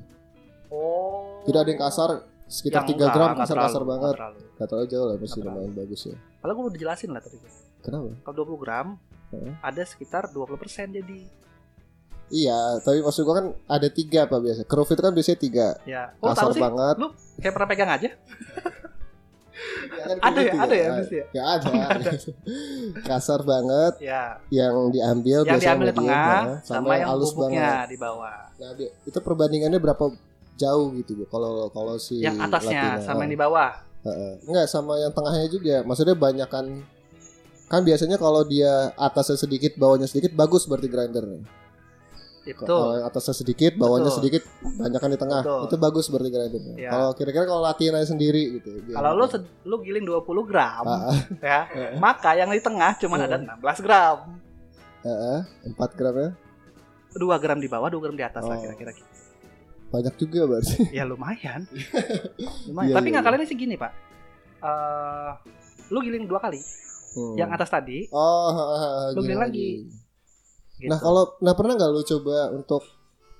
[SPEAKER 2] Oh.
[SPEAKER 1] Tidak ada yang kasar sekitar 3
[SPEAKER 2] Yang enggak,
[SPEAKER 1] gram
[SPEAKER 2] enggak
[SPEAKER 1] kasar-kasar
[SPEAKER 2] terlalu,
[SPEAKER 1] banget.
[SPEAKER 2] enggak terlalu.
[SPEAKER 1] Gak terlalu jauh lah masih
[SPEAKER 2] Nggak terlalu.
[SPEAKER 1] lumayan bagus ya.
[SPEAKER 2] Padahal gue udah jelasin lah tadi.
[SPEAKER 1] Kenapa?
[SPEAKER 2] Kalau 20 gram
[SPEAKER 1] Heeh.
[SPEAKER 2] ada sekitar 20% jadi
[SPEAKER 1] Iya, tapi maksud gua kan ada tiga apa biasa. Curve itu kan biasanya tiga
[SPEAKER 2] ya. Oh,
[SPEAKER 1] kasar
[SPEAKER 2] tahu sih.
[SPEAKER 1] banget.
[SPEAKER 2] Lu kayak pernah pegang aja?
[SPEAKER 1] Ya kan kayak
[SPEAKER 2] Ada ya,
[SPEAKER 1] gitu
[SPEAKER 2] ada ya, abis ya.
[SPEAKER 1] Ya ada. kasar banget
[SPEAKER 2] Ya.
[SPEAKER 1] yang diambil
[SPEAKER 2] Yang
[SPEAKER 1] biasanya
[SPEAKER 2] diambil di
[SPEAKER 1] mediumnya,
[SPEAKER 2] tengah
[SPEAKER 1] sama, yang halus
[SPEAKER 2] bubuknya
[SPEAKER 1] banget.
[SPEAKER 2] di bawah.
[SPEAKER 1] Nah, bi- itu perbandingannya berapa jauh gitu Bu, kalau kalau si
[SPEAKER 2] Yang atasnya
[SPEAKER 1] Latina.
[SPEAKER 2] sama yang
[SPEAKER 1] Ah.
[SPEAKER 2] di bawah.
[SPEAKER 1] Heeh. Enggak sama yang tengahnya juga. Maksudnya banyak kan kan biasanya kalau dia atasnya sedikit, bawahnya sedikit bagus berarti grinder.
[SPEAKER 2] Itu.
[SPEAKER 1] Kalau yang atasnya sedikit, bawahnya
[SPEAKER 2] Betul.
[SPEAKER 1] sedikit, banyak kan di tengah.
[SPEAKER 2] Betul.
[SPEAKER 1] Itu bagus berarti grindernya.
[SPEAKER 2] Ya.
[SPEAKER 1] Kalau kira-kira kalau latihan aja sendiri gitu. biar-
[SPEAKER 2] Kalau lu sed- lu giling 20 gram
[SPEAKER 1] Ah, ah,
[SPEAKER 2] ya, maka yang di tengah cuman
[SPEAKER 1] Heeh.
[SPEAKER 2] ada 16 gram.
[SPEAKER 1] ah, ah. empat gram ya.
[SPEAKER 2] 2 gram di bawah, 2 gram di atas
[SPEAKER 1] Oh.
[SPEAKER 2] lah kira-kira gitu.
[SPEAKER 1] Banyak juga berarti.
[SPEAKER 2] Ya lumayan.
[SPEAKER 1] Iya,
[SPEAKER 2] lumayan. Tapi
[SPEAKER 1] iya,
[SPEAKER 2] ngakalinnya sih gini, Pak. Eh lu giling dua kali.
[SPEAKER 1] Hmm.
[SPEAKER 2] Yang atas tadi
[SPEAKER 1] Oh, ah, ah, ah,
[SPEAKER 2] Lu
[SPEAKER 1] gini
[SPEAKER 2] beli lagi. gitu.
[SPEAKER 1] Nah, kalau nah pernah nggak lu coba untuk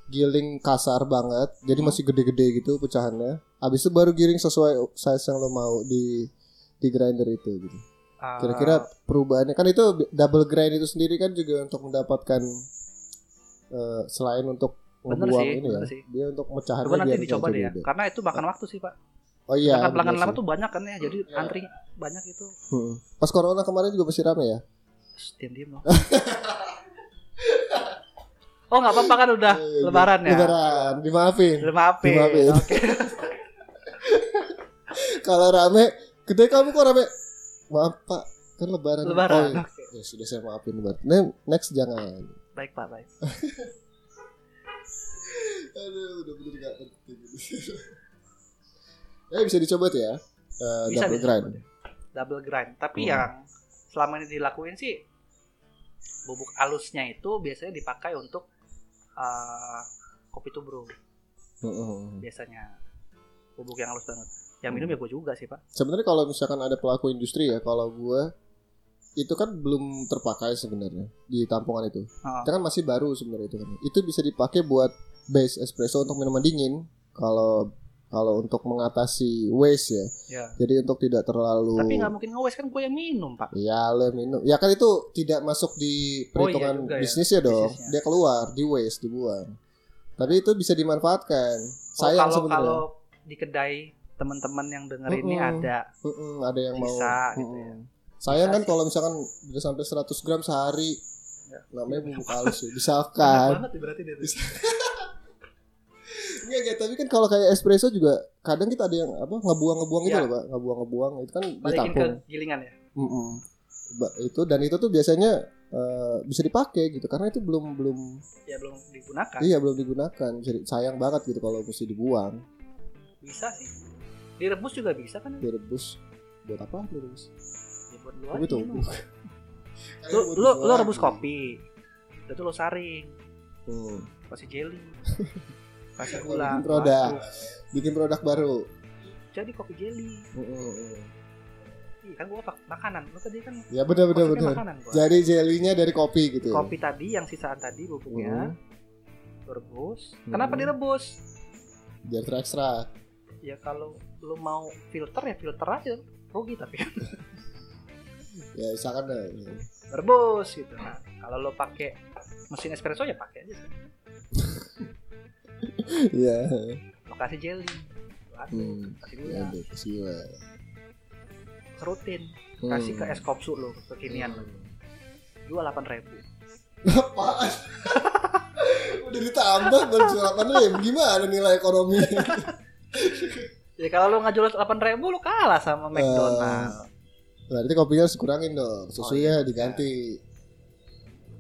[SPEAKER 1] giling kasar banget, jadi
[SPEAKER 2] Hmm.
[SPEAKER 1] masih gede-gede gitu pecahannya. Habis itu baru giring sesuai size yang lo mau di di grinder itu gitu.
[SPEAKER 2] Eh,
[SPEAKER 1] Kira-kira perubahannya kan itu bi- double grind itu sendiri kan juga untuk mendapatkan eh, selain untuk
[SPEAKER 2] Bener
[SPEAKER 1] ngebuang
[SPEAKER 2] sih,
[SPEAKER 1] ini ya.
[SPEAKER 2] bener sih.
[SPEAKER 1] Dia untuk mecahannya
[SPEAKER 2] Coba nanti
[SPEAKER 1] biar
[SPEAKER 2] dicoba deh ya.
[SPEAKER 1] beda-beda.
[SPEAKER 2] Karena itu makan waktu sih, Pak.
[SPEAKER 1] Oh iya.
[SPEAKER 2] Sedangkan pelanggan
[SPEAKER 1] bener
[SPEAKER 2] lama
[SPEAKER 1] sih.
[SPEAKER 2] tuh banyak kan ya. Jadi
[SPEAKER 1] Iya.
[SPEAKER 2] antri banyak itu.
[SPEAKER 1] Hmm. Pas corona kemarin juga masih rame ya.
[SPEAKER 2] Diam diam loh. oh, nggak apa-apa kan udah
[SPEAKER 1] Iya, iya,
[SPEAKER 2] lebaran ya.
[SPEAKER 1] Lebaran, dimaafin.
[SPEAKER 2] Dimaafin.
[SPEAKER 1] Iya. Dimaafin.
[SPEAKER 2] Oke.
[SPEAKER 1] Kalau rame, gede kamu kok rame? Maaf Pak, kan lebaran.
[SPEAKER 2] Lebaran.
[SPEAKER 1] Oh, iya.
[SPEAKER 2] Oke.
[SPEAKER 1] Ya sudah saya maafin buat. Ne- Next jangan.
[SPEAKER 2] Baik, Pak, baik.
[SPEAKER 1] Aduh, udah bener gak penting. Eh bisa dicoba tuh ya. Eh,
[SPEAKER 2] Bisa
[SPEAKER 1] double
[SPEAKER 2] dicoba
[SPEAKER 1] grind.
[SPEAKER 2] deh. Double grind. Tapi
[SPEAKER 1] Hmm.
[SPEAKER 2] yang selama ini dilakuin sih bubuk alusnya itu biasanya dipakai untuk eh kopi tubruk
[SPEAKER 1] Heeh. Hmm,
[SPEAKER 2] biasanya bubuk yang halus banget. yang minum ya gue juga sih pak
[SPEAKER 1] Sebenarnya kalau misalkan ada pelaku industri ya, kalau gua itu kan belum terpakai sebenarnya di tampungan itu.
[SPEAKER 2] Heeh.
[SPEAKER 1] Itu kan masih baru sebenarnya itu kan. Itu bisa dipakai buat base espresso untuk minuman dingin kalau kalau untuk mengatasi waste ya.
[SPEAKER 2] Ya.
[SPEAKER 1] Jadi untuk tidak terlalu
[SPEAKER 2] tapi nggak mungkin ngewes kan gue yang minum pak
[SPEAKER 1] Ya lo yang minum. Ya kan itu tidak masuk di perhitungan
[SPEAKER 2] Oh juga ya,
[SPEAKER 1] bisnisnya dong.
[SPEAKER 2] bisnisnya.
[SPEAKER 1] Dia keluar di waste dibuang. Tapi itu bisa dimanfaatkan.
[SPEAKER 2] Oh,
[SPEAKER 1] Sayang
[SPEAKER 2] kalau
[SPEAKER 1] sebenarnya.
[SPEAKER 2] kalau di kedai teman-teman yang denger ini
[SPEAKER 1] Mm-mm.
[SPEAKER 2] ada
[SPEAKER 1] Mm-mm, ada yang mau.
[SPEAKER 2] Bisa, gitu
[SPEAKER 1] Mm-mm.
[SPEAKER 2] ya.
[SPEAKER 1] Sayang
[SPEAKER 2] Bisa
[SPEAKER 1] kan
[SPEAKER 2] sih.
[SPEAKER 1] kalau misalkan udah sampai 100 gram sehari.
[SPEAKER 2] Ya.
[SPEAKER 1] Namanya
[SPEAKER 2] Banyak
[SPEAKER 1] bumbu
[SPEAKER 2] banget.
[SPEAKER 1] halus ya. Misalkan.
[SPEAKER 2] banget berarti dia
[SPEAKER 1] tuh. Enggak, enggak, tapi kan kalau kayak espresso juga kadang kita ada yang apa ngebuang-ngebuang gitu
[SPEAKER 2] Ya.
[SPEAKER 1] loh, Pak. Ngebuang-ngebuang itu kan
[SPEAKER 2] balikin ke
[SPEAKER 1] ditampung.
[SPEAKER 2] gilingan ya
[SPEAKER 1] Mm-mm. Ba- Itu dan itu tuh biasanya eh, bisa dipakai gitu karena itu belum belum
[SPEAKER 2] ya belum digunakan
[SPEAKER 1] Iya belum digunakan, Jadi sayang banget gitu kalau mesti dibuang,
[SPEAKER 2] bisa sih direbus juga bisa kan ya
[SPEAKER 1] direbus. Buat apa direbus?
[SPEAKER 2] buat lu
[SPEAKER 1] Kopi
[SPEAKER 2] aja
[SPEAKER 1] tuh.
[SPEAKER 2] minum. lu lu, lu rebus kopi udah tuh lu saring
[SPEAKER 1] Hmm.
[SPEAKER 2] kasih jelly kasih
[SPEAKER 1] Kalau
[SPEAKER 2] gula
[SPEAKER 1] bikin produk.
[SPEAKER 2] masuk.
[SPEAKER 1] Bikin produk baru.
[SPEAKER 2] jadi kopi jelly
[SPEAKER 1] Mm-mm.
[SPEAKER 2] Ih, kan gua pak makanan lu tadi kan
[SPEAKER 1] Ya benar benar
[SPEAKER 2] konsepnya
[SPEAKER 1] benar.
[SPEAKER 2] makanan gua
[SPEAKER 1] Jadi jelinya dari kopi gitu. ya?
[SPEAKER 2] kopi tadi yang sisaan tadi bubuknya lu rebus kenapa
[SPEAKER 1] Hmm.
[SPEAKER 2] direbus
[SPEAKER 1] Biar terekstrak.
[SPEAKER 2] ya kalau lu mau filter ya filter aja rugi tapi kan.
[SPEAKER 1] Ya misalkan eh, ya.
[SPEAKER 2] rebus gitu nah kalau lu pakai mesin espresso ya pakai aja sih
[SPEAKER 1] Iya.
[SPEAKER 2] lu kasih jelly lu aduk,
[SPEAKER 1] Hmm.
[SPEAKER 2] kasih
[SPEAKER 1] Ya,
[SPEAKER 2] gula
[SPEAKER 1] udah, kasih gula.
[SPEAKER 2] kerutin
[SPEAKER 1] Hmm.
[SPEAKER 2] kasih ke es kopsu lu kekinian lu dua ribu
[SPEAKER 1] Apaan? Udah ditambah baru sarapan lu ya gimana nilai ekonomi? Nah,
[SPEAKER 2] ya kalau lu nggak jual delapan ribu lu kalah sama
[SPEAKER 1] Eh.
[SPEAKER 2] McDonald
[SPEAKER 1] Berarti kopinya harus kurangin
[SPEAKER 2] Oh,
[SPEAKER 1] dong.
[SPEAKER 2] iya.
[SPEAKER 1] Susunya diganti.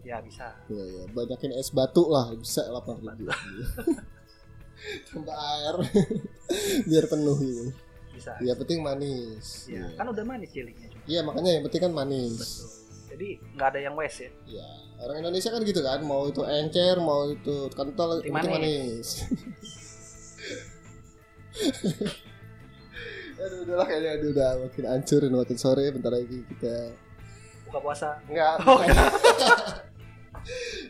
[SPEAKER 2] ya bisa
[SPEAKER 1] Ya, ya. Banyakin es batu lah bisa 8 ribu. Tambah air biar penuh gitu.
[SPEAKER 2] bisa
[SPEAKER 1] Ya penting manis.
[SPEAKER 2] ya.
[SPEAKER 1] Iya
[SPEAKER 2] kan udah manis jellynya juga
[SPEAKER 1] Iya, makanya yang penting kan manis.
[SPEAKER 2] betul jadi nggak ada yang waste ya
[SPEAKER 1] Ya orang Indonesia kan gitu kan mau itu encer mau itu kental
[SPEAKER 2] Penting
[SPEAKER 1] penting manis. aduh udah lah kayaknya aduh udah makin hancur dan makin sore bentar lagi kita
[SPEAKER 2] buka puasa
[SPEAKER 1] enggak
[SPEAKER 2] Oh,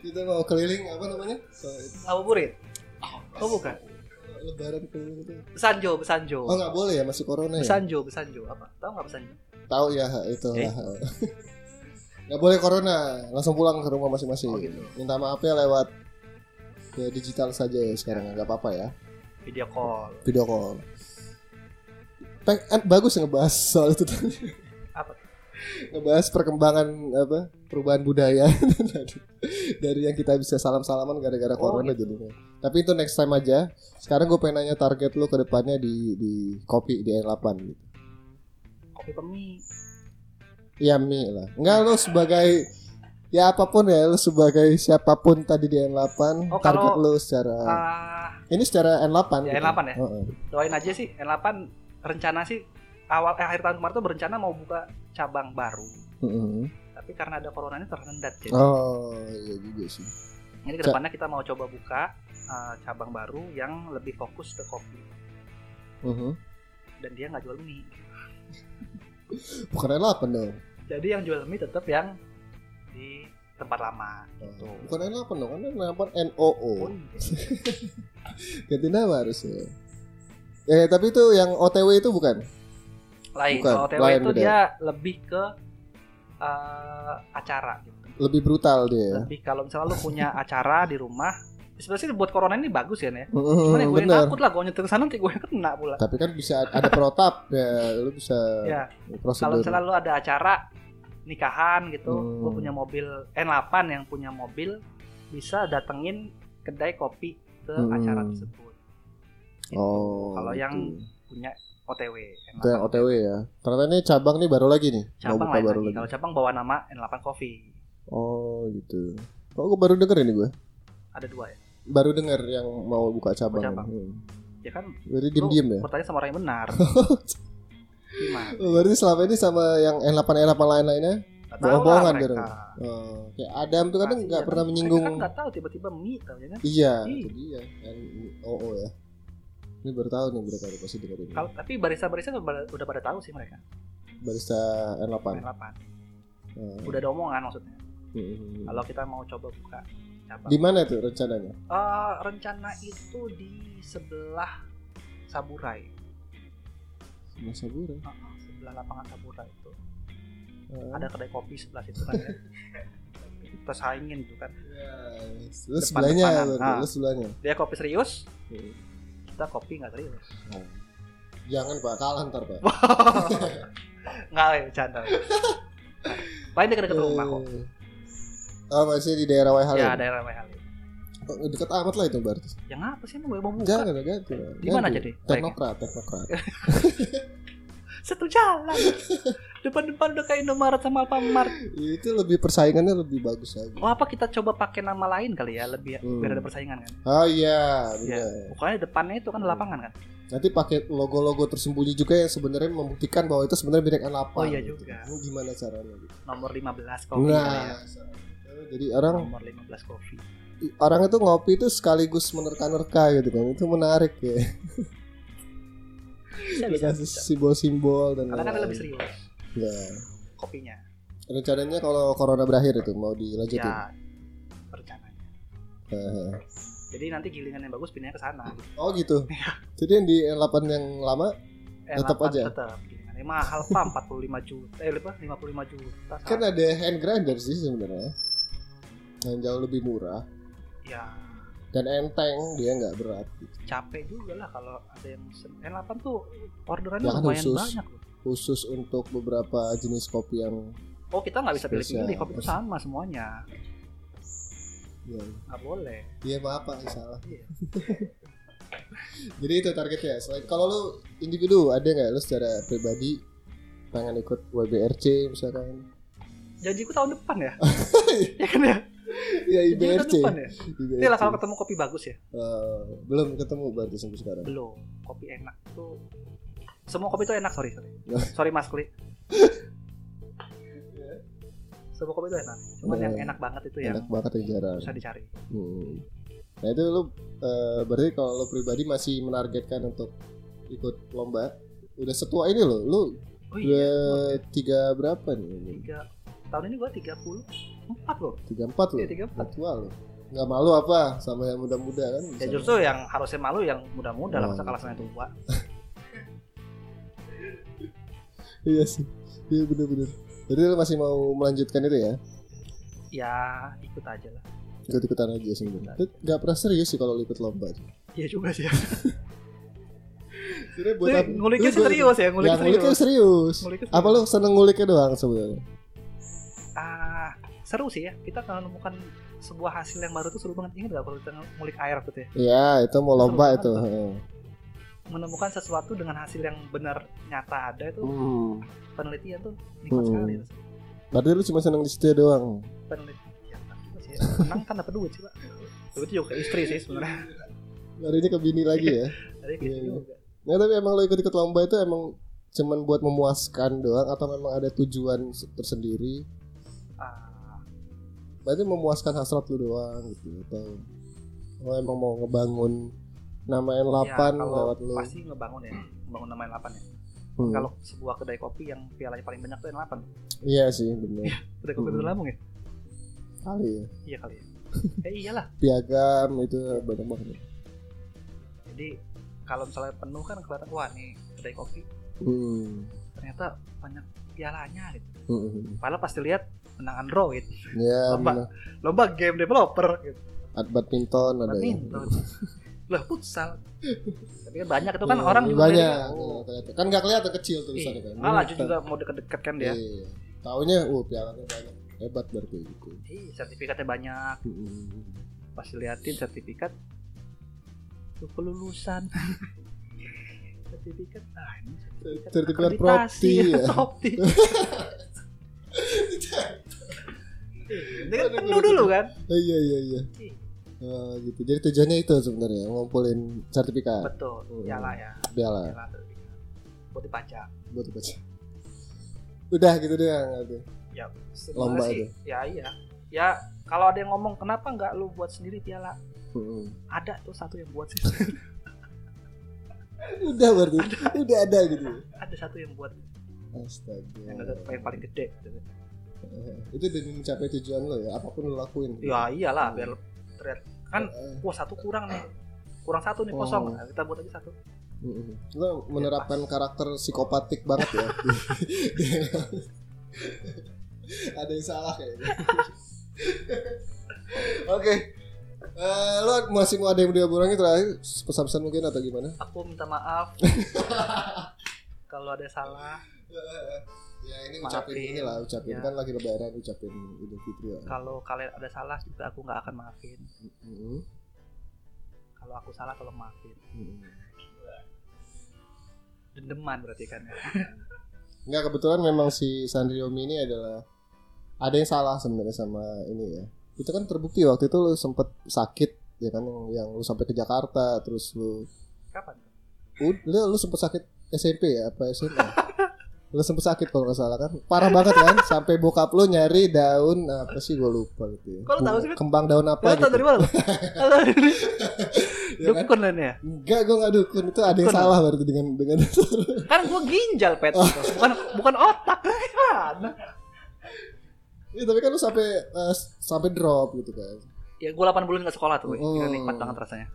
[SPEAKER 1] kita mau keliling apa namanya So,
[SPEAKER 2] ngabuburit
[SPEAKER 1] Ah,
[SPEAKER 2] oh bukan
[SPEAKER 1] lebaran keliling itu
[SPEAKER 2] besanjo besanjo
[SPEAKER 1] Oh nggak boleh ya masih corona ya?
[SPEAKER 2] besanjo besanjo apa tahu nggak besanjo
[SPEAKER 1] Tahu ya ha, itu.
[SPEAKER 2] Eh.
[SPEAKER 1] lah, ha. Nggak boleh corona, langsung pulang ke rumah masing-masing.
[SPEAKER 2] Oh, gitu.
[SPEAKER 1] Minta maafnya lewat ya, digital saja ya sekarang nggak apa-apa ya
[SPEAKER 2] video call
[SPEAKER 1] video call. Peng, eh, bagus ngebahas soal itu tadi.
[SPEAKER 2] Apa?
[SPEAKER 1] ngebahas perkembangan apa perubahan budaya dari, dari yang kita bisa salam-salaman gara-gara
[SPEAKER 2] Oh,
[SPEAKER 1] corona
[SPEAKER 2] gitu.
[SPEAKER 1] jadinya. Tapi itu next time aja. Sekarang gue pengen nanya target lu ke depannya di di kopi di N8 gitu.
[SPEAKER 2] kopi pemi
[SPEAKER 1] Ya Mi lah. Enggak lu sebagai ya apapun ya lu sebagai siapapun tadi di N8
[SPEAKER 2] Oh,
[SPEAKER 1] target
[SPEAKER 2] kalau-
[SPEAKER 1] lu secara
[SPEAKER 2] ah
[SPEAKER 1] ini secara N8
[SPEAKER 2] Ya,
[SPEAKER 1] gitu.
[SPEAKER 2] N8 ya?
[SPEAKER 1] Eh. Heeh.
[SPEAKER 2] doain aja sih N8 rencana sih awal eh, akhir tahun kemarin tuh berencana mau buka cabang baru
[SPEAKER 1] Heeh.
[SPEAKER 2] tapi karena ada corona ini terhendat jadi
[SPEAKER 1] Oh, iya juga sih.
[SPEAKER 2] Jadi kedepannya kita mau coba buka uh, cabang baru yang lebih fokus ke kopi
[SPEAKER 1] Heeh.
[SPEAKER 2] dan dia nggak jual mie.
[SPEAKER 1] Bukan N8 dong.
[SPEAKER 2] Jadi yang jual mie tetap yang di tempat lama. Gitu.
[SPEAKER 1] Bukan N8 dong, kan N8 NOO.
[SPEAKER 2] Oh, iya.
[SPEAKER 1] Ganti nama harusnya. Ya, tapi itu yang OTW itu bukan.
[SPEAKER 2] Lain.
[SPEAKER 1] Bukan,
[SPEAKER 2] Kalau TW
[SPEAKER 1] lain
[SPEAKER 2] itu
[SPEAKER 1] beda.
[SPEAKER 2] dia lebih ke uh, acara gitu.
[SPEAKER 1] Lebih brutal dia.
[SPEAKER 2] Lebih kalau misalnya lu punya acara di rumah, sebenarnya sih buat corona ini bagus ya nih.
[SPEAKER 1] Heeh,
[SPEAKER 2] Cuman ya gue yang
[SPEAKER 1] bener.
[SPEAKER 2] takut lah, gue nyetir ke sana nanti gue yang kena pula.
[SPEAKER 1] Tapi kan bisa ada protap ya, lu bisa
[SPEAKER 2] Ya, kalau
[SPEAKER 1] prosedur.
[SPEAKER 2] misalnya lu ada acara nikahan gitu,
[SPEAKER 1] Hmm.
[SPEAKER 2] lu punya mobil N8 yang punya mobil bisa datengin kedai kopi ke
[SPEAKER 1] Hmm.
[SPEAKER 2] acara tersebut. Gitu.
[SPEAKER 1] Oh.
[SPEAKER 2] kalau yang
[SPEAKER 1] gitu.
[SPEAKER 2] punya OTW N8.
[SPEAKER 1] Itu yang OTW ya. Ternyata ini cabang nih baru lagi nih. Mau
[SPEAKER 2] cabang
[SPEAKER 1] buka
[SPEAKER 2] lain
[SPEAKER 1] baru
[SPEAKER 2] lagi.
[SPEAKER 1] lagi.
[SPEAKER 2] Kalau cabang bawa nama N8 Coffee.
[SPEAKER 1] Oh gitu. Oh gue baru denger ini gue.
[SPEAKER 2] Ada dua ya.
[SPEAKER 1] Baru denger yang mau buka cabang.
[SPEAKER 2] Cabang.
[SPEAKER 1] Hmm.
[SPEAKER 2] Ya kan
[SPEAKER 1] Berarti diem diem ya.
[SPEAKER 2] bertanya sama orang yang benar. Gimana?
[SPEAKER 1] Oh, Berarti selama ini sama yang N8 N8 lain lainnya.
[SPEAKER 2] Nggak tahu lah
[SPEAKER 1] Bohong-bohongan
[SPEAKER 2] mereka.
[SPEAKER 1] dia dong. Oh, kayak Adam tuh kadang
[SPEAKER 2] Masih
[SPEAKER 1] nggak
[SPEAKER 2] ya,
[SPEAKER 1] pernah
[SPEAKER 2] kan?
[SPEAKER 1] menyinggung.
[SPEAKER 2] Mereka kan nggak tahu tiba-tiba mie tau ya kan.
[SPEAKER 1] Iya.
[SPEAKER 2] Ih.
[SPEAKER 1] Itu dia. N- Oh, oh ya. Ini baru tahu nih mereka udah pasti dengerin.
[SPEAKER 2] Kalau tapi barista-barista udah pada- udah pada tahu sih mereka.
[SPEAKER 1] Barista N8.
[SPEAKER 2] Delapan.
[SPEAKER 1] Hmm.
[SPEAKER 2] Udah ada omongan maksudnya.
[SPEAKER 1] Hmm.
[SPEAKER 2] Kalau kita mau coba buka cabang.
[SPEAKER 1] Di mana tuh rencananya?
[SPEAKER 2] Eh, rencana itu di sebelah Saburai.
[SPEAKER 1] Mas Sabura.
[SPEAKER 2] Heeh, sebelah lapangan Saburai itu.
[SPEAKER 1] Ah,
[SPEAKER 2] Ada kedai kopi sebelah situ kan. ya. Kita saingin tuh kan.
[SPEAKER 1] Yes. Lu
[SPEAKER 2] Depan-
[SPEAKER 1] iya. sebelahnya,
[SPEAKER 2] depanan.
[SPEAKER 1] berarti.
[SPEAKER 2] Ah.
[SPEAKER 1] Lu sebelahnya.
[SPEAKER 2] Dia kopi serius,
[SPEAKER 1] Hmm.
[SPEAKER 2] kita kopi nggak serius.
[SPEAKER 1] Jangan pak, kalah ntar pak.
[SPEAKER 2] Nggak, ya, bercanda. Paling dekat-dekat rumah kok.
[SPEAKER 1] Eh. Oh masih di daerah Wai
[SPEAKER 2] Ya
[SPEAKER 1] Halim.
[SPEAKER 2] daerah Halim.
[SPEAKER 1] Oh, deket amat lah itu berarti.
[SPEAKER 2] Yang apa sih emang gue mau buka?
[SPEAKER 1] Jangan ganti.
[SPEAKER 2] Di mana aja deh?
[SPEAKER 1] Teknokrat, teknokrat.
[SPEAKER 2] Satu jalan. Depan-depan udah kayak Indomaret sama Alfamart.
[SPEAKER 1] itu lebih persaingannya lebih bagus lagi.
[SPEAKER 2] Oh, apa kita coba pakai nama lain kali ya lebih
[SPEAKER 1] Hmm.
[SPEAKER 2] biar ada persaingan kan?
[SPEAKER 1] Oh iya,
[SPEAKER 2] Ya.
[SPEAKER 1] benar.
[SPEAKER 2] Pokoknya depannya itu kan
[SPEAKER 1] Hmm.
[SPEAKER 2] lapangan kan?
[SPEAKER 1] Nanti pakai logo-logo tersembunyi juga yang sebenarnya membuktikan bahwa itu sebenarnya bidang N8.
[SPEAKER 2] Oh, iya
[SPEAKER 1] gitu.
[SPEAKER 2] juga.
[SPEAKER 1] Ini gimana caranya? Gitu.
[SPEAKER 2] Nomor 15 kopi
[SPEAKER 1] Nah,
[SPEAKER 2] kali ya.
[SPEAKER 1] jadi orang
[SPEAKER 2] Nomor 15 kopi.
[SPEAKER 1] orang itu ngopi itu sekaligus menerka-nerka gitu kan. Itu menarik ya.
[SPEAKER 2] Bisa Iya, bisa.
[SPEAKER 1] Dikasih
[SPEAKER 2] bisa.
[SPEAKER 1] simbol-simbol dan
[SPEAKER 2] Karena kan
[SPEAKER 1] lain-lain.
[SPEAKER 2] lebih serius
[SPEAKER 1] Nah,
[SPEAKER 2] kopinya.
[SPEAKER 1] rencananya kalau corona berakhir itu mau dilanjutin.
[SPEAKER 2] Ya. Rencananya.
[SPEAKER 1] Hehe.
[SPEAKER 2] Jadi nanti gilingan yang bagus pindahnya ke sana.
[SPEAKER 1] Oh gitu.
[SPEAKER 2] Iya.
[SPEAKER 1] Jadi yang di N8 yang lama
[SPEAKER 2] Eh,
[SPEAKER 1] Tetap
[SPEAKER 2] lapan
[SPEAKER 1] aja?
[SPEAKER 2] Tetap. Gilingan. Eh, mahal pak 45 juta. Eh, berapa? 55 juta.
[SPEAKER 1] kan ada hand grinder sih sebenarnya. Yang jauh lebih murah
[SPEAKER 2] Ya,
[SPEAKER 1] dan enteng dia nggak berat. gitu.
[SPEAKER 2] capek juga lah kalau ada yang pesen. N8 tuh orderannya
[SPEAKER 1] Jangan
[SPEAKER 2] lumayan
[SPEAKER 1] khusus.
[SPEAKER 2] banyak loh.
[SPEAKER 1] Khusus untuk beberapa jenis kopi yang
[SPEAKER 2] Oh kita nggak bisa pilih-pilih,
[SPEAKER 1] Spesial.
[SPEAKER 2] kopi itu sama semuanya,
[SPEAKER 1] yang
[SPEAKER 2] nggak boleh.
[SPEAKER 1] Iya maaf pak, salah.
[SPEAKER 2] Iya.
[SPEAKER 1] Jadi itu targetnya. Selain kalau lu individu ada nggak lu secara pribadi pengen ikut WBRC misalkan?
[SPEAKER 2] Janjiku tahun depan ya, ya kan ya?
[SPEAKER 1] ya
[SPEAKER 2] Janjiku tahun
[SPEAKER 1] IBRC.
[SPEAKER 2] depan ya.
[SPEAKER 1] IBRC.
[SPEAKER 2] Nanti lah kalau ketemu kopi bagus ya,
[SPEAKER 1] Eh, belum ketemu berarti sampai sekarang.
[SPEAKER 2] belum. Kopi enak tuh, semua kopi itu enak sorry sorry,
[SPEAKER 1] Nah.
[SPEAKER 2] sorry mas Kli. Semua kopi itu enak, cuman yang enak banget itu yang
[SPEAKER 1] Nah. Enak banget yang jarang.
[SPEAKER 2] Iya. bisa dicari.
[SPEAKER 1] Hmm. Nah itu lu eh, berarti kalau lu pribadi masih menargetkan untuk ikut lomba udah setua ini loh lu
[SPEAKER 2] Oh iya,
[SPEAKER 1] udah tiga berapa nih
[SPEAKER 2] tiga tahun ini gua 34 empat loh.
[SPEAKER 1] tiga empat lo
[SPEAKER 2] Iya, 34.
[SPEAKER 1] tua lo nggak malu apa sama yang muda-muda kan
[SPEAKER 2] Ya
[SPEAKER 1] Sama-
[SPEAKER 2] justru yang harusnya malu yang muda-muda lah masa
[SPEAKER 1] Oh.
[SPEAKER 2] kalah sama yang tua.
[SPEAKER 1] iya sih iya bener-bener jadi lu masih mau melanjutkan itu ya
[SPEAKER 2] Ya ikut aja lah.
[SPEAKER 1] ikut-ikutan aja sebenarnya Lu nggak pernah serius sih kalau lu ikut lomba
[SPEAKER 2] Iya juga sih.
[SPEAKER 1] sebenarnya
[SPEAKER 2] Lu Eh, nguliknya
[SPEAKER 1] lu buat-
[SPEAKER 2] serius ya,
[SPEAKER 1] Ya,
[SPEAKER 2] nguliknya
[SPEAKER 1] nguliknya
[SPEAKER 2] serius.
[SPEAKER 1] serius.
[SPEAKER 2] Nguliknya serius.
[SPEAKER 1] apa lu seneng nguliknya doang sebenarnya
[SPEAKER 2] Ah, seru sih ya. Kita kalau menemukan sebuah hasil yang baru itu seru banget. Ingat gak kalau kita ngulik air waktu itu ya?
[SPEAKER 1] ya itu mau lomba
[SPEAKER 2] Seru
[SPEAKER 1] itu
[SPEAKER 2] banget.
[SPEAKER 1] heeh.
[SPEAKER 2] Menemukan sesuatu dengan hasil yang benar nyata ada itu
[SPEAKER 1] Hmm.
[SPEAKER 2] penelitian tuh nikmat
[SPEAKER 1] Hmm.
[SPEAKER 2] sekali.
[SPEAKER 1] Berarti lu cuma seneng di situ doang.
[SPEAKER 2] Penelitian apa sih? ya? Menang kan dapat duit sih pak. Duit juga ke istri sih sebenarnya.
[SPEAKER 1] Larinya ke bini lagi ya.
[SPEAKER 2] Dari ke istri
[SPEAKER 1] Iya, iya.
[SPEAKER 2] juga.
[SPEAKER 1] Nah tapi emang lu ikut-ikut lomba itu emang cuman buat memuaskan doang atau memang ada tujuan se- tersendiri?
[SPEAKER 2] Ah,
[SPEAKER 1] Berarti memuaskan hasrat lu doang gitu atau lu emang mau ngebangun nama N8
[SPEAKER 2] ya, kalau
[SPEAKER 1] lewat lu?
[SPEAKER 2] pasti ngebangun ya, ngebangun nama N8 ya.
[SPEAKER 1] Hmm.
[SPEAKER 2] Kalau sebuah kedai kopi yang pialanya paling banyak tuh N8.
[SPEAKER 1] Iya sih bener
[SPEAKER 2] Kedai kopi
[SPEAKER 1] Hmm.
[SPEAKER 2] Betul Lampung ya?
[SPEAKER 1] kali ya.
[SPEAKER 2] Iya kali ya. Eh iyalah.
[SPEAKER 1] Piagam itu banyak banget.
[SPEAKER 2] Jadi kalau misalnya penuh kan kelihatan wah nih kedai kopi
[SPEAKER 1] Hmm.
[SPEAKER 2] ternyata banyak pialanya gitu.
[SPEAKER 1] Hmm.
[SPEAKER 2] Padahal pasti lihat menang Android,
[SPEAKER 1] Ya,
[SPEAKER 2] Lomba.
[SPEAKER 1] bener.
[SPEAKER 2] lomba game developer gitu.
[SPEAKER 1] Ad- badminton ada ya.
[SPEAKER 2] Badminton. Lah futsal. Tapi kan banyak itu kan
[SPEAKER 1] Hmm,
[SPEAKER 2] orang juga Iya. Ah,
[SPEAKER 1] banyak.
[SPEAKER 2] lihat, oh,
[SPEAKER 1] Kan, kan nggak kelihatan kecil tulisannya kan.
[SPEAKER 2] ih, malah juga mau deket-deket kan dia.
[SPEAKER 1] Iya. Taunya, uh, pialanya banyak. Hebat berarti gitu.
[SPEAKER 2] Ih, sertifikatnya banyak. Pas liatin sertifikat tuh kelulusan. sertifikat ah ini sertifikat
[SPEAKER 1] Sertifikat Propti,
[SPEAKER 2] akreditasi,
[SPEAKER 1] ya.
[SPEAKER 2] Propti. Ini kan penuh dulu kan.
[SPEAKER 1] Oh, iya iya iya. Oh, gitu. Jadi tujuannya itu sebenarnya ngumpulin sertifikat
[SPEAKER 2] Betul,
[SPEAKER 1] Hmm.
[SPEAKER 2] ya lah ya.
[SPEAKER 1] piala
[SPEAKER 2] Yalah, sertifikat. Buat dipajak.
[SPEAKER 1] buat baca. Udah gitu deh gitu.
[SPEAKER 2] Ya, sebenarnya
[SPEAKER 1] Lomba
[SPEAKER 2] sih,
[SPEAKER 1] itu.
[SPEAKER 2] Ya iya. Ya kalau ada yang ngomong kenapa nggak lu buat sendiri piala?
[SPEAKER 1] Mm-mm.
[SPEAKER 2] Ada tuh satu yang buat sih.
[SPEAKER 1] udah berarti udah ada gitu
[SPEAKER 2] ada satu yang buat yang
[SPEAKER 1] astaga Eh,
[SPEAKER 2] agak- yang paling gede gitu.
[SPEAKER 1] itu demi mencapai tujuan lo ya apapun lo lakuin
[SPEAKER 2] ya iyalah biar terlihat kan
[SPEAKER 1] Eh,
[SPEAKER 2] wah satu kurang nih kurang satu nih
[SPEAKER 1] Oh.
[SPEAKER 2] kosong Nah, kita buat lagi satu
[SPEAKER 1] mm-mm. Ya, lo menerapkan karakter psikopatik banget ya ada yang salah kayaknya oke Eh, lo masih mau ada yang diobrolin terakhir pesan-pesan mungkin atau gimana
[SPEAKER 2] aku minta maaf kalau ada salah
[SPEAKER 1] ya ini
[SPEAKER 2] Maafin.
[SPEAKER 1] ucapin ini lah ucapin
[SPEAKER 2] Ya.
[SPEAKER 1] kan lagi lebaran ucapin idul fitri ya
[SPEAKER 2] kalau kalian ada salah juga aku nggak akan maafin
[SPEAKER 1] Mm-mm.
[SPEAKER 2] kalau aku salah tolong maafin
[SPEAKER 1] Mm-mm.
[SPEAKER 2] dendeman berarti kan ya
[SPEAKER 1] nggak kebetulan memang si Sandriomi ini adalah ada yang salah sebenarnya sama ini ya itu kan terbukti waktu itu lu sempet sakit ya kan yang, yang lu sampai ke Jakarta terus lu
[SPEAKER 2] kapan
[SPEAKER 1] Iya, ud- lu, lu sempet sakit SMP ya apa SMA lu sempet sakit kalau nggak salah kan parah banget kan sampai bokap lu nyari daun apa sih gue lupa gitu ya.
[SPEAKER 2] Kok lu tahu sih, Fit?
[SPEAKER 1] kembang daun
[SPEAKER 2] Lo
[SPEAKER 1] apa
[SPEAKER 2] tau
[SPEAKER 1] gitu
[SPEAKER 2] dari mana lo? Lo tau dari
[SPEAKER 1] ya kan?
[SPEAKER 2] Dukun kan ya?
[SPEAKER 1] Enggak, gue gak dukun itu ada yang
[SPEAKER 2] Dukun.
[SPEAKER 1] salah berarti dengan dengan
[SPEAKER 2] Kan gua ginjal pet
[SPEAKER 1] Oh.
[SPEAKER 2] Bukan bukan otak Gimana?
[SPEAKER 1] Iya, tapi kan lu sampai eh, sampai drop gitu kan.
[SPEAKER 2] Ya gua 8 bulan gak sekolah tuh Gila
[SPEAKER 1] Hmm.
[SPEAKER 2] nikmat banget rasanya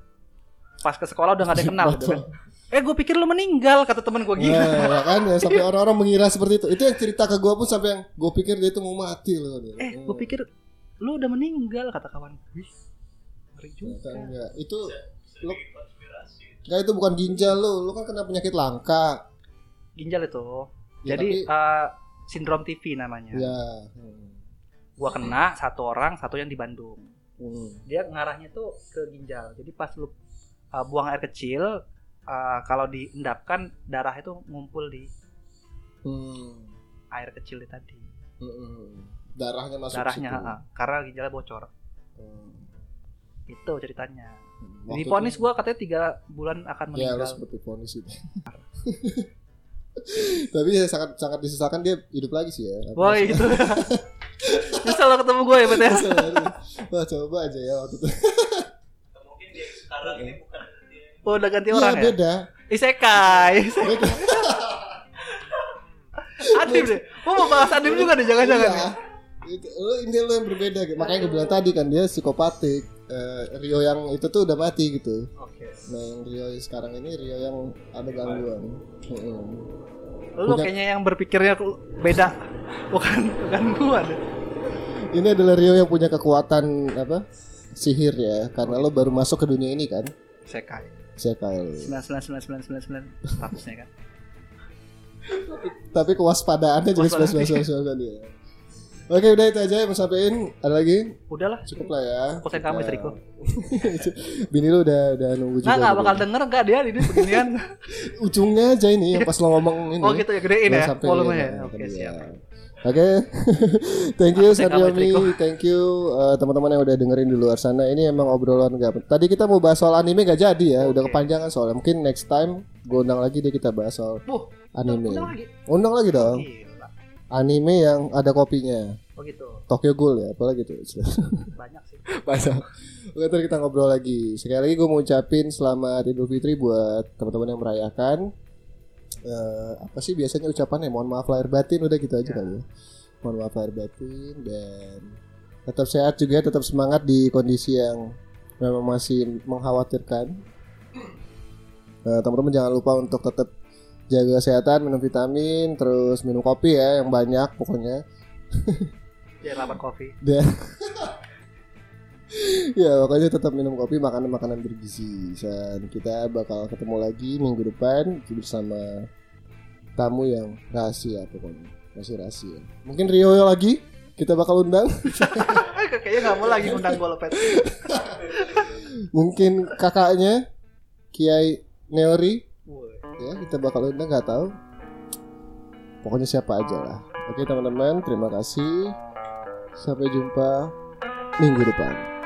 [SPEAKER 2] Pas ke sekolah udah gak ada yang kenal gitu kan
[SPEAKER 1] Betul.
[SPEAKER 2] Eh gua pikir lo meninggal Kata temen gua gila
[SPEAKER 1] Nah, ya kan ya sampai orang-orang mengira seperti itu. Itu yang cerita ke gue pun sampai yang gue pikir dia itu mau mati loh. Dia. Hmm,
[SPEAKER 2] Eh gua pikir Lo udah meninggal Kata kawan Wih Ngeri
[SPEAKER 1] Ternyata
[SPEAKER 2] juga
[SPEAKER 1] enggak. Itu Lu-
[SPEAKER 3] Jadi konspirasi.
[SPEAKER 1] enggak itu bukan ginjal lu. Lu kan kena penyakit langka.
[SPEAKER 2] Ginjal itu
[SPEAKER 1] Ya,
[SPEAKER 2] Jadi
[SPEAKER 1] tapi-
[SPEAKER 2] eh, Sindrom TV namanya
[SPEAKER 1] ya. Hmm.
[SPEAKER 2] Gua kena Satu orang Satu yang di Bandung
[SPEAKER 1] Hmm.
[SPEAKER 2] dia ngarahnya tuh ke ginjal. Jadi pas lu uh, buang air kecil, uh, kalau diendapkan darah itu ngumpul di
[SPEAKER 1] Hmm.
[SPEAKER 2] air kecil itu tadi.
[SPEAKER 1] Hmm. Darahnya masuk
[SPEAKER 2] Darahnya
[SPEAKER 1] situ.
[SPEAKER 2] uh, karena ginjalnya bocor.
[SPEAKER 1] Hmm.
[SPEAKER 2] Itu ceritanya.
[SPEAKER 1] Waktu
[SPEAKER 2] Di vonis
[SPEAKER 1] itu-
[SPEAKER 2] gua katanya tiga bulan akan
[SPEAKER 1] Ya lu
[SPEAKER 2] meninggal.
[SPEAKER 1] seperti ponis itu. tapi ya sangat sangat disesalkan dia hidup lagi sih ya.
[SPEAKER 2] Woi itu. Nyesel lo ketemu gue ya BTS.
[SPEAKER 1] Wah coba aja ya waktu itu.
[SPEAKER 3] Atau Mungkin dia sekarang ini bukan dia
[SPEAKER 2] Oh, udah ganti
[SPEAKER 1] Iya
[SPEAKER 2] orang ya?
[SPEAKER 1] beda.
[SPEAKER 2] Isekai.
[SPEAKER 1] Beda.
[SPEAKER 2] Adim deh. Gua mau bahas Adim juga deh, jangan-jangan.
[SPEAKER 1] Iya. Itu, lu ini lu yang berbeda gitu. Makanya gue bilang tadi kan dia psikopatik. Eh, Rio yang itu tuh udah mati gitu.
[SPEAKER 2] Oke.
[SPEAKER 1] Nah yang Rio sekarang ini Rio yang ada gangguan. Mm-mm.
[SPEAKER 2] Lu
[SPEAKER 1] Udah.
[SPEAKER 2] kayaknya yang berpikirnya beda. Bukan bukan gua deh.
[SPEAKER 1] Ini adalah Rio yang punya kekuatan apa? Sihir ya. Karena lo baru masuk ke dunia ini kan.
[SPEAKER 2] Isekai.
[SPEAKER 1] Saya kayak.
[SPEAKER 2] 99999 statusnya kan.
[SPEAKER 1] Tapi kewaspadaannya juga
[SPEAKER 2] Kewaspadaan.
[SPEAKER 1] sebelas sebelas dia. ya. Oke udah itu aja yang mau sampein. Ada lagi?
[SPEAKER 2] Udahlah,
[SPEAKER 1] Cukup lah ya.
[SPEAKER 2] Aku sayang kamu,
[SPEAKER 1] Kita-
[SPEAKER 2] istriku.
[SPEAKER 1] Bini lu udah udah nunggu juga.
[SPEAKER 2] nggak nggak
[SPEAKER 1] gitu.
[SPEAKER 2] bakal denger nggak dia ini beginian.
[SPEAKER 1] Ujungnya aja ini yang pas lo ngomong ini.
[SPEAKER 2] oh gitu ya gedein
[SPEAKER 1] Lo
[SPEAKER 2] ya
[SPEAKER 1] sampein,
[SPEAKER 2] volumenya.
[SPEAKER 1] ya,
[SPEAKER 2] Oke
[SPEAKER 1] tadi ya.
[SPEAKER 2] siap.
[SPEAKER 1] Oke, thank you
[SPEAKER 2] Aku sih nggak
[SPEAKER 1] Saryomi,
[SPEAKER 2] matriko.
[SPEAKER 1] thank you eh, teman-teman yang udah dengerin di luar sana. Ini emang obrolan gak. Tadi kita mau bahas soal anime gak jadi ya, udah
[SPEAKER 2] Oke.
[SPEAKER 1] kepanjangan soalnya. Mungkin next time gue undang lagi deh kita bahas soal
[SPEAKER 2] Wuh,
[SPEAKER 1] anime.
[SPEAKER 2] udah lagi.
[SPEAKER 1] Undang lagi dong.
[SPEAKER 2] Gila.
[SPEAKER 1] Anime yang ada kopinya.
[SPEAKER 2] Oh gitu.
[SPEAKER 1] Tokyo Ghoul ya, apalagi tuh.
[SPEAKER 2] Banyak sih.
[SPEAKER 1] Banyak. Oke, ntar kita ngobrol lagi. Sekali lagi gue mau ucapin selamat Idul Fitri buat teman-teman yang merayakan. Eh, apa sih biasanya ucapannya? Mohon maaf lahir batin udah gitu aja
[SPEAKER 2] Ya.
[SPEAKER 1] kali ya. Mohon maaf lahir batin dan tetap sehat juga, tetap semangat di kondisi yang memang masih mengkhawatirkan. Eh, teman-teman jangan lupa untuk tetap jaga kesehatan, minum vitamin, terus minum kopi ya yang banyak pokoknya.
[SPEAKER 2] Dia lapar kopi.
[SPEAKER 1] ya pokoknya tetap minum kopi makanan makanan bergizi dan kita bakal ketemu lagi minggu depan bersama tamu yang rahasia pokoknya masih rahasia mungkin Rio lagi kita bakal undang
[SPEAKER 2] Eh, kayaknya nggak mau lagi undang gue lepet.
[SPEAKER 1] mungkin kakaknya Kiai Neori
[SPEAKER 2] Woi.
[SPEAKER 1] ya kita bakal undang nggak tahu pokoknya siapa aja lah oke teman-teman terima kasih sampai jumpa minggu depan